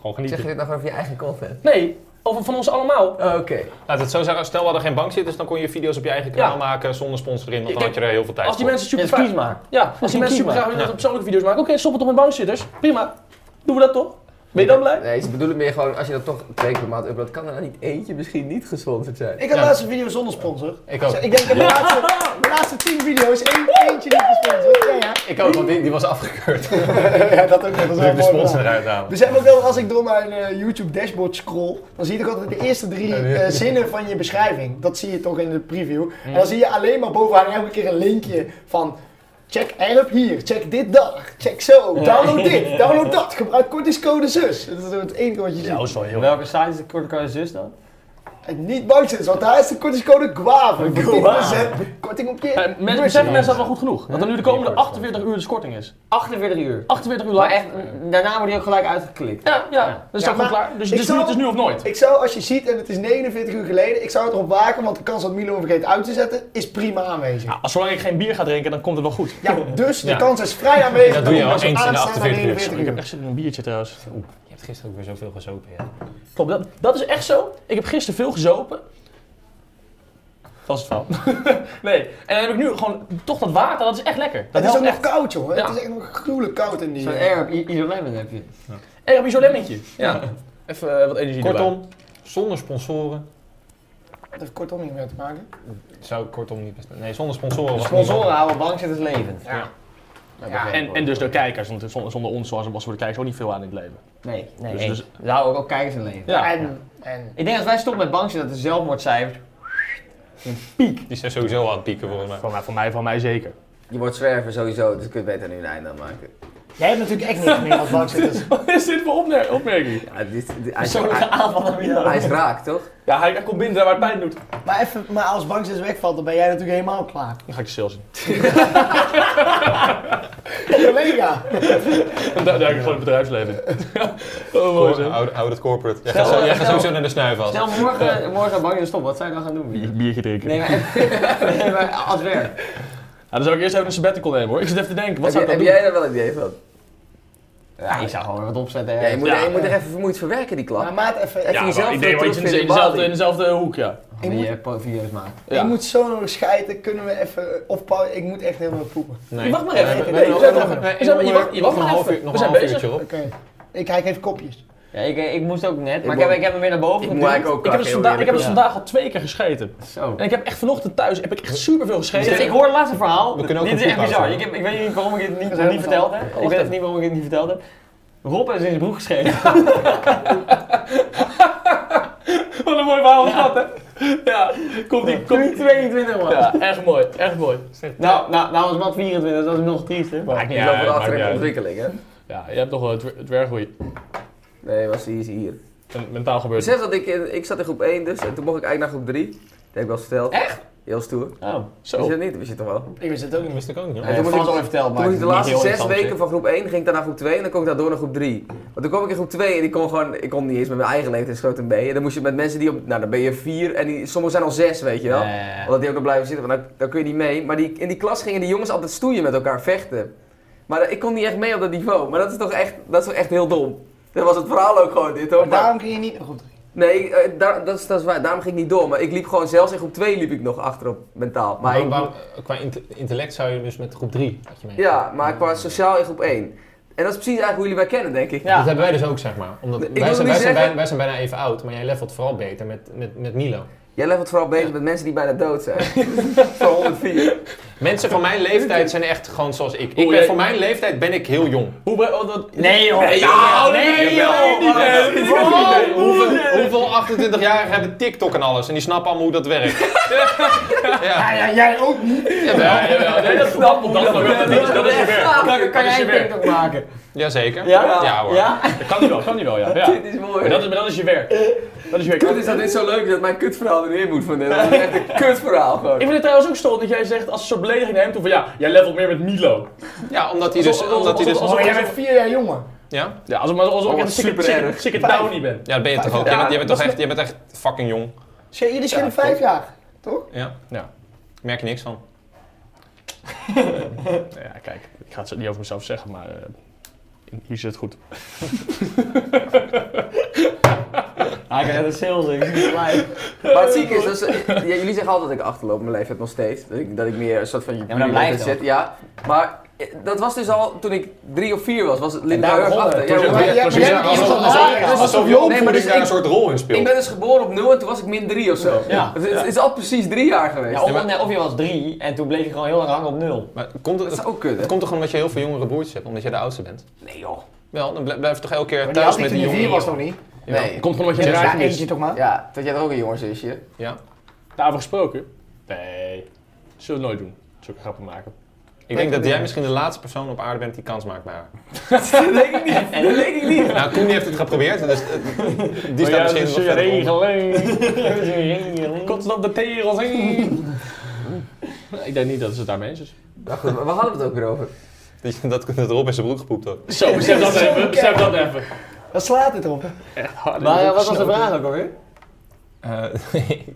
Speaker 3: Gewoon
Speaker 4: Zeg je
Speaker 3: genieten.
Speaker 4: dit nou gewoon over je eigen content?
Speaker 3: Nee, Over van ons allemaal.
Speaker 4: Oké.
Speaker 1: Laat het zo Nou, zeggen, stel we hadden geen bankzitters, dan kon je video's op je eigen kanaal
Speaker 3: Ja.
Speaker 1: maken zonder sponsor in, want
Speaker 3: Ik
Speaker 1: dan had je er heel veel tijd
Speaker 3: Als die
Speaker 1: voor.
Speaker 3: mensen
Speaker 5: Ja,
Speaker 3: super
Speaker 5: dus kies maar.
Speaker 3: Ja, als die
Speaker 5: Kies
Speaker 3: mensen super
Speaker 5: maar.
Speaker 3: graag willen dat we persoonlijke video's maken. Oké, stop het toch met bankzitters. Prima. Doen we dat toch? Ben je dan blij?
Speaker 4: Nee, ze bedoelen meer gewoon, als je dat toch twee keer per maand uploadt, kan er dan niet eentje misschien niet gesponsord zijn?
Speaker 2: Ik had laatst een video zonder sponsor.
Speaker 1: Ik ook.
Speaker 2: Ik denk dat de laatste, de laatste tien video's één, eentje niet gesponsord. Ja, ja.
Speaker 1: Ik ook, want die, die was afgekeurd.
Speaker 2: *laughs* ja, dat ook. Dat is
Speaker 1: Dus
Speaker 2: wel
Speaker 1: ik de
Speaker 2: mooi
Speaker 1: sponsor
Speaker 2: gedaan.
Speaker 1: eruit halen.
Speaker 2: Dus heb ook wel, als ik door mijn eh, YouTube dashboard scroll, dan zie ik toch altijd de eerste drie eh, zinnen van je beschrijving. Dat zie je toch in de preview. En
Speaker 1: Hmm.
Speaker 2: dan zie je alleen maar bovenaan elke keer een linkje van check erop hier, check dit daar, check zo, download
Speaker 1: *laughs*
Speaker 2: dit, download dat, gebruik kortingscode zus. Dat is het enige wat je ziet.
Speaker 3: is wel heel
Speaker 5: Welke site is de korte zus dan?
Speaker 2: En niet bang zitten, want daar is de kortingscode guave. Guave. Korting op
Speaker 1: Eh,
Speaker 2: je...
Speaker 3: Eh, mensen, beseffen mensen dat wel goed genoeg? Dat er nu de komende 48 uur de korting is.
Speaker 5: 48 uur.
Speaker 3: 48 uur
Speaker 5: Maar
Speaker 3: lang.
Speaker 5: echt, daarna wordt die ook gelijk uitgeklikt.
Speaker 3: Ja, ja. Dat is
Speaker 2: Ja,
Speaker 3: dan gewoon
Speaker 2: maar
Speaker 3: klaar. Dus,
Speaker 2: ik
Speaker 3: dus nu,
Speaker 2: zou-
Speaker 3: het is nu of nooit.
Speaker 2: Ik zou, als je ziet, en het is 49 uur geleden, ik zou het erop waken, want de kans dat Milo hem vergeet uit te zetten, is prima aanwezig.
Speaker 3: Ja, als zolang ik geen bier ga drinken, dan komt het wel goed.
Speaker 2: Ja, dus de
Speaker 3: Ja.
Speaker 2: kans is vrij aanwezig.
Speaker 1: Dat doe je
Speaker 2: we
Speaker 1: wel
Speaker 2: zo
Speaker 1: eens in de
Speaker 2: aanstaan aan
Speaker 1: 48 uur.
Speaker 2: 49
Speaker 3: Ik heb echt zin in een biertje trouwens.
Speaker 1: Je hebt gisteren ook weer zoveel gezopen,
Speaker 3: Klopt, dat, dat is echt zo. Ik heb gisteren veel gezopen. Dat is het van. *laughs* nee, en dan heb ik nu gewoon toch dat water, dat is echt lekker. Dat
Speaker 2: Het is ook
Speaker 3: helpt
Speaker 2: nog
Speaker 3: echt.
Speaker 2: koud, jongen.
Speaker 3: Ja.
Speaker 2: Het is echt nog gruwelijk koud in die...
Speaker 5: Zo'n
Speaker 2: eh,
Speaker 5: Arab I- isolement heb je.
Speaker 3: En heb je zo'n lemmetje. Ja. Even eh, wat energie erbij.
Speaker 1: Kortom, zonder sponsoren
Speaker 2: Dat heeft kortom niet meer te maken.
Speaker 1: zou ik kortom niet best... Nee, zonder sponsoren was het niet
Speaker 5: Sponsoren houden bankzitters levend.
Speaker 1: Ja.
Speaker 5: Ja,
Speaker 3: En, en dus de kijkers, want zonder, zonder ons zoals was voor de kijkers ook niet veel aan in het leven.
Speaker 5: Nee, nee.
Speaker 3: Dus-
Speaker 5: Dus,
Speaker 3: dus-
Speaker 5: we houden ook, ook kijkers in leven.
Speaker 3: Ja.
Speaker 2: En, en...
Speaker 5: Ik denk als wij stoppen met bankzitters, dat de zelfmoordcijfers...
Speaker 1: Die zijn sowieso aan het pieken volgens mij.
Speaker 3: Van mij, van mij, van mij zeker.
Speaker 4: Je wordt zwerver sowieso, dus je kunt beter nu een einde aan maken.
Speaker 2: Jij hebt natuurlijk echt niks meer als bankzitters.
Speaker 3: Wat *laughs* is dit voor opner- opmerking?
Speaker 4: Ja, dit, dit- hij, is,
Speaker 5: Zo'n
Speaker 4: hij,
Speaker 5: aanval naar
Speaker 4: hij
Speaker 5: jou.
Speaker 4: is raak, toch?
Speaker 3: Ja, hij, hij komt binnen daar waar het pijn doet.
Speaker 2: Maar, even, maar als bankzitters wegvalt, dan ben jij natuurlijk helemaal klaar.
Speaker 3: Dan ga ik je sales *laughs* in.
Speaker 2: Collega.
Speaker 3: Dan duik ik gewoon het *laughs* bedrijfsleven in. oh, mooi
Speaker 1: Hoor,
Speaker 3: zo.
Speaker 1: Oud, oud het corporate. Jij gaat, zo, jij gaat sowieso naar de snuifas.
Speaker 5: Stel, morgen, morgen bankzitters stoppen, wat zou je dan gaan doen? Bier?
Speaker 3: Biertje drinken.
Speaker 5: Nee, maar, nee, maar als werk.
Speaker 3: Ja, dan zou ik eerst even een sabbatical nemen hoor. Ik zit even te denken, wat
Speaker 4: Heb,
Speaker 3: zou
Speaker 4: jij-
Speaker 3: ik dan
Speaker 4: heb
Speaker 3: doen?
Speaker 4: jij daar wel een idee van?
Speaker 5: Ja, ik zou gewoon weer wat opzetten.
Speaker 4: Ja, je moet,
Speaker 3: Ja.
Speaker 4: je moet er even vermoeid verwerken, die klap.
Speaker 2: Maar maat, even...
Speaker 4: Ja.
Speaker 3: Ja,
Speaker 4: jezelf
Speaker 3: maar ik denk wel iets in, de-
Speaker 4: terugvinden
Speaker 3: in
Speaker 4: in
Speaker 3: dezelfde,
Speaker 4: Bali.
Speaker 3: in dezelfde hoek, ja.
Speaker 5: Die
Speaker 2: Ik moet-
Speaker 5: eh, pro- video's maken.
Speaker 3: ja.
Speaker 2: Ik moet zo nog scheiden, kunnen we even... Of Paul, ik moet echt helemaal poepen.
Speaker 1: Nee.
Speaker 3: Je mag maar even.
Speaker 1: Nee,
Speaker 3: Nee,
Speaker 1: nee,
Speaker 3: we
Speaker 1: nee,
Speaker 3: zijn
Speaker 1: nee,
Speaker 3: er-
Speaker 1: nee,
Speaker 3: we zijn-
Speaker 1: nee,
Speaker 3: je wacht- je wacht
Speaker 1: nog
Speaker 3: maar
Speaker 1: een half
Speaker 3: even.
Speaker 1: uur-
Speaker 3: We
Speaker 1: Nog een
Speaker 3: zijn
Speaker 1: half
Speaker 3: bezig.
Speaker 1: uurtje op.
Speaker 2: Oké. Ik krijg even kopjes.
Speaker 5: Ja, ik, eh, ik moest ook net, maar
Speaker 4: Ik
Speaker 5: ik, heb,
Speaker 4: moet-
Speaker 5: ik heb hem weer naar boven
Speaker 4: Ik
Speaker 5: geduwd.
Speaker 4: moet eigenlijk ook
Speaker 3: Ik heb, dus
Speaker 4: heel
Speaker 3: vandaag, ik heb dus
Speaker 4: eerlijk.
Speaker 3: vandaag al twee keer gescheten.
Speaker 5: Zo.
Speaker 3: En ik heb echt vanochtend thuis heb ik echt superveel gescheten.
Speaker 5: Dus ik hoor het laatste verhaal.
Speaker 1: We kunnen ook
Speaker 5: Dit
Speaker 1: een
Speaker 5: is echt
Speaker 1: podcast
Speaker 5: bizar. Ik,
Speaker 1: houden.
Speaker 5: heb, ik weet niet waarom ik dit niet,
Speaker 2: is heel
Speaker 5: niet verteld heb.
Speaker 3: wacht
Speaker 5: Ik weet
Speaker 3: even.
Speaker 5: het niet waarom ik dit niet verteld heb. Rob is in zijn broek geschreven. *laughs*
Speaker 3: Wat een mooi verhaal is dat, hè? Ja, komt die. Kom die
Speaker 5: 22 man.
Speaker 3: ja, echt mooi, echt mooi.
Speaker 5: Nou, nou, nou was Matt 24, dat is nog triester. Maar
Speaker 4: Het is
Speaker 3: Ja,
Speaker 4: overal
Speaker 3: maakt
Speaker 4: achter
Speaker 3: niet
Speaker 4: in
Speaker 3: uit.
Speaker 4: ontwikkeling, hè?
Speaker 3: Ja, je hebt toch wel
Speaker 1: eh,
Speaker 3: het dwer- dwerggroei.
Speaker 4: Nee, was die is hier.
Speaker 3: En mentaal gebeurt het.
Speaker 4: Besef dat ik, in- ik zat in groep 1 dus, en toen mocht ik eigenlijk naar groep 3. Dat heb ik wel eens verteld. Echt? Heel stoer.
Speaker 5: Oh,
Speaker 4: Wist je
Speaker 3: Zo.
Speaker 4: dat niet? Wist je toch wel?
Speaker 2: Ik wist het ook
Speaker 1: Dat
Speaker 2: niet.
Speaker 1: wist ik ook niet.
Speaker 5: dat
Speaker 4: toen
Speaker 5: heb
Speaker 4: moest
Speaker 5: ik
Speaker 4: ik-
Speaker 5: al verteld, maar
Speaker 4: Toen moest
Speaker 5: het
Speaker 4: ik de
Speaker 5: is niet
Speaker 4: laatste
Speaker 5: heel
Speaker 4: zes
Speaker 5: interessant,
Speaker 4: weken van groep 1 ging ik dan naar groep 2 en dan kom ik daardoor naar groep 3. Want toen kwam ik in groep 2 en ik kon gewoon, ik kon niet eens met mijn eigen leeftijdsgroot een B. En dan moest je met mensen die op, nou dan ben je 4 en die, sommigen zijn al 6, weet je wel.
Speaker 5: Ja, ja, ja.
Speaker 4: Omdat die ook nog blijven zitten, want dan, dan kun je niet mee. Maar die, in die klas gingen die jongens altijd stoeien met elkaar, vechten. Maar eh, ik kon niet echt mee op dat niveau. Maar dat is toch echt, dat is toch echt heel dom. Dat was het verhaal ook gewoon dit hoor.
Speaker 2: Maar daarom ging je niet naar groep drie.
Speaker 4: Nee, eh, daar- dat, is, dat is waar. Daarom ging ik niet door. Maar ik liep gewoon, zelfs in groep 2 liep ik nog achterop mentaal. Maar
Speaker 1: Maar
Speaker 4: ik-
Speaker 1: waarom- eh, qua inte- intellect zou je dus met groep 3 had je mee.
Speaker 4: ja, maar qua sociaal in groep 1. En dat is precies eigenlijk hoe jullie mij kennen, denk ik.
Speaker 1: Dat hebben wij dus ook, zeg maar. Omdat
Speaker 4: Ik wil
Speaker 1: wij,
Speaker 4: niet
Speaker 1: zijn, wij, zijn
Speaker 4: zeggen-
Speaker 1: bijna, wij zijn bijna even oud, maar jij levelt vooral beter met, met, met Milo.
Speaker 4: Jij levelt vooral bezig met mensen die bijna dood zijn. Van 104.
Speaker 1: Mensen van mijn leeftijd zijn echt gewoon zoals ik. ik
Speaker 3: Oei,
Speaker 1: ben,
Speaker 3: jij-
Speaker 1: voor mijn leeftijd ben ik heel jong.
Speaker 3: Hoe ben oh, dat?
Speaker 5: Nee joh! Nee
Speaker 1: joh,
Speaker 5: Nee
Speaker 1: nee,
Speaker 5: joh!
Speaker 3: joh.
Speaker 5: Nee,
Speaker 3: Nee,
Speaker 5: joh.
Speaker 1: Hoeveel- Hoeveel, hoeveel 28-jarigen hebben TikTok en alles en die snappen allemaal hoe dat *laughs* werkt? ja.
Speaker 2: ja, jij ook niet.
Speaker 3: Ja, ja, ja, nee, dat snap ik. Dat, dat, dat, is- dat is je werk.
Speaker 5: Kan, kan
Speaker 3: is
Speaker 5: jij
Speaker 3: je
Speaker 5: een
Speaker 3: werk.
Speaker 5: TikTok maken?
Speaker 1: Jazeker.
Speaker 5: Ja?
Speaker 1: hoor.
Speaker 5: Ja?
Speaker 3: Dat kan die wel, kan die wel, ja. ja.
Speaker 4: *laughs* Dit is mooi.
Speaker 3: Maar dat is, maar dat is je werk. Dat is je werk.
Speaker 4: Kut is dat dit zo leuk is dat mijn kutverhaal er weer moet van dit. Dat is echt een kutverhaal gewoon.
Speaker 3: Ik vind het trouwens ook stom dat jij zegt als een soort belediging neemt van ja, jij levelt meer met Milo.
Speaker 1: Ja, omdat hij dus...
Speaker 3: Alsof-
Speaker 1: Omdat hij dus
Speaker 3: alsof- alsof-
Speaker 2: Oh, jij bent vier jaar jonger.
Speaker 1: ja?
Speaker 3: Ja, alsof, alsof, alsof
Speaker 4: Oh,
Speaker 3: ik
Speaker 4: wat
Speaker 3: echt een
Speaker 4: super
Speaker 3: chicken-
Speaker 4: erg.
Speaker 3: chicken downy ben.
Speaker 1: ja, dat ben je toch ook. Jij bent, jij bent toch echt, jij bent echt fucking jong.
Speaker 2: Dus Jullie schelen vijf jaar, toch?
Speaker 1: Ja. ja. Merk je niks van.
Speaker 3: Nou Ja, kijk, ik ga het niet over mezelf zeggen, maar eh, hier zit het goed.
Speaker 5: Hij gaat de sales in, ik zie het live.
Speaker 4: Maar het zieke is, dus, eh, ja, jullie zeggen altijd dat ik achterloop mijn leeftijd nog steeds. Dat ik, dat ik meer een soort van
Speaker 5: maar dat
Speaker 4: leeftijd
Speaker 5: blijft
Speaker 4: zit. Ja, maar eh, dat was dus al toen ik drie of vier was, was het
Speaker 5: daar
Speaker 4: Linda erg
Speaker 5: begon het.
Speaker 4: achter.
Speaker 5: Toen
Speaker 4: Ja,
Speaker 5: je-
Speaker 4: maar-
Speaker 2: Maar jij- maar
Speaker 1: Precies,
Speaker 2: jij bent
Speaker 1: ja,
Speaker 2: iets
Speaker 1: alsof-
Speaker 2: van
Speaker 1: alsof-
Speaker 2: lager.
Speaker 1: alsof- Alsof je
Speaker 2: Alsof je
Speaker 4: Nee, maar
Speaker 1: opvoeding
Speaker 4: dus
Speaker 1: daar
Speaker 4: ik-
Speaker 1: een soort rol in
Speaker 4: ik
Speaker 1: speelt.
Speaker 4: ben dus geboren op nul en toen was ik min drie of zo.
Speaker 5: Ja.
Speaker 4: Het, is- het is al precies drie jaar geweest.
Speaker 5: Ja, of, nee, of je was drie en toen bleef je gewoon heel lang hangen op nul.
Speaker 1: Maar komt het,
Speaker 4: Dat
Speaker 1: het,
Speaker 4: zou ook kunnen.
Speaker 1: komt toch gewoon omdat je heel veel jongere broertjes hebt, omdat jij de oudste bent?
Speaker 4: Nee joh.
Speaker 1: Wel, dan blij- blijf je toch elke keer
Speaker 2: Maar die
Speaker 1: thuis
Speaker 2: had ik
Speaker 1: met
Speaker 2: toen
Speaker 1: die
Speaker 2: je vier
Speaker 1: jongen.
Speaker 2: was nog niet.
Speaker 4: Nee.
Speaker 3: Komt gewoon omdat je
Speaker 2: Ja,
Speaker 3: het
Speaker 2: daar
Speaker 3: raakt
Speaker 2: eentje
Speaker 3: mist.
Speaker 2: toch maar.
Speaker 4: Ja, dat jij er ook een jongen zusje.
Speaker 1: Ja.
Speaker 3: Daarover gesproken? Nee. Zullen we nooit doen. Zullen we grappen maken?
Speaker 1: Ik denk dat jij misschien de laatste persoon op aarde bent die kans maakt naar
Speaker 2: *laughs*
Speaker 1: haar.
Speaker 4: Dat denk ik niet. Dat denk ik niet.
Speaker 1: Nou, Koen die heeft het geprobeerd, dus eh, die
Speaker 3: Maar Oh ja,
Speaker 1: staat misschien
Speaker 3: dat
Speaker 1: nog
Speaker 3: is je
Speaker 1: verder onder.
Speaker 3: regelen. Komt op de tegels heen. Ik denk niet dat ze het daarmee eens is.
Speaker 4: Wacht, we we hadden het ook weer over.
Speaker 1: Dat je- Dat dat Rob in zijn broek gepoept had.
Speaker 3: Zo, besef dat even. Besef dat even.
Speaker 2: Wat slaat dit op?
Speaker 3: Echt hard.
Speaker 5: Maar eh, wat was de vraag ook *laughs* alweer?
Speaker 1: Eh,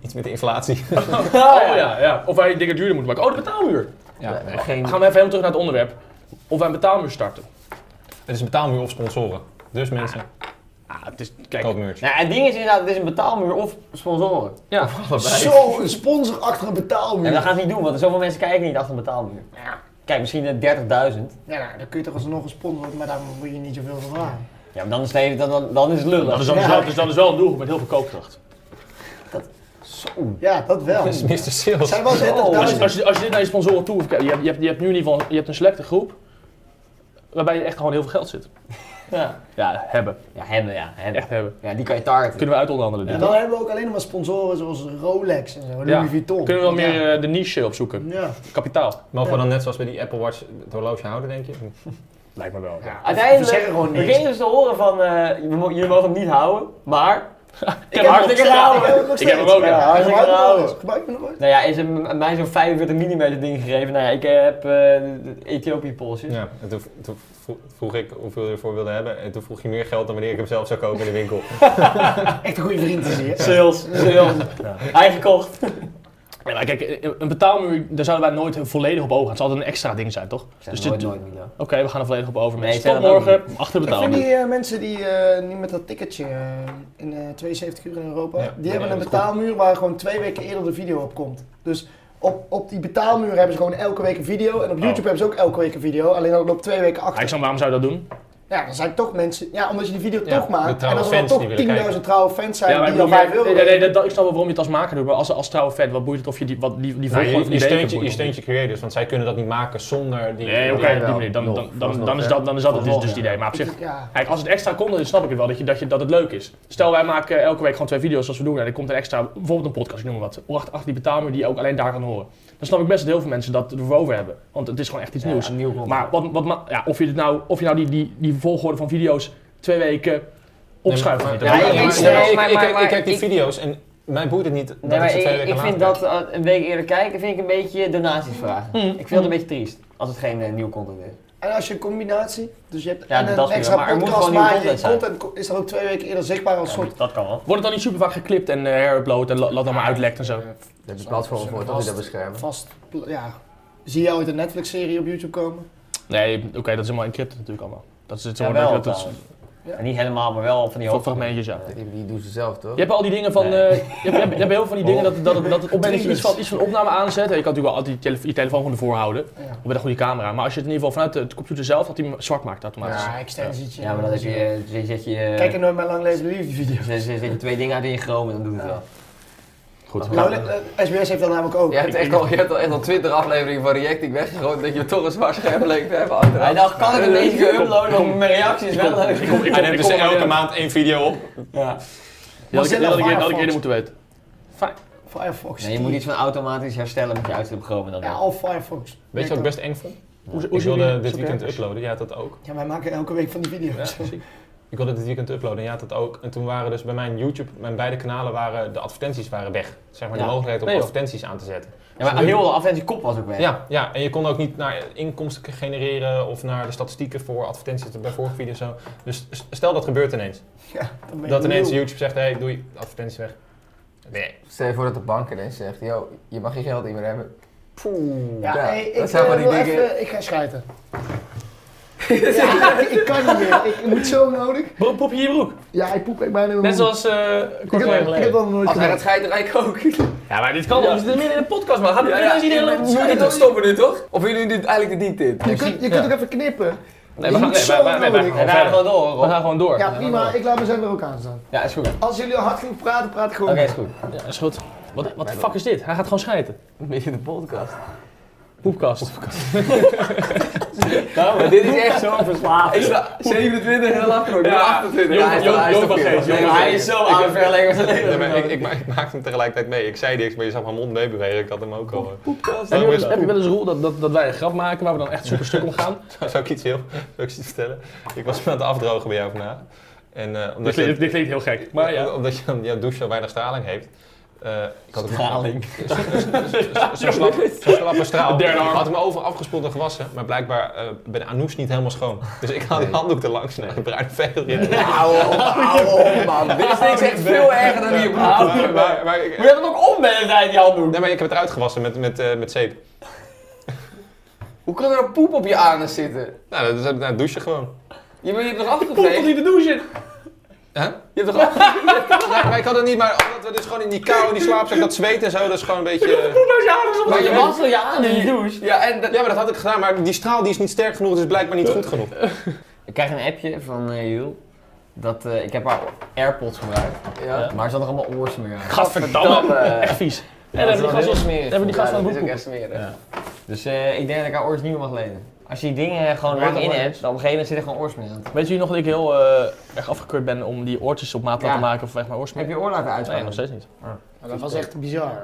Speaker 1: iets met de inflatie.
Speaker 3: Oh ja, ja. Of wij dingen duurder moeten maken. Oh, de betaalmuur.
Speaker 1: ja, nee.
Speaker 4: Geen...
Speaker 3: We gaan even helemaal terug naar het onderwerp. Of wij een betaalmuur starten.
Speaker 1: Het is een betaalmuur of sponsoren. Dus mensen,
Speaker 3: Ah, het is... Kijk.
Speaker 1: koop muurtjes.
Speaker 5: Nou, het ding is inderdaad, het is een betaalmuur of sponsoren.
Speaker 3: Ja.
Speaker 2: Zo, een sponsor achter een
Speaker 5: En dat
Speaker 2: betaalmuur.
Speaker 5: gaat niet doen, want zoveel mensen kijken niet achter een betaalmuur. Kijk, misschien eh, 30.000.
Speaker 2: Ja, nou, dan kun je toch alsnog een sponsor maar daar moet je niet zoveel van vragen.
Speaker 5: Ja, maar dan is, het, dan, dan, dan is het lullig.
Speaker 3: Dat is, dan, dus wel, dus dat is wel een doelgroep met heel veel koopkracht.
Speaker 2: Ja, dat wel.
Speaker 1: Dat is Mr. Sales.
Speaker 2: Zijn wel
Speaker 3: Als je,
Speaker 2: 30.000.
Speaker 3: als, je, als je dit naar je sponsoren toe kijkt, je, hebt- je, hebt- je hebt nu in ieder geval je hebt een selecte groep waarbij je echt gewoon heel veel geld zit.
Speaker 5: Ja.
Speaker 3: Ja, hebben.
Speaker 5: Ja, hebben, ja. Hebben.
Speaker 3: Echt hebben.
Speaker 5: Ja, die kan je targeten.
Speaker 3: Kunnen we uitonderhandelen dit.
Speaker 2: En dan hebben we ook alleen nog maar sponsoren zoals Rolex en zo, Louis Vuitton.
Speaker 3: Kunnen we wel meer
Speaker 2: Ja.
Speaker 3: eh, de niche opzoeken.
Speaker 2: Ja.
Speaker 3: Kapitaal.
Speaker 1: Mogen we dan net zoals bij die Apple Watch het horloge houden, denk je?
Speaker 3: Lijkt me wel. Ja.
Speaker 5: Uiteindelijk
Speaker 2: We zeggen gewoon niks.
Speaker 5: kregen dus te horen van, eh, we mo- jullie mogen hem niet houden, maar...
Speaker 3: Ik heb hartstikke
Speaker 5: gehouden.
Speaker 2: Ja, nog
Speaker 3: Ik heb hem
Speaker 2: steeds.
Speaker 3: ook, ja.
Speaker 2: Ja,
Speaker 5: Hartstikke
Speaker 2: Gebruik me nog
Speaker 5: gehouden.
Speaker 2: eens. Gebruik me nog eens.
Speaker 5: Nou ja, is hem mij zo'n 45 mm ding gegeven. Nou ja, ik heb eh Ethiopië polsjes.
Speaker 1: Ja, en toen, toen vro- vroeg ik hoeveel je ervoor wilde hebben. En toen vroeg je meer geld dan wanneer ik hem zelf zou kopen in de
Speaker 3: *laughs*
Speaker 1: winkel.
Speaker 2: Echt een goede vriend is hier.
Speaker 5: Sales, sales. Hij gekocht.
Speaker 3: maar kijk, eh, een betaalmuur, daar zouden wij nooit volledig op ogen gaan. Het zal altijd een extra ding zijn, toch?
Speaker 5: Dus
Speaker 3: dit-
Speaker 5: nooit, nooit, Milo.
Speaker 3: Oké, we gaan er volledig op over.
Speaker 5: Nee,
Speaker 3: Mensen.
Speaker 5: zei
Speaker 3: Tot
Speaker 5: dat ook
Speaker 3: morgen, achter de
Speaker 2: Ik vind
Speaker 3: betaalmuur.
Speaker 2: die eh, mensen die eh, nu met dat ticketje eh, in eh, 72 uur in Europa,
Speaker 1: Ja,
Speaker 2: die
Speaker 1: ja,
Speaker 2: hebben
Speaker 1: dat
Speaker 2: een
Speaker 1: is
Speaker 2: betaalmuur waar gewoon twee weken eerder de video op komt. Dus op, op die betaalmuur hebben ze gewoon elke week een video en op YouTube hebben ze ook elke week een video, alleen dat loopt twee weken achter.
Speaker 3: Alexander, Ah, waarom zou je dat doen?
Speaker 2: Ja, dan zijn toch mensen, ja omdat je die video
Speaker 1: Ja,
Speaker 2: toch
Speaker 1: de
Speaker 2: maakt en
Speaker 1: trouwe
Speaker 2: als er dan
Speaker 1: fans die
Speaker 2: toch
Speaker 1: willen
Speaker 2: 10.000 trouwe fans zijn
Speaker 3: Ja, maar ik
Speaker 2: die dan
Speaker 3: bedoel,
Speaker 2: 5
Speaker 3: maar-
Speaker 2: euro
Speaker 3: nee, nee, nee,
Speaker 2: geven.
Speaker 3: dat, dat- ik snap wel waarom je het als maker doet, maar als, als trouwe fan, wat boeit het of je die, wat, die, die
Speaker 1: Nou,
Speaker 3: volgorde
Speaker 1: je,
Speaker 3: van
Speaker 1: je,
Speaker 3: die weken
Speaker 1: steunt je, je
Speaker 3: boeit het?
Speaker 1: steunt je creators, want zij kunnen dat niet maken zonder die...
Speaker 3: Nee, oké,
Speaker 1: die-
Speaker 3: op die manier. Dan, dan, dan, dan, is dat, dan is dat het dus, dus het idee. Maar op zich,
Speaker 2: Ja.
Speaker 3: kijk, als het extra komt, dan snap ik het wel dat, je, dat, je, dat het leuk is. Stel, wij maken elke week gewoon twee video's zoals we doen en er komt een extra, bijvoorbeeld een podcast, ik noem maar wat, achter, achter die betaalmuur die je ook alleen daar kan horen. Dan snap ik best dat heel veel mensen dat ervoor over hebben, want het is gewoon echt iets nieuws.
Speaker 5: Ja, nieuw
Speaker 3: Maar wat, wat, ma- ja, of je, dit nou, of je nou die, die, die volgorde van video's twee weken opschuift.
Speaker 1: Nee,
Speaker 3: of
Speaker 1: maar-
Speaker 3: niet,
Speaker 1: maar-
Speaker 3: dat-
Speaker 1: maar-
Speaker 5: ik-
Speaker 1: maar- nee, ik-
Speaker 5: ik- maar-
Speaker 1: ik-
Speaker 5: maar-
Speaker 1: ik-
Speaker 5: maar-
Speaker 1: Ik kijk die
Speaker 5: ik-
Speaker 1: video's en mij boeit het niet dat
Speaker 5: Nee,
Speaker 1: ik
Speaker 5: maar
Speaker 1: ze twee
Speaker 5: ik,
Speaker 1: weken
Speaker 5: ik vind
Speaker 1: later
Speaker 5: dat eh, een week eerder kijken, vind ik een beetje de nazi's vragen. Ik vind dat een beetje triest, als het geen eh, nieuw content is.
Speaker 2: En als je een combinatie, dus je hebt
Speaker 5: Ja,
Speaker 2: en
Speaker 5: dat
Speaker 2: een
Speaker 5: weer,
Speaker 2: extra
Speaker 5: maar er moet
Speaker 2: podcast,
Speaker 5: gewoon
Speaker 2: maar
Speaker 5: nieuwe
Speaker 2: je
Speaker 5: content
Speaker 2: content is dan ook twee weken eerder zichtbaar als soort
Speaker 5: Dat kan wel.
Speaker 3: Wordt het dan niet super vaak geklipt en eh, herupload en la- laat dan maar uitlekt en zo?
Speaker 4: Dat is platform voor toch die dat beschermen.
Speaker 2: vast, ja. Zie je ooit een Netflix-serie op YouTube komen?
Speaker 3: Nee, oké, dat is helemaal encrypted natuurlijk allemaal. Dat is het zo
Speaker 5: Ja,
Speaker 3: dat-
Speaker 5: wel,
Speaker 3: dat is
Speaker 5: trouwens. En niet helemaal, maar wel van
Speaker 3: van
Speaker 5: die hoofdfragmenten.
Speaker 3: fragmentjes, ja.
Speaker 4: Die, die doen ze zelf toch?
Speaker 3: Je hebt al die dingen van, eh, je, hebt, je, hebt, je hebt heel veel van die dingen dat, dat, dat, het op het moment dat je iets van, iets van opname aanzet, en je kan natuurlijk wel altijd je, telef- je telefoon gewoon ervoor houden,
Speaker 2: Ja.
Speaker 3: of met een goede camera, maar als je het in ieder geval vanuit de, de computer zelf, dat hij hem zwart maakt automatisch.
Speaker 2: Ja, extensietje.
Speaker 5: Ja, maar dat heb je, eh, zet- zet je, eh,
Speaker 2: Kijk er nooit mijn lang leven de liefde video.
Speaker 5: zet- zet je twee dingen uit in je Chrome en dan doet het wel.
Speaker 3: Goed.
Speaker 5: Ja.
Speaker 2: Nou, eh, SBS heeft dat namelijk ook.
Speaker 4: Je hebt echt al, je hebt al, echt al 20 afleveringen van Reacting weggegooid dat je toch een zwaar scherm leek te hebben achteraf.
Speaker 5: Hij dacht, kan ik een beetje geüploaden, want mijn reactie is wel leuk.
Speaker 3: Ik kom- ik
Speaker 1: En
Speaker 3: kom-
Speaker 1: hebben
Speaker 3: ik
Speaker 1: ze
Speaker 3: kom-
Speaker 1: dus elke
Speaker 3: ja.
Speaker 1: maand één video op.
Speaker 5: Ja.
Speaker 3: Die had ik- die had ik- die had ik eerder
Speaker 2: Firefox.
Speaker 3: moeten weten. Fijn.
Speaker 2: Firefox.
Speaker 5: Nee, je moet iets van automatisch herstellen met je uitstap Chrome en dan
Speaker 2: Ja,
Speaker 5: wel.
Speaker 2: of Firefox.
Speaker 1: Weet je wat ik best eng vond?
Speaker 3: Hoe, hoe
Speaker 1: Ik
Speaker 3: zien
Speaker 1: wilde
Speaker 3: jullie-
Speaker 1: dit
Speaker 3: Oké.
Speaker 1: weekend uploaden, jij had dat ook.
Speaker 2: Ja, wij maken elke week van die video's.
Speaker 1: Ja, *laughs* Ik wilde dit weekend uploaden en jij had dat ook. En toen waren dus bij mijn YouTube, mijn beide kanalen waren, de advertenties waren weg. Zeg maar
Speaker 5: Ja.
Speaker 1: de mogelijkheid om
Speaker 3: Nee, joh.
Speaker 1: advertenties aan te zetten.
Speaker 5: Ja, maar heel de advertentie kop was ook weg.
Speaker 1: Ja, ja, en je kon ook niet naar inkomsten genereren of naar de statistieken voor advertenties bij vorige video's zo. Dus s- stel dat gebeurt ineens.
Speaker 2: Ja, dan ben je
Speaker 1: Dat ineens
Speaker 2: nul.
Speaker 1: YouTube zegt, hé, hey, doei, advertenties weg. Nee.
Speaker 4: Stel je voor dat de bank ineens zegt, yo, je mag geen geld niet meer hebben.
Speaker 2: Ja,
Speaker 4: Ja,
Speaker 2: hey,
Speaker 4: dat
Speaker 2: ik,
Speaker 4: zijn
Speaker 2: eh,
Speaker 4: van die
Speaker 2: wil
Speaker 4: dingen-
Speaker 2: even, ik ga schijten. *laughs* Ja, ik, ik kan niet meer. Ik moet zo nodig.
Speaker 3: Bro, Poep je in je broek.
Speaker 2: Ja, ik poep echt bijna in mijn
Speaker 3: Net
Speaker 2: broek.
Speaker 3: zoals eh
Speaker 2: Ik
Speaker 3: kort
Speaker 2: heb,
Speaker 3: geleden.
Speaker 2: ik heb dat nog nooit
Speaker 4: Als hij dat
Speaker 2: gedaan.
Speaker 4: scheidt, rijd ik ook.
Speaker 3: Ja, maar dit kan wel. We zitten midden in de podcast, man. Gaat
Speaker 4: Ja,
Speaker 3: ja,
Speaker 4: ja,
Speaker 3: niet
Speaker 4: ik ben-
Speaker 3: helemaal...
Speaker 4: Moeten we toch stoppen nu, toch? Of willen jullie dit eigenlijk de diep dit?
Speaker 2: Je kunt, je kunt
Speaker 3: Ja.
Speaker 2: ook even knippen.
Speaker 3: Nee, we gaan, nee, wij- wij- wij gaan
Speaker 2: En
Speaker 3: gewoon
Speaker 5: En daar
Speaker 3: verder.
Speaker 5: gewoon door,
Speaker 3: We
Speaker 5: hoor.
Speaker 3: gaan gewoon door.
Speaker 2: Ja, prima. Ik laat mezelf er ook aan staan.
Speaker 5: Ja, is goed. Oké,
Speaker 2: Als jullie al hard genoeg praten, praat ik gewoon.
Speaker 5: is goed.
Speaker 3: Ja, is goed. Wat, wat de fuck is dit? Hij gaat gewoon schijten.
Speaker 4: Midden in de podcast.
Speaker 3: Poepkast.
Speaker 5: Nou, maar
Speaker 4: Dit is echt zo.
Speaker 5: verslaafd.
Speaker 4: Ik sta 27 heel afgerond.
Speaker 3: Ja,
Speaker 4: Ja, 28. Ja, hij is
Speaker 3: Joop-
Speaker 4: hij is
Speaker 3: Joop-
Speaker 4: toch
Speaker 3: Joop-
Speaker 4: veel.
Speaker 3: Joop-
Speaker 4: Nee,
Speaker 3: Joop-
Speaker 4: hij
Speaker 5: Hij
Speaker 4: is-
Speaker 5: is zo aan verleggen als
Speaker 1: Nee, maar
Speaker 5: leven.
Speaker 4: *laughs*
Speaker 1: ik, ik, ma- ik maakte hem tegelijkertijd mee. Ik zei niks, maar je zag mijn mond meebewegen. Ik had hem ook al. eh.
Speaker 3: Heb je,
Speaker 1: Daarom
Speaker 3: wel
Speaker 1: is-
Speaker 3: eens- heb je wel eens een rol dat, dat, dat wij een grap maken waar we dan echt super stuk om gaan?
Speaker 1: Zou ik iets heel, zou ik iets vertellen? Ik was me aan het afdrogen bij jou vandaag. En eh, omdat,
Speaker 3: Dit
Speaker 1: je,
Speaker 3: klinkt, dit klinkt heel gek, maar ja.
Speaker 1: omdat je dan jouw douche zo weinig straling heeft. eh, ik had hem-
Speaker 5: Straling.
Speaker 1: Zo'n slap, zo'n slappe straal.
Speaker 3: Derde arm.
Speaker 1: had hem overal afgespoeld en gewassen, maar blijkbaar eh, bij de anus niet helemaal schoon. Dus ik haal die handdoek er langs en een bruine veter in.
Speaker 4: Auw, auw, man. Dit is niks echt veel erger dan hier, broer.
Speaker 1: Maar, maar, maar ik,
Speaker 5: Moet je dat ook om bij de tijd, die handdoek?
Speaker 1: nee, maar ik heb het eruit gewassen met, met, eh, met zeep.
Speaker 4: Hoe kan er een poep op je anus zitten?
Speaker 1: Nou, dat is nou, het douchen gewoon.
Speaker 4: Je, bent- je hebt toch
Speaker 3: Poep tot
Speaker 4: afgeveegd?
Speaker 3: in de douche!
Speaker 1: Huh?
Speaker 4: Je hebt toch
Speaker 1: *laughs*
Speaker 4: afgeveegd?
Speaker 1: Nee, maar ik had het niet, maar omdat we dus gewoon in die kou, in die slaapzak, dat zweet en zo, dat is gewoon een beetje... eh,
Speaker 5: Maar je was je aan in je douche.
Speaker 4: Ja, en dat...
Speaker 1: Ja, maar dat had ik gedaan, maar die straal die is niet sterk genoeg, dus blijkbaar niet goed genoeg.
Speaker 5: Ik krijg een appje van eh Jules. Dat, eh, ik heb haar AirPods gebruikt,
Speaker 4: Ja.
Speaker 5: maar er zat nog allemaal oors meer aan.
Speaker 3: Gadverdamme! Echt vies. En dan hebben die gasten
Speaker 5: meer.
Speaker 3: hebben die gasten
Speaker 4: Ja,
Speaker 3: aan
Speaker 4: dat
Speaker 3: het
Speaker 4: is ook
Speaker 3: broek.
Speaker 4: echt smerig.
Speaker 3: Ja.
Speaker 5: Dus eh, ik denk dat ik haar oors niet meer mag lenen. Als je die dingen eh, gewoon
Speaker 3: Maar
Speaker 5: lang in
Speaker 3: dat-
Speaker 5: hebt, dan op een gegeven moment zit er gewoon oorsmeer aan.
Speaker 3: Weet jullie nog dat ik heel eh, erg afgekeurd ben om die oortjes op maat te
Speaker 5: Ja.
Speaker 3: laten maken of echt mijn oorsmeer?
Speaker 5: Heb je oor laten
Speaker 3: Nee,
Speaker 5: uitspraken?
Speaker 3: nog steeds niet.
Speaker 2: Dat was echt bizar.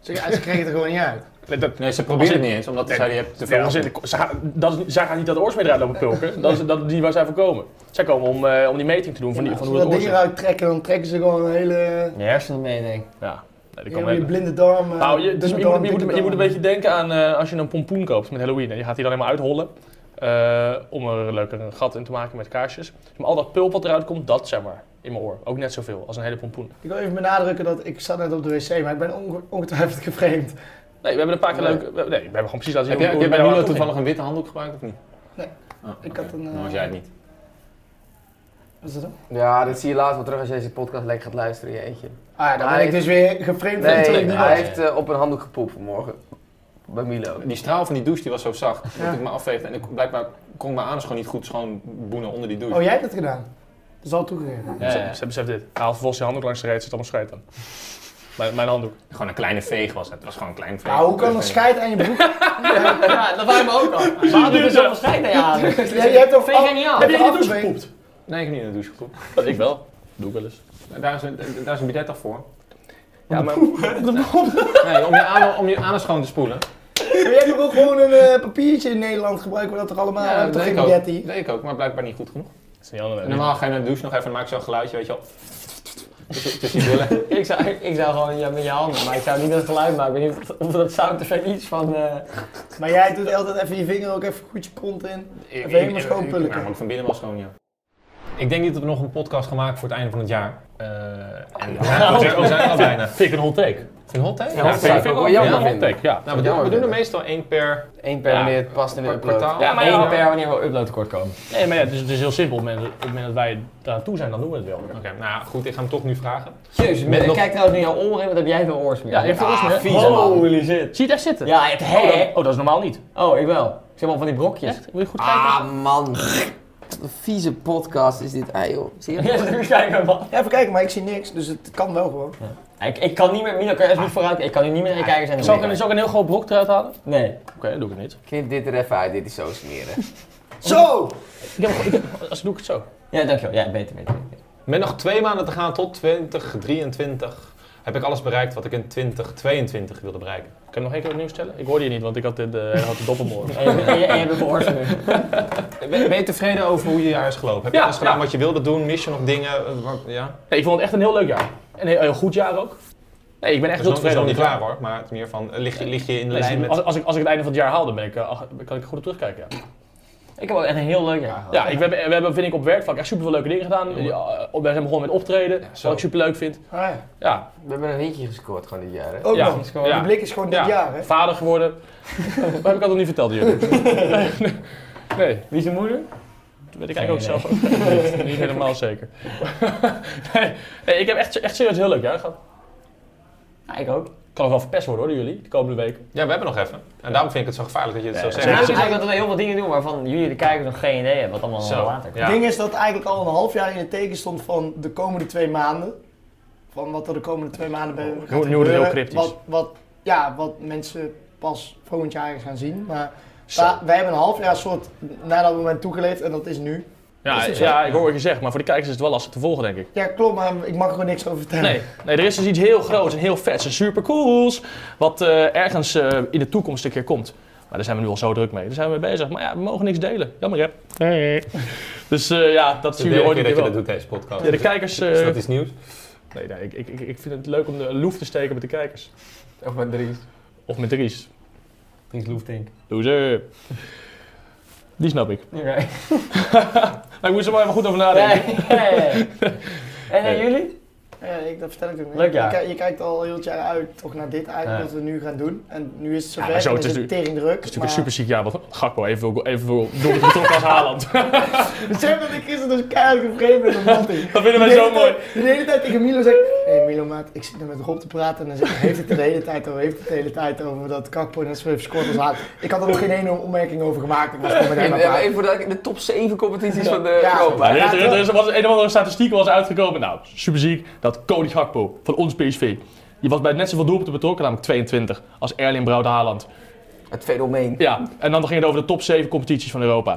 Speaker 2: Ze, ze kregen het er gewoon niet uit.
Speaker 1: Nee, ze probeerden
Speaker 3: het
Speaker 1: niet eens, omdat
Speaker 3: ze zeiden,
Speaker 1: je hebt te
Speaker 3: Ja, ze, ze gaan, dat, is- zij gaan niet dat oorsmeer eruit lopen pulken. Dat, is- dat, die waar zij voor komen. Zij komen om, eh, om die meting te doen van, die, van
Speaker 2: Als
Speaker 3: hoe
Speaker 2: we
Speaker 3: het
Speaker 2: dat
Speaker 3: oor
Speaker 2: ding
Speaker 3: zit.
Speaker 2: eruit trekken, dan trekken ze gewoon een hele...
Speaker 5: Je hersenen mee, denk ik.
Speaker 3: Ja, nee, dat kan
Speaker 2: Je
Speaker 3: wel.
Speaker 2: blinde darm. eh,
Speaker 3: Nou, je, dus
Speaker 2: dunne
Speaker 3: je, moet,
Speaker 2: darm,
Speaker 3: je, moet,
Speaker 2: dikke
Speaker 3: je moet een
Speaker 2: darm.
Speaker 3: beetje denken aan eh, als je een pompoen koopt met Halloween. En je gaat die dan helemaal uithollen. eh, om er een leuker een gat in te maken met kaarsjes. Maar al dat pulp wat eruit komt, dat zeg maar. In mijn oor. Ook net zoveel als een hele pompoen.
Speaker 2: Ik wil even benadrukken dat ik zat net op de wc, maar ik ben onge- ongetwijfeld geframed.
Speaker 3: Nee, we hebben een paar keer
Speaker 1: Nee.
Speaker 3: leuke. we- nee, we hebben gewoon precies laten
Speaker 1: Heb
Speaker 3: zien.
Speaker 1: jij,
Speaker 3: hoe-
Speaker 1: heb jij bij
Speaker 3: hoe het bij
Speaker 1: Milo
Speaker 3: jou
Speaker 1: toevallig een witte handdoek gebruikt of niet?
Speaker 2: Nee.
Speaker 1: Oh,
Speaker 2: Ik
Speaker 1: oké.
Speaker 2: had een... eh,
Speaker 1: Dan was jij het niet.
Speaker 2: Wat is dat dan?
Speaker 4: Ja, dat zie je later wel terug als je deze podcast lekker gaat luisteren in je eentje.
Speaker 2: Ah, ja, dan ben
Speaker 4: Hij-
Speaker 2: ik dus weer geframed.
Speaker 4: Nee,
Speaker 2: van toen ik niet
Speaker 4: hij
Speaker 2: was.
Speaker 4: heeft eh, op een handdoek gepoept vanmorgen. Bij Milo.
Speaker 1: Die straal van die douche die was zo zacht
Speaker 2: Ja.
Speaker 1: dat ik me afveegde. En ik, blijkbaar kon mijn anus gewoon niet goed schoon boenen onder die douche.
Speaker 2: Oh, jij hebt het gedaan? Dat is al toegegeven.
Speaker 3: Ze ze beseft dit. Hij haalt vervolgens zijn handdoek langs de reet, zit allemaal scheet aan. Mijn, mijn handdoek.
Speaker 1: Gewoon een kleine veeg was het. Het was gewoon een klein veeg.
Speaker 2: Nou, hoe kan een scheid aan je broek?
Speaker 5: *laughs* Ja, dat waren we ook *laughs* al. Waarom doe je zo verschijnen aan je adem?
Speaker 2: Je, je hebt toch
Speaker 5: Vind je niet aan?
Speaker 2: Heb
Speaker 3: Heb jij
Speaker 2: je
Speaker 3: in de douche
Speaker 2: afgewezen?
Speaker 3: gepoept?
Speaker 1: Nee, ik heb niet in de douche gepoept.
Speaker 3: ik wel. Doe ik wel eens.
Speaker 1: Nou, Daar is een, daar is een bidet toch voor?
Speaker 3: Ja, maar.
Speaker 2: *laughs*
Speaker 1: Nee, om je anus, om je anus schoon te spoelen.
Speaker 2: Maar jij hebt ook gewoon een eh, papiertje in Nederland gebruiken we dat toch allemaal? We hebben
Speaker 1: dat
Speaker 2: toch geen
Speaker 1: deed ik ook.
Speaker 2: bidet
Speaker 1: Dat
Speaker 2: hier?
Speaker 1: deed ik ook, maar blijkbaar niet goed genoeg.
Speaker 3: Dat is niet anders.
Speaker 1: En normaal ga je naar de douche nog even en maak je zo'n geluidje, weet je wel. Tussen tussen je billen.
Speaker 5: *laughs* Ik zou, ik zou gewoon ja, met je handen, maar ik zou niet dat geluid maken. Ik weet niet of- of dat sound effect iets van... eh,
Speaker 2: Maar jij doet altijd even je vinger ook even goed je pont in.
Speaker 1: Ik-
Speaker 2: Even helemaal
Speaker 1: ik-
Speaker 2: schoon
Speaker 1: ik-
Speaker 2: pulken.
Speaker 1: nou, maar ook van binnen wel schoon, ja. Ik denk niet dat we nog een podcast gaan maken voor het einde van het jaar. Eh, en we zijn, we zijn- we zijn er al bijna.
Speaker 3: Vind ik een hot take.
Speaker 1: Vind je hot, hè?
Speaker 4: hot take.
Speaker 3: vind ik
Speaker 4: wel
Speaker 3: wel
Speaker 4: jammer
Speaker 3: jammer. Hot
Speaker 4: vinden.
Speaker 3: take, ja.
Speaker 1: Nou, we doen, we doen er meestal één per,
Speaker 4: Eén per
Speaker 3: Ja.
Speaker 4: wanneer het past in de
Speaker 1: per
Speaker 4: upload.
Speaker 1: kwartaal.
Speaker 3: Ja, maar
Speaker 5: Eén
Speaker 3: ja.
Speaker 5: per wanneer we upload tekort komen.
Speaker 3: Nee, maar ja, het is, het is heel simpel. Op het moment- op het moment dat wij daar toe zijn, dan doen we het wel.
Speaker 1: Oké, nou ja, goed, ik ga hem toch nu vragen.
Speaker 5: Jezus,
Speaker 1: Met
Speaker 5: ik
Speaker 1: nog-
Speaker 5: kijk trouwens nu jouw oren, wat heb jij voor Ah, oorsmeer?
Speaker 3: Ja, je hebt veel oorsmeer.
Speaker 5: vies, Holy shit.
Speaker 3: Zie je het echt zitten?
Speaker 5: Ja, het
Speaker 3: Oh, dat,
Speaker 5: hè?
Speaker 3: oh, dat is normaal niet.
Speaker 5: Oh, ik wel. Ik zeg maar van die brokjes.
Speaker 3: Echt? Wil je goed kijken?
Speaker 4: Ah, man. Wat Een vieze podcast is dit, ah, joh. Zie *laughs* je?
Speaker 5: Ja, nu kijken man.
Speaker 2: Ja, even kijken, maar ik zie niks, dus het kan wel gewoon.
Speaker 5: Ik, ik kan niet meer, Milo kan echt niet vooruit, ik kan nu niet meer naar kijken zijn.
Speaker 3: Zal ik, een- zal ik een heel groot brok eruit halen? Oké,
Speaker 5: Nee.
Speaker 3: dat doe ik niet.
Speaker 4: Knip dit er even uit, dit is zo smerig.
Speaker 2: Zo!
Speaker 3: Ik heb, ik heb- als doe ik het zo.
Speaker 5: Ja, dankjewel. Ja, beter, beter. beter.
Speaker 1: Met nog twee maanden te gaan tot 2023 heb ik alles bereikt wat ik in 2022 wilde bereiken.
Speaker 3: Kan ik nog één keer opnieuw stellen? Ik hoorde je niet, want ik had, dit, eh, ik had de *laughs* doppelmoord.
Speaker 5: En je, en je, en je doet de oorsmeer.
Speaker 1: Ben, ben je tevreden over hoe je jaar is gelopen? Heb je
Speaker 3: Ja,
Speaker 1: alles gedaan
Speaker 3: ja.
Speaker 1: wat je wilde doen? Mis je nog dingen? Eh, wat- ja?
Speaker 3: Nee, ik vond het echt een heel leuk jaar. En een heel goed jaar ook. Nee, ik ben echt
Speaker 1: Dus
Speaker 3: heel
Speaker 1: nog, is
Speaker 3: tevreden.
Speaker 1: nog niet
Speaker 3: over het
Speaker 1: klaar hoor, maar het is meer van, eh, lig je, lig je in de
Speaker 3: jaar.
Speaker 1: lijn
Speaker 3: Nee,
Speaker 1: met...
Speaker 3: als, als, ik, als ik het einde van het jaar haal, dan ben ik, eh, ach- kan ik goed op terugkijken. Ja,
Speaker 5: Ik heb ook echt een heel leuk jaar gehad.
Speaker 3: ja ik, we, hebben, we hebben, vind ik, op werkvlak echt superveel leuke dingen gedaan. Ja, we zijn begonnen met optreden,
Speaker 1: zo.
Speaker 3: wat ik super leuk vind.
Speaker 2: Ah, ja.
Speaker 3: Ja,
Speaker 4: We hebben een hintje gescoord gewoon dit jaar, hè?
Speaker 2: Ook
Speaker 3: Ja.
Speaker 2: nog.
Speaker 5: gewoon-
Speaker 2: Die blik is gewoon dit
Speaker 3: Ja.
Speaker 2: jaar, hè?
Speaker 3: vader geworden. dat heb ik al nog niet verteld aan jullie. nee.
Speaker 5: Wie is je moeder?
Speaker 3: Dat weet ik eigenlijk
Speaker 5: Geen
Speaker 3: ook zelf ook *laughs* niet, niet helemaal zeker. nee, nee, ik heb echt, echt serieus heel leuk jaar gehad.
Speaker 5: Ja, ik ook.
Speaker 3: Kan nog wel verpest worden hoor, door jullie, de komende weken.
Speaker 1: Ja, we hebben nog even. En daarom vind ik het zo gevaarlijk dat je het zo
Speaker 5: Het is
Speaker 1: zegt.
Speaker 5: Nou, eigenlijk dat we heel veel dingen doen waarvan jullie de kijkers nog geen idee hebben. Wat allemaal
Speaker 1: Zo,
Speaker 5: later komt.
Speaker 1: ja.
Speaker 2: Het ding is dat eigenlijk al een half jaar in het teken stond van de komende twee maanden. Van wat er de komende twee maanden bij gaat
Speaker 3: nu wordt het
Speaker 2: gebeuren.
Speaker 3: heel cryptisch.
Speaker 2: Eh, Wat, wat, ja, wat mensen pas volgend jaar gaan zien. Maar
Speaker 3: Zo.
Speaker 2: wa- wij hebben een half jaar soort naar dat moment toegeleefd en dat is nu.
Speaker 3: Ja, ja, ik hoor wat je zegt, maar voor de kijkers is het wel lastig te volgen, denk ik.
Speaker 2: Ja, klopt, maar ik mag er gewoon niks over vertellen.
Speaker 3: Nee, nee, er is dus iets heel groots en heel vets en supercools. Wat eh, ergens eh, in de toekomst een keer komt. Maar daar zijn we nu al zo druk mee. Daar zijn we mee bezig. Maar ja, we mogen niks delen. Jammer hè. Dus eh, ja, dat
Speaker 1: Het is
Speaker 3: zien
Speaker 1: de derde keer
Speaker 3: jullie ooit
Speaker 1: dat
Speaker 3: een keer
Speaker 1: je dat
Speaker 3: wel.
Speaker 1: doet, deze podcast.
Speaker 3: Ja, de kijkers... eh,
Speaker 1: Is dat iets nieuws?
Speaker 3: nee, nee, ik, ik, ik- ik vind het leuk om de loef te steken met de kijkers.
Speaker 4: Of met Dries.
Speaker 3: Of met Dries.
Speaker 5: Dries Loeftink.
Speaker 3: Loser. Die snap ik.
Speaker 5: Oké.
Speaker 3: Maar ik moest er maar even goed over nadenken.
Speaker 5: En aan
Speaker 3: Nee.
Speaker 5: jullie?
Speaker 2: Ja, ik, dat vertel ik ook niet.
Speaker 5: Leuk jaar.
Speaker 2: Je, ki- je kijkt al heel het jaar uit toch naar dit eigenlijk,
Speaker 5: Ja.
Speaker 2: wat we nu gaan doen. En nu is het
Speaker 3: Ja,
Speaker 2: zover,
Speaker 3: maar zo,
Speaker 2: en
Speaker 3: het
Speaker 2: is
Speaker 3: is
Speaker 2: het tering druk.
Speaker 3: Het is natuurlijk een superziek jaar, want Gakpo even, even door de betrokken als Haaland. *laughs*
Speaker 2: *laughs* Besef dat ik gisteren dus keihard gevreemd ben door Matty.
Speaker 3: Dat *laughs* vinden wij zo mooi.
Speaker 2: De hele tijd tegen Milo zeg ik, hé hey Milo maat, ik zit er met Rob te praten en dan zeg ik, heeft het er de hele tijd over, heeft het de hele tijd over dat Kakpo net zo heeft gescoord als Haat. Ik had er nog geen ene opmerking over gemaakt, ik was gewoon met hem
Speaker 4: En,
Speaker 2: aan
Speaker 4: en
Speaker 2: het praten.
Speaker 4: even voor de, de top 7 competities van de
Speaker 2: Ja.
Speaker 4: Europa.
Speaker 3: Maar er, is,
Speaker 2: Ja,
Speaker 3: er, is- er was een of andere statistiek was uitgekomen. Nou, superziek. Dat Cody Gakpo van ons PSV. Die was bij net zoveel doelpunten betrokken, namelijk 22, als Erling Braut Haaland.
Speaker 4: Het fenomeen.
Speaker 3: Ja, en dan ging het over de top 7 competities van Europa.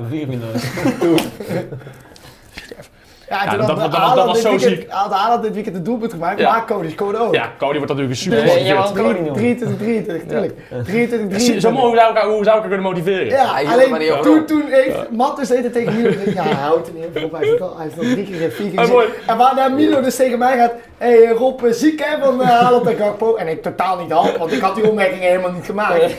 Speaker 2: Ja, en
Speaker 3: Ja,
Speaker 2: toen
Speaker 3: dat-
Speaker 2: had
Speaker 3: dat- dat
Speaker 2: Haaland
Speaker 3: was
Speaker 2: dit
Speaker 3: zo
Speaker 2: weekend-
Speaker 3: ziek.
Speaker 2: Had Haaland dit weekend het doelpunt gemaakt,
Speaker 3: Ja.
Speaker 2: maar Cody scoorde ook.
Speaker 3: Ja, Cody wordt natuurlijk een super
Speaker 5: Nee, jij
Speaker 3: gemotiveerd.
Speaker 5: was- Cody noemen.
Speaker 2: 23, 23, tuurlijk. 23,
Speaker 3: Zie je Zo
Speaker 2: 23.
Speaker 3: mooi hoe zou ik- hoe zou ik haar kunnen motiveren.
Speaker 2: Ja,
Speaker 4: Hij hield er maar niet
Speaker 2: alleen
Speaker 4: op.
Speaker 2: toen, toen heeft Matt dus eten tegen Milo gezegd, ja, hij houdt er niet op, Rob, hij heeft het al, hij heeft het al drie keer, vier keer
Speaker 3: Ah, mooi.
Speaker 2: gezien. En waarna Milo dus tegen mij gaat, hé hey, Rob, eh, ziek hè, van eh, Haaland en Gakpo. En ik totaal niet had, want ik had die opmerking helemaal niet gemaakt.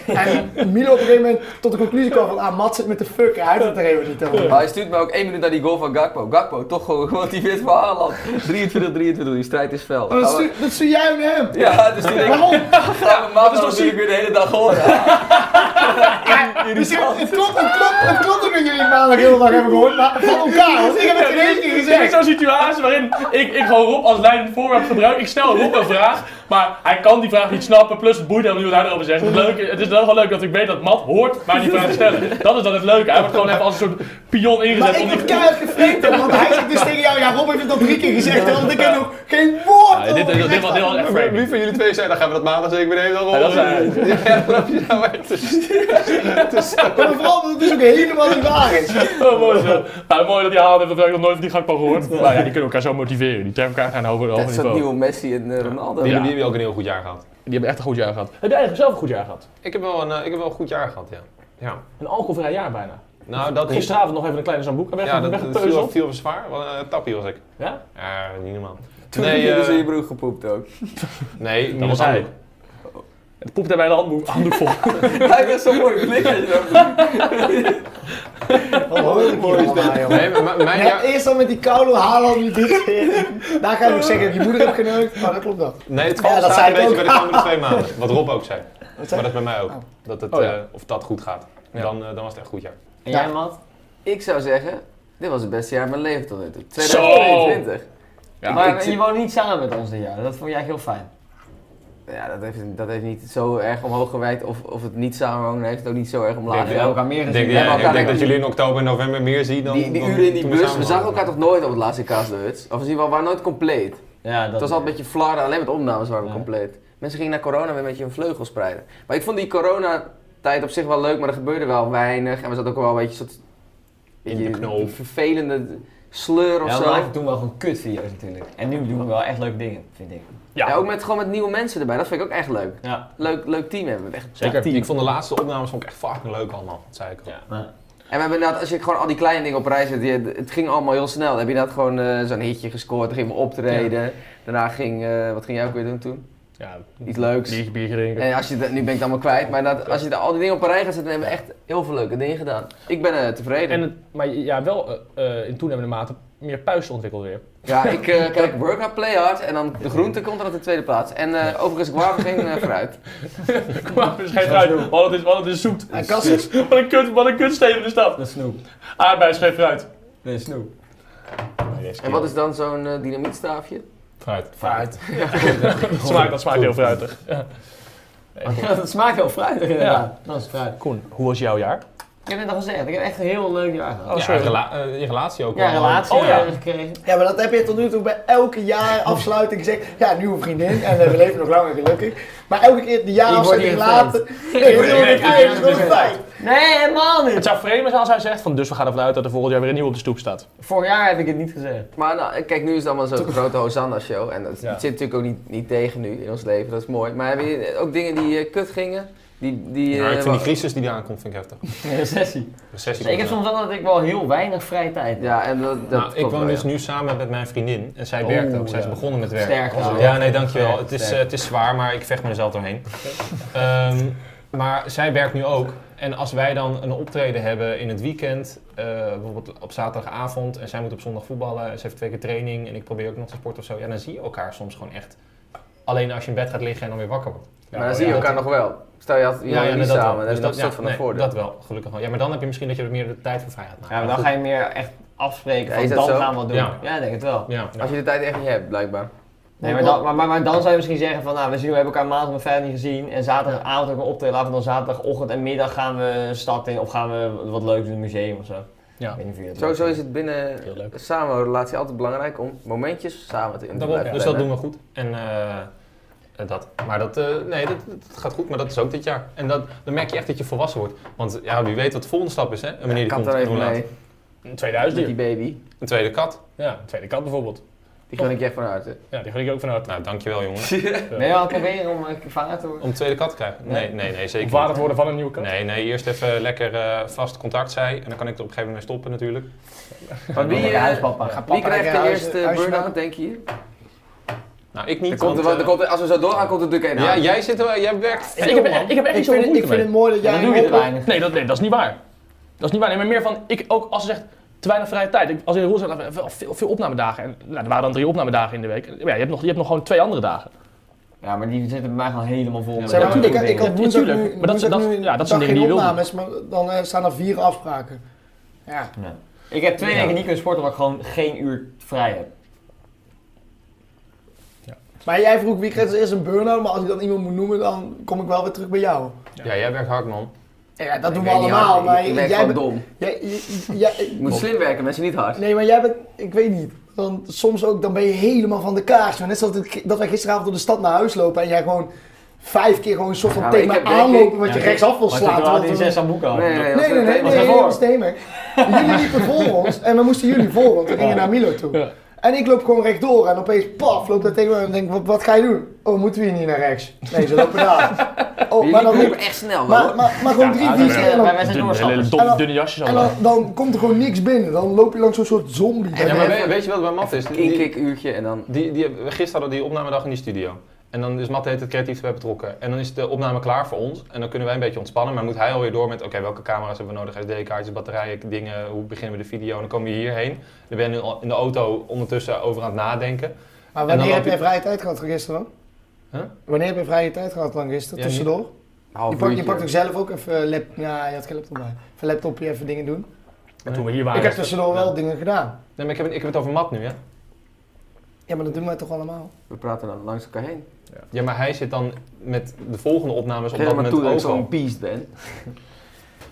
Speaker 2: En Milo op een gegeven moment tot de conclusie kwam van, ah, Matt zit met de fuck, hij heeft het er helemaal niet over.
Speaker 4: Maar hij stuurt me ook één minuut naar die goal van Gakpo. Gakpo, toch gewoon gemotiveerd voor Haaland. 23, 23, die strijd is fel.
Speaker 2: Maar Dat
Speaker 4: Gaan we-
Speaker 2: stuur, dat stuur jij hem hem.
Speaker 4: Ja, dus toen denk *laughs* ik,
Speaker 2: Waarom?
Speaker 4: gaan we maandag natuurlijk weer de hele dag horen.
Speaker 2: Dus het, het klopt, het klopt, het klopt ook dat jullie het maandag heel de dag hebben gehoord, maar van elkaar, want ik heb het geen één keer
Speaker 3: Dit is
Speaker 2: gezegd.
Speaker 3: zo'n situatie waarin ik, ik gewoon Rob als leidend voorwerp gebruik. Ik stel Rob een vraag, maar hij kan die vraag niet snappen. Plus het boeit hem niet wat hij erover zegt. Het, leuke, het is wel gewoon leuk dat ik weet dat Matt hoort maar die vraag stellen. Dat is dan het leuke. Hij wordt gewoon even als een soort pion
Speaker 2: Maar
Speaker 3: ingezet.
Speaker 2: ik
Speaker 3: om die-
Speaker 2: word keihard *laughs* gevreten, want hij zegt dus tegen jou, ja Rob heeft het al drie keer gezegd, want ik heb nog geen woord
Speaker 3: Ja, dit, dit,
Speaker 2: over
Speaker 3: dit,
Speaker 2: gezegd.
Speaker 3: was, dit was echt framing.
Speaker 1: Wie van jullie twee zei, dan gaan we dat maandag zeker weer even
Speaker 3: Ja, dat
Speaker 1: rollen.
Speaker 3: zei
Speaker 1: Ja, dat je nou echt
Speaker 2: Maar vooral omdat het dus ook helemaal niet *laughs* waar is.
Speaker 3: Oh, mooi, zo. Nou, mooi dat hij haalt heeft, dat heb ik nog nooit van die Gakpo gehoord. Maar ja, die kunnen elkaar zo motiveren. Die treffen elkaar aan hoger, hoger
Speaker 4: Dat is dat
Speaker 3: niveau.
Speaker 4: nieuwe Messi en eh, Ronaldo.
Speaker 3: Ja.
Speaker 1: Die hebben ook een heel goed jaar gehad.
Speaker 3: Die hebben echt een goed jaar gehad. Heb jij eigenlijk zelf een goed jaar gehad?
Speaker 1: Ik heb wel een, eh, ik heb wel een goed jaar gehad, ja. ja.
Speaker 3: Een alcoholvrij jaar bijna.
Speaker 1: Nou, dat is...
Speaker 3: Gisteravond nog even een kleine zamboek. Heb *laughs*
Speaker 1: Ja,
Speaker 3: ja,
Speaker 1: dat, dat viel,
Speaker 3: weggepeuzeld.
Speaker 1: viel wel zwaar. Wel een tappie was ik.
Speaker 3: Ja?
Speaker 1: Ja, niet normaal.
Speaker 4: Toen heb
Speaker 1: nee,
Speaker 4: je dus
Speaker 1: eh,
Speaker 4: in je broek gepoept ook. *laughs*
Speaker 1: Nee,
Speaker 3: Dat was hij. Het poept daarbij de handboek, handdoek vol.
Speaker 4: Hij heeft zo'n mooi blik. als je dat doet.
Speaker 2: Wat hoor ik hier allemaal, joh.
Speaker 1: Nee, maar maar mijn
Speaker 2: *laughs* Ja,
Speaker 1: jaar...
Speaker 2: eerst al met die koude halen die dit Daar ga je ook zeggen, je moeder hebt geneukt. Oh, dat klopt dat.
Speaker 1: Nee, het valt
Speaker 2: Ja, dat
Speaker 1: staat een
Speaker 2: zei ik
Speaker 1: beetje
Speaker 2: ook.
Speaker 1: bij de komende twee maanden. Wat Rob ook zei.
Speaker 2: Wat
Speaker 1: Maar
Speaker 2: zeg
Speaker 1: dat
Speaker 2: je?
Speaker 1: is bij mij ook. Dat het,
Speaker 3: Oh, ja.
Speaker 1: eh, of dat goed gaat. Dan, eh, dan was het echt goed jaar.
Speaker 5: En
Speaker 2: Ja.
Speaker 5: jij, Matt?
Speaker 4: Ik zou zeggen, dit was het beste jaar van mijn leven tot nu toe.
Speaker 3: Zo!
Speaker 4: 2022.
Speaker 3: Ja.
Speaker 5: maar
Speaker 4: ik-
Speaker 5: je woont niet samen met ons dit jaar. Dat vond jij heel fijn.
Speaker 4: Ja, dat heeft, dat heeft niet zo erg omhoog gewerkt. Of, of het niet samenhangen heeft het ook niet zo erg omlaag.
Speaker 1: Denk
Speaker 5: We
Speaker 1: je
Speaker 4: gewerkt.
Speaker 5: hebben elkaar meer
Speaker 1: Ik
Speaker 5: gezien.
Speaker 1: denk,
Speaker 5: We
Speaker 1: ja,
Speaker 5: hebben
Speaker 1: ik
Speaker 5: elkaar
Speaker 1: denk
Speaker 5: meer
Speaker 1: dat jullie in oktober en november meer zien dan...
Speaker 4: Die, die
Speaker 1: dan
Speaker 4: uren in die
Speaker 1: toen we
Speaker 4: bus,
Speaker 1: samen
Speaker 4: we zagen
Speaker 1: waren.
Speaker 4: elkaar toch nooit op het laatste Kaasdeuts? Of in ieder geval, we waren nooit compleet.
Speaker 5: gezien. Ja, dat
Speaker 4: Het was altijd een beetje flarden, alleen met opnames waren we
Speaker 5: Ja.
Speaker 4: compleet. Mensen gingen naar corona weer een beetje hun vleugel spreiden. Maar ik vond die coronatijd op zich wel leuk, maar er gebeurde wel weinig. En we zaten ook wel een beetje soort...
Speaker 1: In de
Speaker 4: beetje
Speaker 1: knol.
Speaker 4: Vervelende sleur of
Speaker 5: Ja, we
Speaker 4: zo.
Speaker 5: maakten toen wel gewoon kutvideo's natuurlijk. En nu doen we wel echt leuke dingen, vind ik.
Speaker 4: Ja, ook met, gewoon met nieuwe mensen erbij, dat vind ik ook echt leuk.
Speaker 5: Ja.
Speaker 4: Leuk, leuk team hebben we echt.
Speaker 1: Zeker. Ik vond de laatste opnames vond ik echt fucking leuk allemaal. Dat zei ik al.
Speaker 4: En we hebben inderdaad, als je gewoon al die kleine dingen op reis zet, je- het ging allemaal heel snel. Dan heb je inderdaad gewoon eh, zo'n hitje gescoord, dan ging we optreden. Daarna ging, eh, wat ging jij ook weer doen toen?
Speaker 3: Ja,
Speaker 4: Iets leuks.
Speaker 3: biertje, biertje drinken.
Speaker 5: *laughs*
Speaker 4: En als je het, nu ben ik het allemaal kwijt, maar dat, als je de- al die dingen op een rij gaat zetten, dan hebben we echt heel veel leuke dingen gedaan. Ik ben eh, tevreden.
Speaker 3: En het, maar ja, wel eh, eh, in toenemende mate meer puisten ontwikkeld *laughs* weer.
Speaker 4: Ja, ik eh, kijk workout play hard en dan de groente komt dan op de tweede plaats. En eh, overigens, ik wou geen eh, fruit.
Speaker 3: Maar het schijnt uit, want het is, want het is zoet. *laughs*
Speaker 2: En Cassis,
Speaker 3: Wat een, kut, wat een kutsteen in de stad.
Speaker 5: Dat snoep.
Speaker 3: Aardbeien schijnt uit.
Speaker 5: Nee, Snoep.
Speaker 4: En wat is dan zo'n eh, dynamietstaafje?
Speaker 1: Fruit.
Speaker 3: Fruit. dat smaakt, dat smaakt heel fruitig. Ja.
Speaker 4: dat smaakt wel fruitig
Speaker 3: inderdaad.
Speaker 4: Dat is fruit.
Speaker 3: Koen, hoe was jouw jaar?
Speaker 5: Ik heb net al gezegd, ik heb echt een heel leuk jaar gehad.
Speaker 3: Oh,
Speaker 1: Ja,
Speaker 3: sorry.
Speaker 1: rela- eh, je relatie ook
Speaker 5: Ja,
Speaker 1: wel.
Speaker 5: relatie
Speaker 3: Oh, ja.
Speaker 5: hebben we
Speaker 4: *laughs*
Speaker 5: gekregen.
Speaker 2: Ja, maar dat heb je tot nu toe bij elke jaar afsluiting gezegd. Ja, nieuwe vriendin en eh, we leven nog lang en gelukkig. Maar elke keer de jaar
Speaker 4: Ik word
Speaker 2: afsluiting
Speaker 4: niet vreemd.
Speaker 2: later. Nee, dat wil ik niet. Dat is fijn.
Speaker 5: Nee, helemaal
Speaker 3: Het
Speaker 5: niet.
Speaker 3: zou vreemd zijn als hij zegt van dus we gaan ervan uit dat er volgend jaar weer een nieuw op de stoep staat.
Speaker 5: Vorig jaar heb ik het niet gezegd.
Speaker 4: Maar nou, kijk, nu is het allemaal zo'n grote Hosanna-show. En dat zit natuurlijk ook niet, niet tegen nu in ons leven, dat is mooi. Maar hebben je ook dingen die eh, kut gingen? Die, die,
Speaker 1: Ja,
Speaker 4: eh,
Speaker 1: ik vind
Speaker 4: wa-
Speaker 1: die crisis die eraan komt, vind ik heftig.
Speaker 5: Een sessie.
Speaker 1: Recessie.
Speaker 5: Dus ik
Speaker 1: komt
Speaker 5: heb soms wel dat ik wel heel weinig vrije tijd heb.
Speaker 4: Ja, en dat, dat
Speaker 1: eraan. Nou, ik
Speaker 4: komt
Speaker 1: woon
Speaker 4: wel,
Speaker 1: dus
Speaker 4: ja. Oh,
Speaker 1: nu samen met mijn vriendin. En zij
Speaker 5: Oeh,
Speaker 1: werkt ook. Zij is
Speaker 5: ja.
Speaker 1: begonnen met werken.
Speaker 5: Sterk.
Speaker 4: Ja.
Speaker 5: hoor.
Speaker 1: Ja, nee, dankjewel. Het is,
Speaker 5: Sterk.
Speaker 1: eh, het is zwaar, maar ik vecht mezelf doorheen. Ehm, maar zij werkt nu ook. En als wij dan een optreden hebben in het weekend, eh, bijvoorbeeld op zaterdagavond, en zij moet op zondag voetballen, en ze heeft twee keer training, en ik probeer ook nog te sporten of zo, ja, dan zie je elkaar soms gewoon echt. Alleen als je in bed gaat liggen en dan weer wakker wordt.
Speaker 4: Maar dan zie je elkaar nog wel. Stel je had je
Speaker 1: Ja, ja,
Speaker 4: had niet
Speaker 1: dat wel.
Speaker 4: samen, dan
Speaker 1: Dus
Speaker 4: is dat een soort
Speaker 1: ja,
Speaker 4: van een
Speaker 1: nee,
Speaker 4: voordeel.
Speaker 1: Dat wel, gelukkig wel. Ja, maar dan heb je misschien dat je er meer de tijd voor vrij gaat maken.
Speaker 5: Ja, maar dan
Speaker 1: Goed.
Speaker 5: ga je meer echt afspreken
Speaker 4: Ja,
Speaker 5: van
Speaker 4: is dat
Speaker 5: dan
Speaker 4: zo?
Speaker 5: gaan we wat doen.
Speaker 1: Ja.
Speaker 5: Ja, ik denk het wel.
Speaker 1: Ja, ja.
Speaker 4: Als je de tijd echt niet hebt, blijkbaar.
Speaker 5: Nee, maar, dan, maar, maar, maar dan zou je misschien zeggen van nou, we, zien, we hebben elkaar maandag om vijf niet gezien en zaterdagavond ook een optreden, laten we dan zaterdagochtend en middag gaan we stad in of gaan we wat leuks doen, een museum of zo.
Speaker 3: Ja.
Speaker 5: Ik weet niet of je dat
Speaker 4: Sowieso
Speaker 5: leuk
Speaker 4: is het binnen
Speaker 3: Heel leuk.
Speaker 4: samen relatie altijd belangrijk om momentjes samen te in te
Speaker 1: Daarom,
Speaker 4: blijven
Speaker 1: dus dat doen
Speaker 4: plannen.
Speaker 1: we goed. En eh, eh, dat. Maar dat, eh, nee, dat, dat gaat goed, maar dat is ook dit jaar. En dat, dan merk je echt dat je volwassen wordt. Want ja, wie weet wat de volgende stap is, hè? Een meneer die
Speaker 4: Kat
Speaker 1: komt
Speaker 4: dan
Speaker 1: en hoe
Speaker 4: even
Speaker 1: laat.
Speaker 4: mee,
Speaker 3: Een
Speaker 4: met die
Speaker 3: 2000
Speaker 4: baby.
Speaker 1: Een tweede kat.
Speaker 3: Ja, een tweede kat bijvoorbeeld.
Speaker 4: Die kan ik je echt van nou, harte.
Speaker 3: Ja, die ga ik ook van harte.
Speaker 1: Nou, dankjewel jongen.
Speaker 5: Ben je wel aan het proberen om eh, vader te worden?
Speaker 1: Om een tweede kat te krijgen? Nee, nee, nee,
Speaker 3: Of
Speaker 1: zeker
Speaker 3: waar het
Speaker 1: niet.
Speaker 3: worden van een nieuwe kat.
Speaker 1: Nee, nee, eerst even lekker eh, vast contact zij. En dan kan ik er op een gegeven moment mee stoppen natuurlijk.
Speaker 4: Maar wie,
Speaker 5: Lekker
Speaker 4: eh,
Speaker 5: huispapa. Ga
Speaker 4: wie
Speaker 5: papa
Speaker 4: krijgt
Speaker 2: lekker
Speaker 4: de
Speaker 2: huis-
Speaker 4: eerste
Speaker 2: huisje
Speaker 4: burn-out,
Speaker 2: maken?
Speaker 4: denk je hier?
Speaker 1: Nou, ik niet.
Speaker 4: Er komt er,
Speaker 1: want,
Speaker 4: wel- er
Speaker 1: eh,
Speaker 4: komt er- als we zo doorgaan, komt er natuurlijk één
Speaker 1: ja,
Speaker 4: aan.
Speaker 1: jij, zit, er wel- jij werkt
Speaker 3: ik,
Speaker 1: veel,
Speaker 3: heb,
Speaker 1: man.
Speaker 3: ik heb er
Speaker 2: Ik
Speaker 3: echt zo'n
Speaker 2: vind, het, ik
Speaker 3: moeite
Speaker 2: vind
Speaker 3: mee.
Speaker 2: het mooi dat jij
Speaker 5: dan doe je er
Speaker 2: oproept-
Speaker 5: weinig.
Speaker 3: Nee dat, nee, dat is niet waar. Dat is niet waar. Nee, maar meer van, ik ook als ze zegt te weinig vrije tijd. Ik, als in Roel zegt, wel veel, veel opnamedagen. En, nou, er waren dan drie opnamedagen in de week. En, Ja, je, hebt nog, je hebt nog gewoon twee andere dagen.
Speaker 5: Ja, maar die zitten bij mij gewoon helemaal vol. met
Speaker 2: Zeg maar,
Speaker 5: dat
Speaker 2: ik,
Speaker 5: soort
Speaker 2: ik
Speaker 5: dingen.
Speaker 2: had woensdag nu,
Speaker 3: tuurlijk. Maar dat-
Speaker 2: woensdag
Speaker 3: dat-
Speaker 2: nu
Speaker 3: ja, dat
Speaker 2: dag
Speaker 3: zijn dingen die
Speaker 2: geen
Speaker 3: je wil doen.
Speaker 2: opnames, maar dan eh, staan er vier afspraken. Ja.
Speaker 5: Ik heb twee weken niet kunnen sporten omdat ik gewoon geen uur vrij heb.
Speaker 2: Maar jij vroeg wie krijgt als eerst een burn-out, maar als ik dan iemand moet noemen, dan kom ik wel weer terug bij jou.
Speaker 1: Ja, jij werkt hard, man.
Speaker 2: Ja, dat
Speaker 4: Ik
Speaker 2: doen we
Speaker 4: werk niet
Speaker 2: allemaal,
Speaker 4: hard.
Speaker 2: maar
Speaker 4: ik, ik
Speaker 2: jij
Speaker 4: ben gewoon
Speaker 2: bent-
Speaker 4: dom.
Speaker 2: jij- jij- jij-
Speaker 4: Je moet slim werken, mensen niet
Speaker 2: *laughs*
Speaker 4: hard.
Speaker 2: Nee, maar jij bent, ik weet niet. Dan, soms ook, dan ben je helemaal van de kaars. Maar net zoals dat, dat wij gisteravond door de stad naar huis lopen en jij gewoon vijf keer gewoon een soort van
Speaker 4: Ja, maar
Speaker 2: tegen
Speaker 4: ik
Speaker 2: me
Speaker 4: heb, denk
Speaker 2: aanlopen
Speaker 4: ik-
Speaker 2: wat je
Speaker 5: Ja,
Speaker 2: rechtsaf wil
Speaker 5: Want ik
Speaker 2: slaan.
Speaker 5: had
Speaker 2: terwijl
Speaker 5: in
Speaker 2: we-
Speaker 5: zes aan boeken al.
Speaker 4: Nee, nee, dat
Speaker 2: Nee, nee, nee,
Speaker 5: was
Speaker 2: nee, nee,
Speaker 5: daarvoor.
Speaker 2: dat is Temer. Jullie liepen voor ons en we moesten jullie voor, want we gingen naar Milo toe.
Speaker 3: Ja.
Speaker 2: En ik loop gewoon rechtdoor en opeens paf, loopt dat tegen me en denk wat, wat ga je doen? Oh, moeten we hier niet naar rechts? Nee, ze lopen *laughs* daar. Oh, maar
Speaker 4: Jullie
Speaker 2: dan
Speaker 4: lopen
Speaker 2: roep-
Speaker 4: echt snel,
Speaker 2: maar,
Speaker 4: man.
Speaker 2: maar, maar gewoon drie, vier keer en dan,
Speaker 5: Wij wij zijn
Speaker 3: Dunne, hele
Speaker 5: doorstappers.
Speaker 3: domme,
Speaker 2: En dan-
Speaker 3: dunne jasjes
Speaker 2: en
Speaker 3: allemaal.
Speaker 2: dan, dan komt er gewoon niks binnen. Dan loop je langs zo'n soort zombie.
Speaker 1: Ja, maar
Speaker 4: even-
Speaker 1: weet, weet je wat bij Matt is? Die-
Speaker 4: Eén kikuurtje en dan...
Speaker 1: Die, die, hebben- gisteren hadden we die opnamedag in die studio. En dan is Matt heet het creatief erbij betrokken. En dan is de opname klaar voor ons. En dan kunnen wij een beetje ontspannen. Maar moet hij alweer door met: oké, welke camera's hebben we nodig? SD-kaartjes, batterijen, dingen. Hoe beginnen we de video? En dan komen we hierheen. Dan ben je nu al in de auto ondertussen over aan het nadenken.
Speaker 2: Maar
Speaker 1: En dan
Speaker 2: wanneer
Speaker 1: loop
Speaker 2: heb
Speaker 1: je-
Speaker 2: jij vrije tijd gehad gisteren dan?
Speaker 1: Huh?
Speaker 2: Wanneer heb je vrije tijd gehad dan gisteren,
Speaker 1: Ja,
Speaker 2: tussendoor?
Speaker 4: Half
Speaker 2: Je, pak, je
Speaker 4: uurtje.
Speaker 2: pakt ook zelf ook even eh, lap, ja, je had geen laptop bij. Even laptopje, even dingen doen.
Speaker 3: En toen
Speaker 1: Ah,
Speaker 3: we
Speaker 2: Ik
Speaker 3: hier waren.
Speaker 2: heb tussendoor wel dingen gedaan.
Speaker 1: Nee, maar ik heb, het- ik heb het over Matt nu, hè?
Speaker 2: Ja, maar dat doen wij toch allemaal?
Speaker 4: We praten dan langs elkaar heen.
Speaker 1: Ja, maar hij zit dan met de volgende opnames op
Speaker 4: Geef
Speaker 1: dat
Speaker 4: maar toe
Speaker 1: moment
Speaker 4: dat ik
Speaker 1: ook
Speaker 4: zo'n
Speaker 1: al.
Speaker 4: beest ben.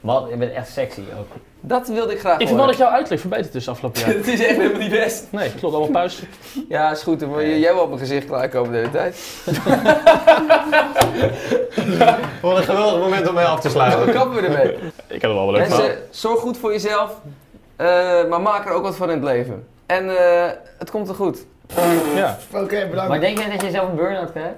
Speaker 5: Wat, je bent echt sexy ook.
Speaker 4: Dat wilde ik graag
Speaker 3: Ik vind wel dat
Speaker 4: horen.
Speaker 3: jouw uitleg verbeterd is afgelopen *laughs* jaar.
Speaker 4: Het is echt helemaal niet best.
Speaker 3: Nee, klopt, allemaal puist.
Speaker 4: Ja, is goed. Dan wil je- jij wel op mijn gezicht klaarkomen de hele tijd.
Speaker 1: Wat een geweldig moment om mij af te
Speaker 4: Dan
Speaker 1: sluiten.
Speaker 4: kappen we ermee.
Speaker 3: Ik heb er wel een leuk verhaal.
Speaker 4: Mensen, zorg goed voor jezelf, eh, maar maak er ook wat van in het leven. En eh, het komt er goed.
Speaker 3: Ja.
Speaker 2: Oké, bedankt.
Speaker 5: Maar denk jij dat je zelf een burn-out krijgt?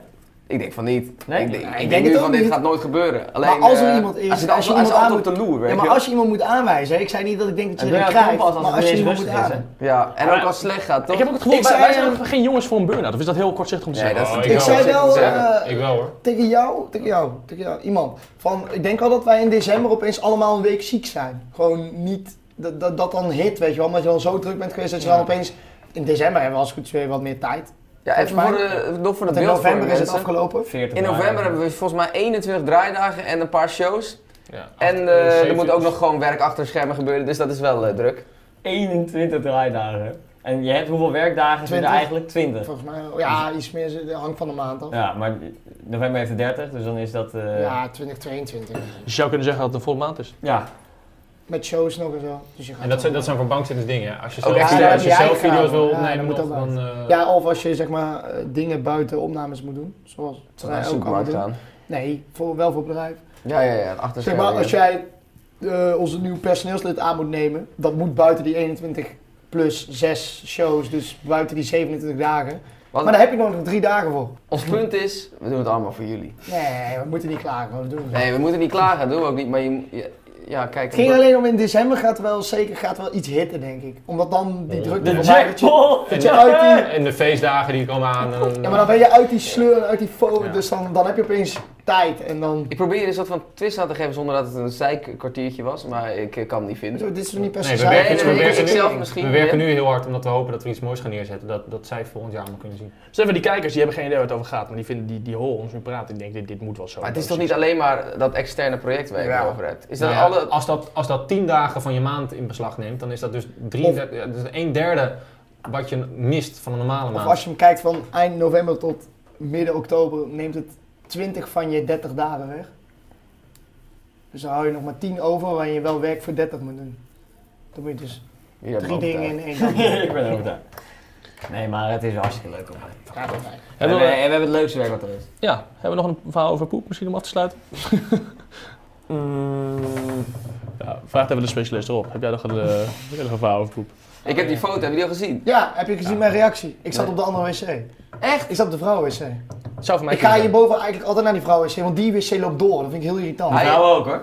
Speaker 4: Ik denk van niet.
Speaker 5: Nee?
Speaker 4: ik denk, ik
Speaker 2: denk
Speaker 4: denk
Speaker 2: het
Speaker 4: nu
Speaker 2: ook
Speaker 4: van dit
Speaker 2: niet.
Speaker 4: gaat nooit gebeuren. Alleen,
Speaker 2: als er
Speaker 4: eh,
Speaker 2: iemand is,
Speaker 4: hij zit
Speaker 2: als je
Speaker 4: altijd- hij
Speaker 2: iemand
Speaker 4: zit altijd
Speaker 2: aan
Speaker 4: op de loer, weet
Speaker 2: ja, maar
Speaker 4: je wel.
Speaker 2: als je iemand moet aanwijzen, hè, ik zei niet dat ik denk dat je
Speaker 5: Een
Speaker 2: erin
Speaker 5: burn-out
Speaker 2: krijgt,
Speaker 5: komt pas als
Speaker 2: maar als je
Speaker 5: het weer
Speaker 2: iemand
Speaker 5: eens
Speaker 2: moet
Speaker 5: rustig is,
Speaker 2: aanwijzen.
Speaker 4: Ja, en
Speaker 3: Maar-
Speaker 4: ook als het slecht gaat, toch?
Speaker 3: Ik heb ook het gevoel,
Speaker 2: Ik
Speaker 3: wij,
Speaker 2: zei,
Speaker 3: wij zijn
Speaker 2: eh,
Speaker 3: ook geen jongens voor een burn-out. Of is dat heel kortzichtig om te
Speaker 4: Nee,
Speaker 3: zeggen?
Speaker 1: Oh,
Speaker 4: dat is te
Speaker 1: ik
Speaker 2: Ik
Speaker 4: veel
Speaker 1: wel.
Speaker 2: zei
Speaker 4: om te
Speaker 2: wel
Speaker 4: zeggen.
Speaker 2: eh,
Speaker 1: Ik wel hoor.
Speaker 2: tegen jou, tegen jou, tegen jou, iemand, van ik denk al dat wij in december opeens allemaal een week ziek zijn. Gewoon niet, dat, dat, dat dan hit, weet je wel, omdat je dan zo druk bent geweest dat je dan opeens, in december hebben we als het goed is weer wat meer tijd.
Speaker 4: Ja, even voor
Speaker 2: volgens
Speaker 4: de, nog voor de
Speaker 2: Want in
Speaker 4: beeldvorming,
Speaker 2: november is het
Speaker 4: mensen.
Speaker 2: afgelopen.
Speaker 5: 40
Speaker 4: In
Speaker 5: dagen.
Speaker 4: november hebben we volgens mij 21 draaidagen en een paar shows.
Speaker 1: Ja,
Speaker 4: En
Speaker 1: acht-
Speaker 4: eh,
Speaker 1: zeven-
Speaker 4: er moet ook nog gewoon werk achter de schermen gebeuren, dus dat is wel eh, druk.
Speaker 5: 21 draaidagen. En je hebt hoeveel werkdagen zijn er
Speaker 2: 20?
Speaker 5: eigenlijk? 20.
Speaker 2: Volgens mij, wel. ja, iets meer, ze- hangt van de maand af. Ja,
Speaker 5: Ja, maar november heeft er 30, dus dan is dat... eh,
Speaker 2: 2022.
Speaker 3: Dus je zou kunnen zeggen dat het een volle maand is.
Speaker 5: ja.
Speaker 2: Met shows nog en zo. Dus je gaat
Speaker 1: En dat zijn,
Speaker 2: wel-
Speaker 1: dat zijn voor bankzitters dingen. hè. Als je
Speaker 4: Ook
Speaker 1: zelf,
Speaker 4: extra
Speaker 1: als je
Speaker 2: die
Speaker 1: zelf
Speaker 2: eigen
Speaker 1: video's wil
Speaker 2: kamer. Ja,
Speaker 1: opnemen,
Speaker 2: dat moet
Speaker 1: nog,
Speaker 2: ook
Speaker 1: dan. eh,
Speaker 2: Ja, of als je zeg maar eh, dingen buiten opnames moet doen. Zoals
Speaker 4: Tot
Speaker 2: wij
Speaker 4: aan de
Speaker 2: ook allemaal
Speaker 4: supermarkt
Speaker 2: doen.
Speaker 4: aan.
Speaker 2: Nee, voor, wel voor bedrijf.
Speaker 4: Ja, ja, ja. Achter
Speaker 2: Zeg maar,
Speaker 4: schermen,
Speaker 2: als
Speaker 4: ja.
Speaker 2: jij eh onze nieuwe personeelslid aan moet nemen, dat moet buiten die 21 plus 6 shows, dus buiten die 27 dagen.
Speaker 1: Oh.
Speaker 4: Want
Speaker 2: Maar daar heb je nog drie dagen voor.
Speaker 4: ons punt is, we doen het allemaal voor jullie.
Speaker 2: Nee, we moeten niet klagen, maar we doen het. wel.
Speaker 4: Nee, we moeten niet klagen, doen we ook niet. Maar je, mo- ja, ja, kijk.
Speaker 2: Het ging alleen om in december gaat wel zeker gaat wel iets hitten, denk ik. Omdat dan die drukte
Speaker 5: De
Speaker 2: voorbij- dat je-
Speaker 5: jackpot!
Speaker 2: dat je uit die,
Speaker 1: *laughs* En de feestdagen die komen aan. eh, en-
Speaker 2: ja, maar dan ben je uit die sleur en uit die fo,
Speaker 1: Ja.
Speaker 2: dus dan, dan heb je opeens tijd. En dan,
Speaker 4: Ik probeer er een soort van twist aan te geven zonder dat het een zijkwartiertje was, maar ik eh, kan het niet vinden.
Speaker 2: dit is toch niet per se
Speaker 1: Nee, we
Speaker 2: zaak?
Speaker 1: werken,
Speaker 4: nee,
Speaker 1: we
Speaker 4: nee,
Speaker 1: werken
Speaker 4: ik
Speaker 1: nu,
Speaker 4: zelf
Speaker 1: we
Speaker 4: misschien,
Speaker 1: werken
Speaker 4: ja.
Speaker 1: nu heel hard omdat we hopen dat we iets moois gaan neerzetten. Dat, dat zij volgend jaar allemaal kunnen zien.
Speaker 3: Steven, die kijkers die hebben geen idee waar het over gaat, maar die, vinden, die, die horen ons nu praten. Ik denk, dit, dit moet wel zo.
Speaker 4: Maar het is toch niet alleen maar dat externe project waar je het
Speaker 2: Ja.
Speaker 4: over hebt? Is dat
Speaker 1: Nou ja,
Speaker 4: alle...
Speaker 1: als, dat, als dat 10 dagen van je maand in beslag neemt, dan is dat dus, 33, ja, dus een derde wat je mist van een normale
Speaker 2: Of
Speaker 4: Ah.
Speaker 1: maand.
Speaker 2: als je hem kijkt van eind november tot midden oktober, neemt het 20 van je 30 dagen weg. Dus dan hou je nog maar 10 over waar je wel werk voor 30 moet doen. Dan moet je dus
Speaker 4: Jullie hebben
Speaker 2: drie
Speaker 4: me
Speaker 2: dingen in
Speaker 4: overtuigd. *laughs*
Speaker 2: één dag doen. *laughs*
Speaker 5: ik ben overtuigd. Nee, maar het is hartstikke leuk om te
Speaker 2: Ja, dat is fijn.
Speaker 5: En
Speaker 3: Hebben
Speaker 5: we,
Speaker 3: we,
Speaker 5: en we hebben het leukste werk wat er is.
Speaker 3: ja, hebben we nog een verhaal over poep misschien om af te *laughs* sluiten? Mm. Ja, vraag even de specialist erop. Heb jij nog een, eh, heb jij nog een verhaal over poep?
Speaker 4: Ik heb die foto, hebben jullie al gezien?
Speaker 2: Ja, heb je gezien mijn reactie? Ik zat
Speaker 4: Nee.
Speaker 2: op de andere wc.
Speaker 4: Echt?
Speaker 2: Ik zat op de vrouwenwc.
Speaker 3: Het zou voor mij
Speaker 2: Ik ga
Speaker 3: kunnen zijn.
Speaker 2: hierboven eigenlijk altijd naar die vrouwenwc, want die wc loopt door. Dat vind ik heel irritant.
Speaker 4: Hij-
Speaker 5: Nou ook hoor.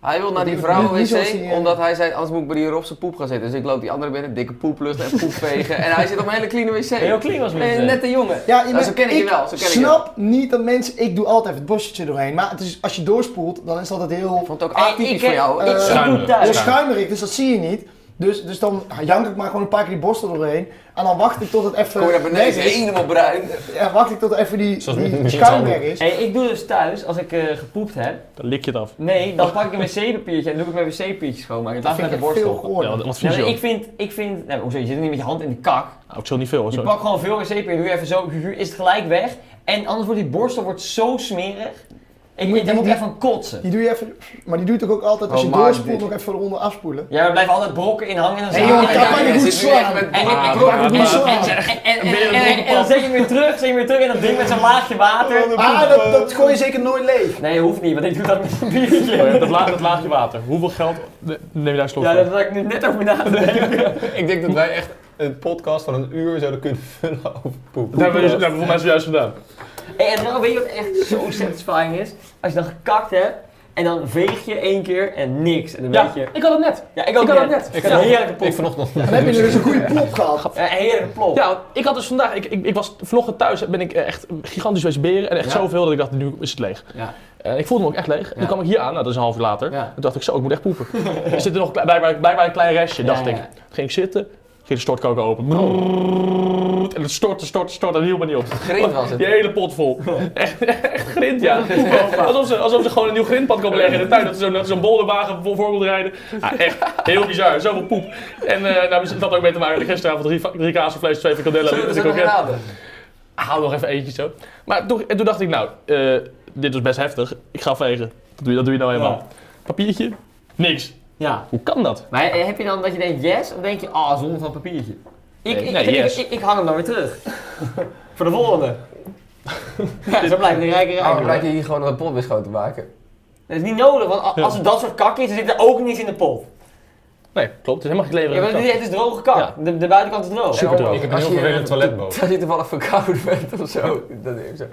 Speaker 4: Hij wil naar die
Speaker 2: Die- die- die zoals
Speaker 4: vrouwen-wc,
Speaker 2: die, eh,
Speaker 4: omdat hij zei, anders moet ik bij die Robse poep gaan zitten. Dus ik loop die andere binnen, dikke poeplucht en poepvegen. en hij zit op een hele clean wc.
Speaker 5: Heel clean was het.
Speaker 4: Nee, een nette jongen.
Speaker 2: Ja,
Speaker 4: Nou,
Speaker 2: maar
Speaker 4: zo ken ik je wel, zo ken ik je
Speaker 2: snap niet dat mensen... Ik doe altijd het borstje doorheen. Maar het is, als je doorspoelt, dan is dat altijd heel...
Speaker 4: Ik vond het ook
Speaker 5: Hey,
Speaker 4: atypisch
Speaker 5: ik-
Speaker 4: voor jou. hoor.
Speaker 2: eh,
Speaker 4: Ik-
Speaker 1: Schuimerig.
Speaker 5: Ja,
Speaker 2: Heel
Speaker 1: Schuimerig.
Speaker 2: schuimerig, dus dat zie je niet. Dus, dus dan jank ik maar gewoon een paar keer die borstel doorheen. En dan wacht ik tot het even
Speaker 4: Kom je naar beneden,
Speaker 2: weg is.
Speaker 4: helemaal bruin.
Speaker 2: En wacht ik tot even die,
Speaker 1: Zoals met-
Speaker 2: die
Speaker 1: met
Speaker 2: schuim
Speaker 1: z'n
Speaker 2: weg
Speaker 1: allen.
Speaker 2: is.
Speaker 5: Hey, ik doe dus thuis, als ik eh, gepoept heb,
Speaker 3: Dan lik je het af.
Speaker 5: nee, dan pak ik een wc-papiertje en doe ik mijn wc-papiertje schoonmaken.
Speaker 2: Dat
Speaker 5: Dat
Speaker 2: vind
Speaker 5: met de
Speaker 2: ik veel
Speaker 5: borstel.
Speaker 3: Ja,
Speaker 2: gehoord.
Speaker 3: wat- wat
Speaker 5: Ja,
Speaker 3: vind
Speaker 5: maar
Speaker 3: je?
Speaker 5: ik vind, ik vind, nou, hoezo, je zit niet met je hand in de kak.
Speaker 3: Oh, ik zul niet veel hoor.
Speaker 5: Je
Speaker 3: sorry.
Speaker 5: pakt gewoon veel wc-papier, doe je even zo, is het gelijk weg. En anders wordt die borstel wordt zo smerig. Ik,
Speaker 2: Moet
Speaker 5: ik daar moet
Speaker 2: die-
Speaker 5: ik echt van kotsen.
Speaker 2: Die doe je even... Maar die doe je toch ook altijd als je
Speaker 4: Oh, maar
Speaker 2: doorspoelt
Speaker 4: dit-
Speaker 2: nog even eronder afspoelen.
Speaker 5: Ja, we blijven altijd brokken in hangen en dan
Speaker 2: Hey,
Speaker 5: zeg
Speaker 2: jongen,
Speaker 5: ik-
Speaker 2: kan maar niet
Speaker 4: je
Speaker 2: goed
Speaker 4: zit nu echt
Speaker 2: slaan.
Speaker 4: met Ah,
Speaker 5: En-
Speaker 4: brokken.
Speaker 5: en-
Speaker 4: brokken.
Speaker 2: maar-
Speaker 5: en-
Speaker 2: niet zo
Speaker 5: en-
Speaker 2: aan.
Speaker 5: en- en- en- en- en dan zet je hem weer terug, zet je hem weer terug en dat ding met zo'n laagje water.
Speaker 2: Ah, dat, dat gooi je zeker nooit leeg.
Speaker 5: Nee, hoeft niet, want ik doe dat met een
Speaker 3: Oh ja,
Speaker 5: biertje.
Speaker 3: dat, la- dat laagje water. Hoeveel geld ne- neem je daar een slok
Speaker 5: Ja,
Speaker 3: voor?
Speaker 5: daar had ik nu net over na te denken.
Speaker 1: Ik denk dat wij echt een podcast van een uur zouden kunnen *laughs* vullen over poep.
Speaker 3: Dat hebben we, dus- dat hebben we voor mij zojuist gedaan.
Speaker 5: Hey, en dan weet je wat echt zo satisfying is? Als je dan gekakt hebt en dan veeg je één keer en niks. En dan weet je...
Speaker 3: ik had het net.
Speaker 5: Ja, ik ook
Speaker 3: ik had het net.
Speaker 5: Ik
Speaker 3: Ik
Speaker 5: had
Speaker 3: had
Speaker 5: een
Speaker 3: het
Speaker 5: heerlijke
Speaker 1: Ik
Speaker 5: plop.
Speaker 1: vanochtend.
Speaker 2: Dan heb je dus een goede plop gehad.
Speaker 5: Een heerlijke plop.
Speaker 3: Ja, want ik had dus vandaag, ik, ik, ik was vloggen thuis, ben ik echt gigantisch wezen beren en echt
Speaker 5: Ja.
Speaker 3: zoveel dat ik dacht, nu is het leeg.
Speaker 5: Ja.
Speaker 3: En ik voelde me ook echt leeg. En
Speaker 5: Ja.
Speaker 3: toen kwam ik hier aan, nou, dat is een half uur later.
Speaker 5: Ja.
Speaker 3: En toen dacht ik, zo, ik moet echt poepen. er zit er nog blijkbaar, blijkbaar een klein restje,
Speaker 5: Ja,
Speaker 3: dacht ik.
Speaker 5: ja.
Speaker 3: Toen ging ik zitten, ging de stortkoker open. Brrrr. en het stortte, stortte, stortte, en hield me niet op.
Speaker 4: Grind was het.
Speaker 3: Die hele pot *laughs* vol. echt, echt grind, ja. Oh. *laughs* alsof, ze, alsof ze gewoon een nieuw grindpad kan leggen in de tuin. Dat ze zo- dat ze zo'n bolderwagen voor, voor wil rijden. Ah, echt heel bizar, zoveel poep. En eh nou, dat had ook mee te maken dat ik gisteravond drie, va- drie kaasvlees, twee frikandellen
Speaker 4: Zullen we
Speaker 3: en
Speaker 4: dat
Speaker 3: een
Speaker 4: nog
Speaker 3: kroket.
Speaker 4: herhalen?
Speaker 3: Haal nog even eentje zo. Maar toen, en toen dacht ik, nou, eh, dit was best heftig. Ik ga vegen. Dat doe je, dat doe je nou helemaal.
Speaker 5: Ja.
Speaker 3: Papiertje? Niks.
Speaker 5: Ja.
Speaker 3: Hoe kan dat?
Speaker 5: Maar eh, heb je dan dat je denkt yes, of denk je, ah, zonder van papiertje? Ik,
Speaker 3: Nee,
Speaker 5: ik,
Speaker 3: nee,
Speaker 5: ik,
Speaker 3: yes.
Speaker 5: ik, ik hang hem dan weer
Speaker 3: *laughs*
Speaker 5: terug. Voor de volgende. ja, zo blijft de rijke rijk.
Speaker 4: Oh,
Speaker 5: hoor.
Speaker 4: dan blijkt je hier gewoon een pot weer schoon te maken. *laughs*
Speaker 5: Dat is niet nodig, want a- als het dat soort kak is, dan zit er ook niks in de pot.
Speaker 3: Nee, klopt. Het is helemaal geen
Speaker 5: Ja, maar
Speaker 3: leveren.
Speaker 5: dit dit is droge kak.
Speaker 3: Ja.
Speaker 5: De, de buitenkant is droog.
Speaker 3: Super droog.
Speaker 1: Ik heb een
Speaker 4: Als
Speaker 1: heel
Speaker 4: je-
Speaker 1: vervelend toiletboot.
Speaker 4: Als je toevallig verkouden bent of zo. Dat is zo.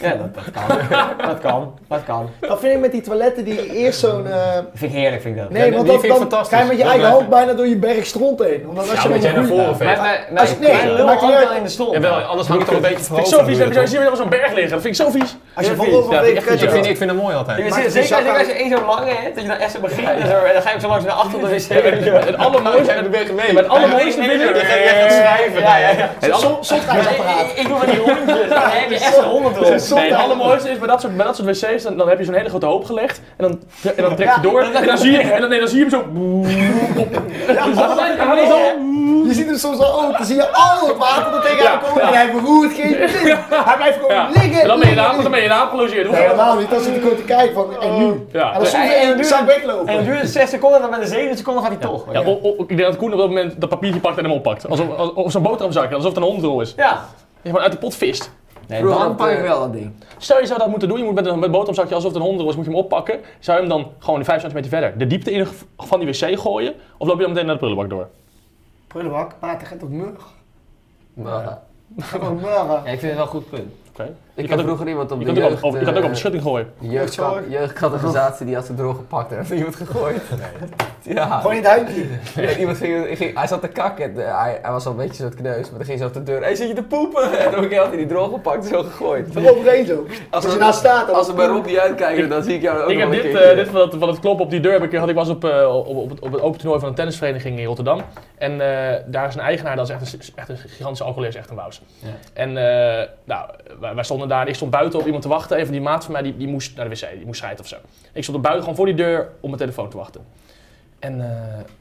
Speaker 5: Ja, dat, dat
Speaker 3: *laughs*
Speaker 5: kan. dat kan. Dat kan.
Speaker 2: Dat vind ik met die toiletten die eerst zo'n... eh,
Speaker 5: Dat vind ik heerlijk, vind ik dat.
Speaker 2: Nee,
Speaker 1: die
Speaker 2: want
Speaker 1: vind ik
Speaker 2: dan, dan
Speaker 1: fantastisch.
Speaker 2: ga je met je
Speaker 1: Dat
Speaker 2: eigen
Speaker 1: blijf
Speaker 2: hand bijna door je berg stront heen. Omdat
Speaker 1: Ja,
Speaker 2: als je
Speaker 1: omdat
Speaker 2: met
Speaker 1: jij
Speaker 2: je
Speaker 1: naar
Speaker 2: goeie-
Speaker 1: voren veegt.
Speaker 5: Mijn,
Speaker 2: Als je- nee,
Speaker 5: mijn lul
Speaker 2: maakt niet
Speaker 5: hangt
Speaker 2: uit.
Speaker 5: wel in de slot.
Speaker 1: Jawel, anders hangt het toch een beetje
Speaker 3: Vind ik
Speaker 1: verhoogd.
Speaker 3: zo vies. Dan heb je zo- zie je weer zo'n berg liggen. Dat vind ik zo vies.
Speaker 2: Als je
Speaker 5: Ja,
Speaker 2: voorover
Speaker 3: ja,
Speaker 2: weet,
Speaker 3: echt
Speaker 2: krijg
Speaker 3: niet,
Speaker 1: Ik
Speaker 2: je
Speaker 1: vind, ik vind het mooi altijd.
Speaker 5: Ja,
Speaker 2: Maakt
Speaker 5: zeker
Speaker 2: het
Speaker 5: zeker
Speaker 2: een zak
Speaker 5: als je één zo'n lange hebt, dat je dan echt zo begint en zo, en dan ga je zo langs naar achter de wc.
Speaker 3: Het allermooiste,
Speaker 5: Ja, dat
Speaker 3: maar het allermooiste vind ik...
Speaker 5: schrijven. Ja, ja, ja.
Speaker 2: Zo'n zon- zonneapparaat.
Speaker 5: Ik, ik doe van die hondjes, daar heb je echt een honderd
Speaker 2: Zo'n
Speaker 5: rond.
Speaker 3: Nee, het
Speaker 2: zonneapparaat.
Speaker 3: allermooiste is bij dat soort, bij dat soort wc's, dan, dan heb je zo'n hele grote hoop gelegd. En dan, en dan trek je door. En dan zie je, en dan, nee, dan zie je hem zo. Dus *laughs* dat- en dan is dan-
Speaker 2: Je ziet hem soms al open, dan zie je al het water dat tegen hem komt en hij beroert geen zin. Hij blijft gewoon
Speaker 3: Ja.
Speaker 2: liggen.
Speaker 3: En dan ben je
Speaker 2: liggen,
Speaker 3: daar, dan ben je daar gelogeerd.
Speaker 2: Nee, helemaal niet. Dan zit ik gewoon te kijken van, en nu?
Speaker 3: Ja.
Speaker 2: En dan soms
Speaker 5: Ja, en
Speaker 2: even
Speaker 5: nu-
Speaker 2: zou ik weglopen.
Speaker 5: En het duurt 6 seconden en dan met de 7 seconden gaat hij toch.
Speaker 3: Ja, o- o- ik denk dat Koen op dat moment dat papiertje pakt en hem oppakt. Alsof, als- of zo'n boterhamzakje, alsof het een hondrol is.
Speaker 5: Ja. eh,
Speaker 3: Je gewoon uit de pot vist.
Speaker 5: Nee,
Speaker 4: Vroeger dan
Speaker 5: dan
Speaker 4: pak ik wel dat ding.
Speaker 3: Stel je zou dat moeten doen, je moet met een, met een boterhamzakje alsof het een hondrol is, moet je hem oppakken. Zou je hem dan gewoon 5 centimeter verder de diepte in van die wc gooien? Of loop je dan meteen naar de prullenbak door?
Speaker 2: Prullenbak, water gaat op mug.
Speaker 4: Maar,
Speaker 2: Gaat op mug.
Speaker 5: ik vind het wel een goed punt.
Speaker 3: Oké. Je
Speaker 4: ik
Speaker 3: kan
Speaker 4: heb
Speaker 3: ook-
Speaker 4: vroeger iemand op
Speaker 3: Je
Speaker 4: de
Speaker 3: kan, het ook
Speaker 4: jeugd,
Speaker 3: op, op- je kan het ook op de
Speaker 4: eh,
Speaker 3: schutting gooien.
Speaker 4: jeugdka- jeugdcategorisatie die had ze droog gepakt en heeft iemand gegooid. Ja.
Speaker 2: Gewoon in het huidje.
Speaker 4: Ja, iemand ging, ging- hij zat te kakken. en, eh, hij, hij was al een beetje zo'n kneus, maar dan ging ze op de deur. Hé, zit je te poepen? *laughs* En dan had hij die droog gepakt en zo gegooid.
Speaker 2: Van overheen zo. Als
Speaker 4: we-
Speaker 2: je daar staat, dan...
Speaker 4: Als we bij Rob niet uitkijken, dan zie ik jou ook
Speaker 3: Ik
Speaker 4: nog
Speaker 3: heb
Speaker 4: een
Speaker 3: dit,
Speaker 4: keertje.
Speaker 3: eh, dit van, het, van het kloppen op die deur. Heb ik, had ik was op, eh, op, op, het- op het open toernooi van een tennisvereniging in Rotterdam. En eh, daar is een eigenaar, dat is echt een, echt een gigantische alcoholist, echt een wous. En eh, nou, wij, wij stonden daar en ik stond buiten op iemand te wachten. Even die maat van mij, die, die moest naar de wc, die moest scheiden of zo. Ik stond er buiten gewoon voor die deur om mijn telefoon te wachten. En eh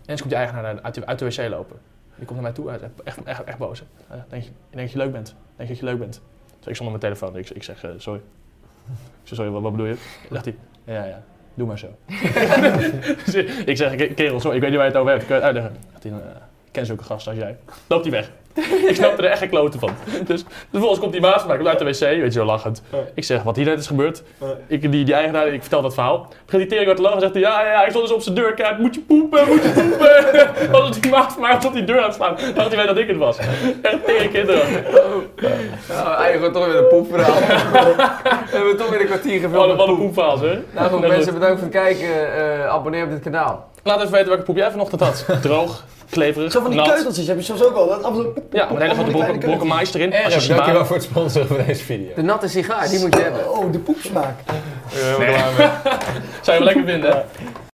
Speaker 3: eens komt die eigenaar naar- uit de, uit de wc lopen. Die komt naar mij toe, hij is echt, echt, echt boos. Eh, denk, je, ik denk dat je leuk bent. Ik Denk dat je leuk bent. Dus ik stond op mijn telefoon. Ik, ik zeg, eh, sorry. Ik zeg, sorry, wat, wat bedoel je? dacht hij, ja, ja, doe maar zo. *laughs* Dus ik zeg, "Ke- kerel, sorry, ik weet niet waar je het over hebt. Kun je het uitleggen? Dacht hij, "Eh, ik ken zulke gasten als jij. Loopt hij
Speaker 4: *laughs*
Speaker 3: weg. ik snap er echt geen kloten van. Dus vervolgens komt die maat van mij, komt uit de wc, weet je wel, lachend. Ik zeg, wat hier net is gebeurd. Ik, die, die eigenaar, ik vertel dat verhaal. Begint die teringwart te lachen, zegt hij, ja, ja, ja, ik stond dus op zijn deur, kijk, moet je poepen, moet je poepen. *laughs* Als het die maat van mij was op die deur aan het slaan, dacht hij wel dat ik het was. Echt tegen kinderen.
Speaker 4: Nou, eigenlijk toch weer een
Speaker 3: *laughs*
Speaker 4: poepverhaal. we hebben toch weer een kwartier gevuld
Speaker 3: Wat
Speaker 4: met
Speaker 3: een, wat een
Speaker 4: poep.
Speaker 3: poepfase, hè?
Speaker 4: Nou goed,
Speaker 3: Nou,
Speaker 4: mensen, bedankt voor het kijken. Eh, abonneer op dit kanaal.
Speaker 3: Laat even weten welke poep jij vanochtend had. Droog, kleverig,
Speaker 2: Zo van die
Speaker 3: nat.
Speaker 2: keuteltjes heb je soms ook al. Dat absoluut...
Speaker 3: Ja, met hele
Speaker 2: Allemaal die
Speaker 3: grote brokken,
Speaker 2: kleine
Speaker 3: brokken mais erin.
Speaker 1: Erg,
Speaker 3: Als je
Speaker 1: dankjewel
Speaker 3: smaakt.
Speaker 1: voor het sponsoren van deze video.
Speaker 4: De natte sigaar, die moet je hebben.
Speaker 2: Oh, de poepsmaak.
Speaker 1: Eh, we gaan weer-
Speaker 3: Zou je wel lekker vinden, hè?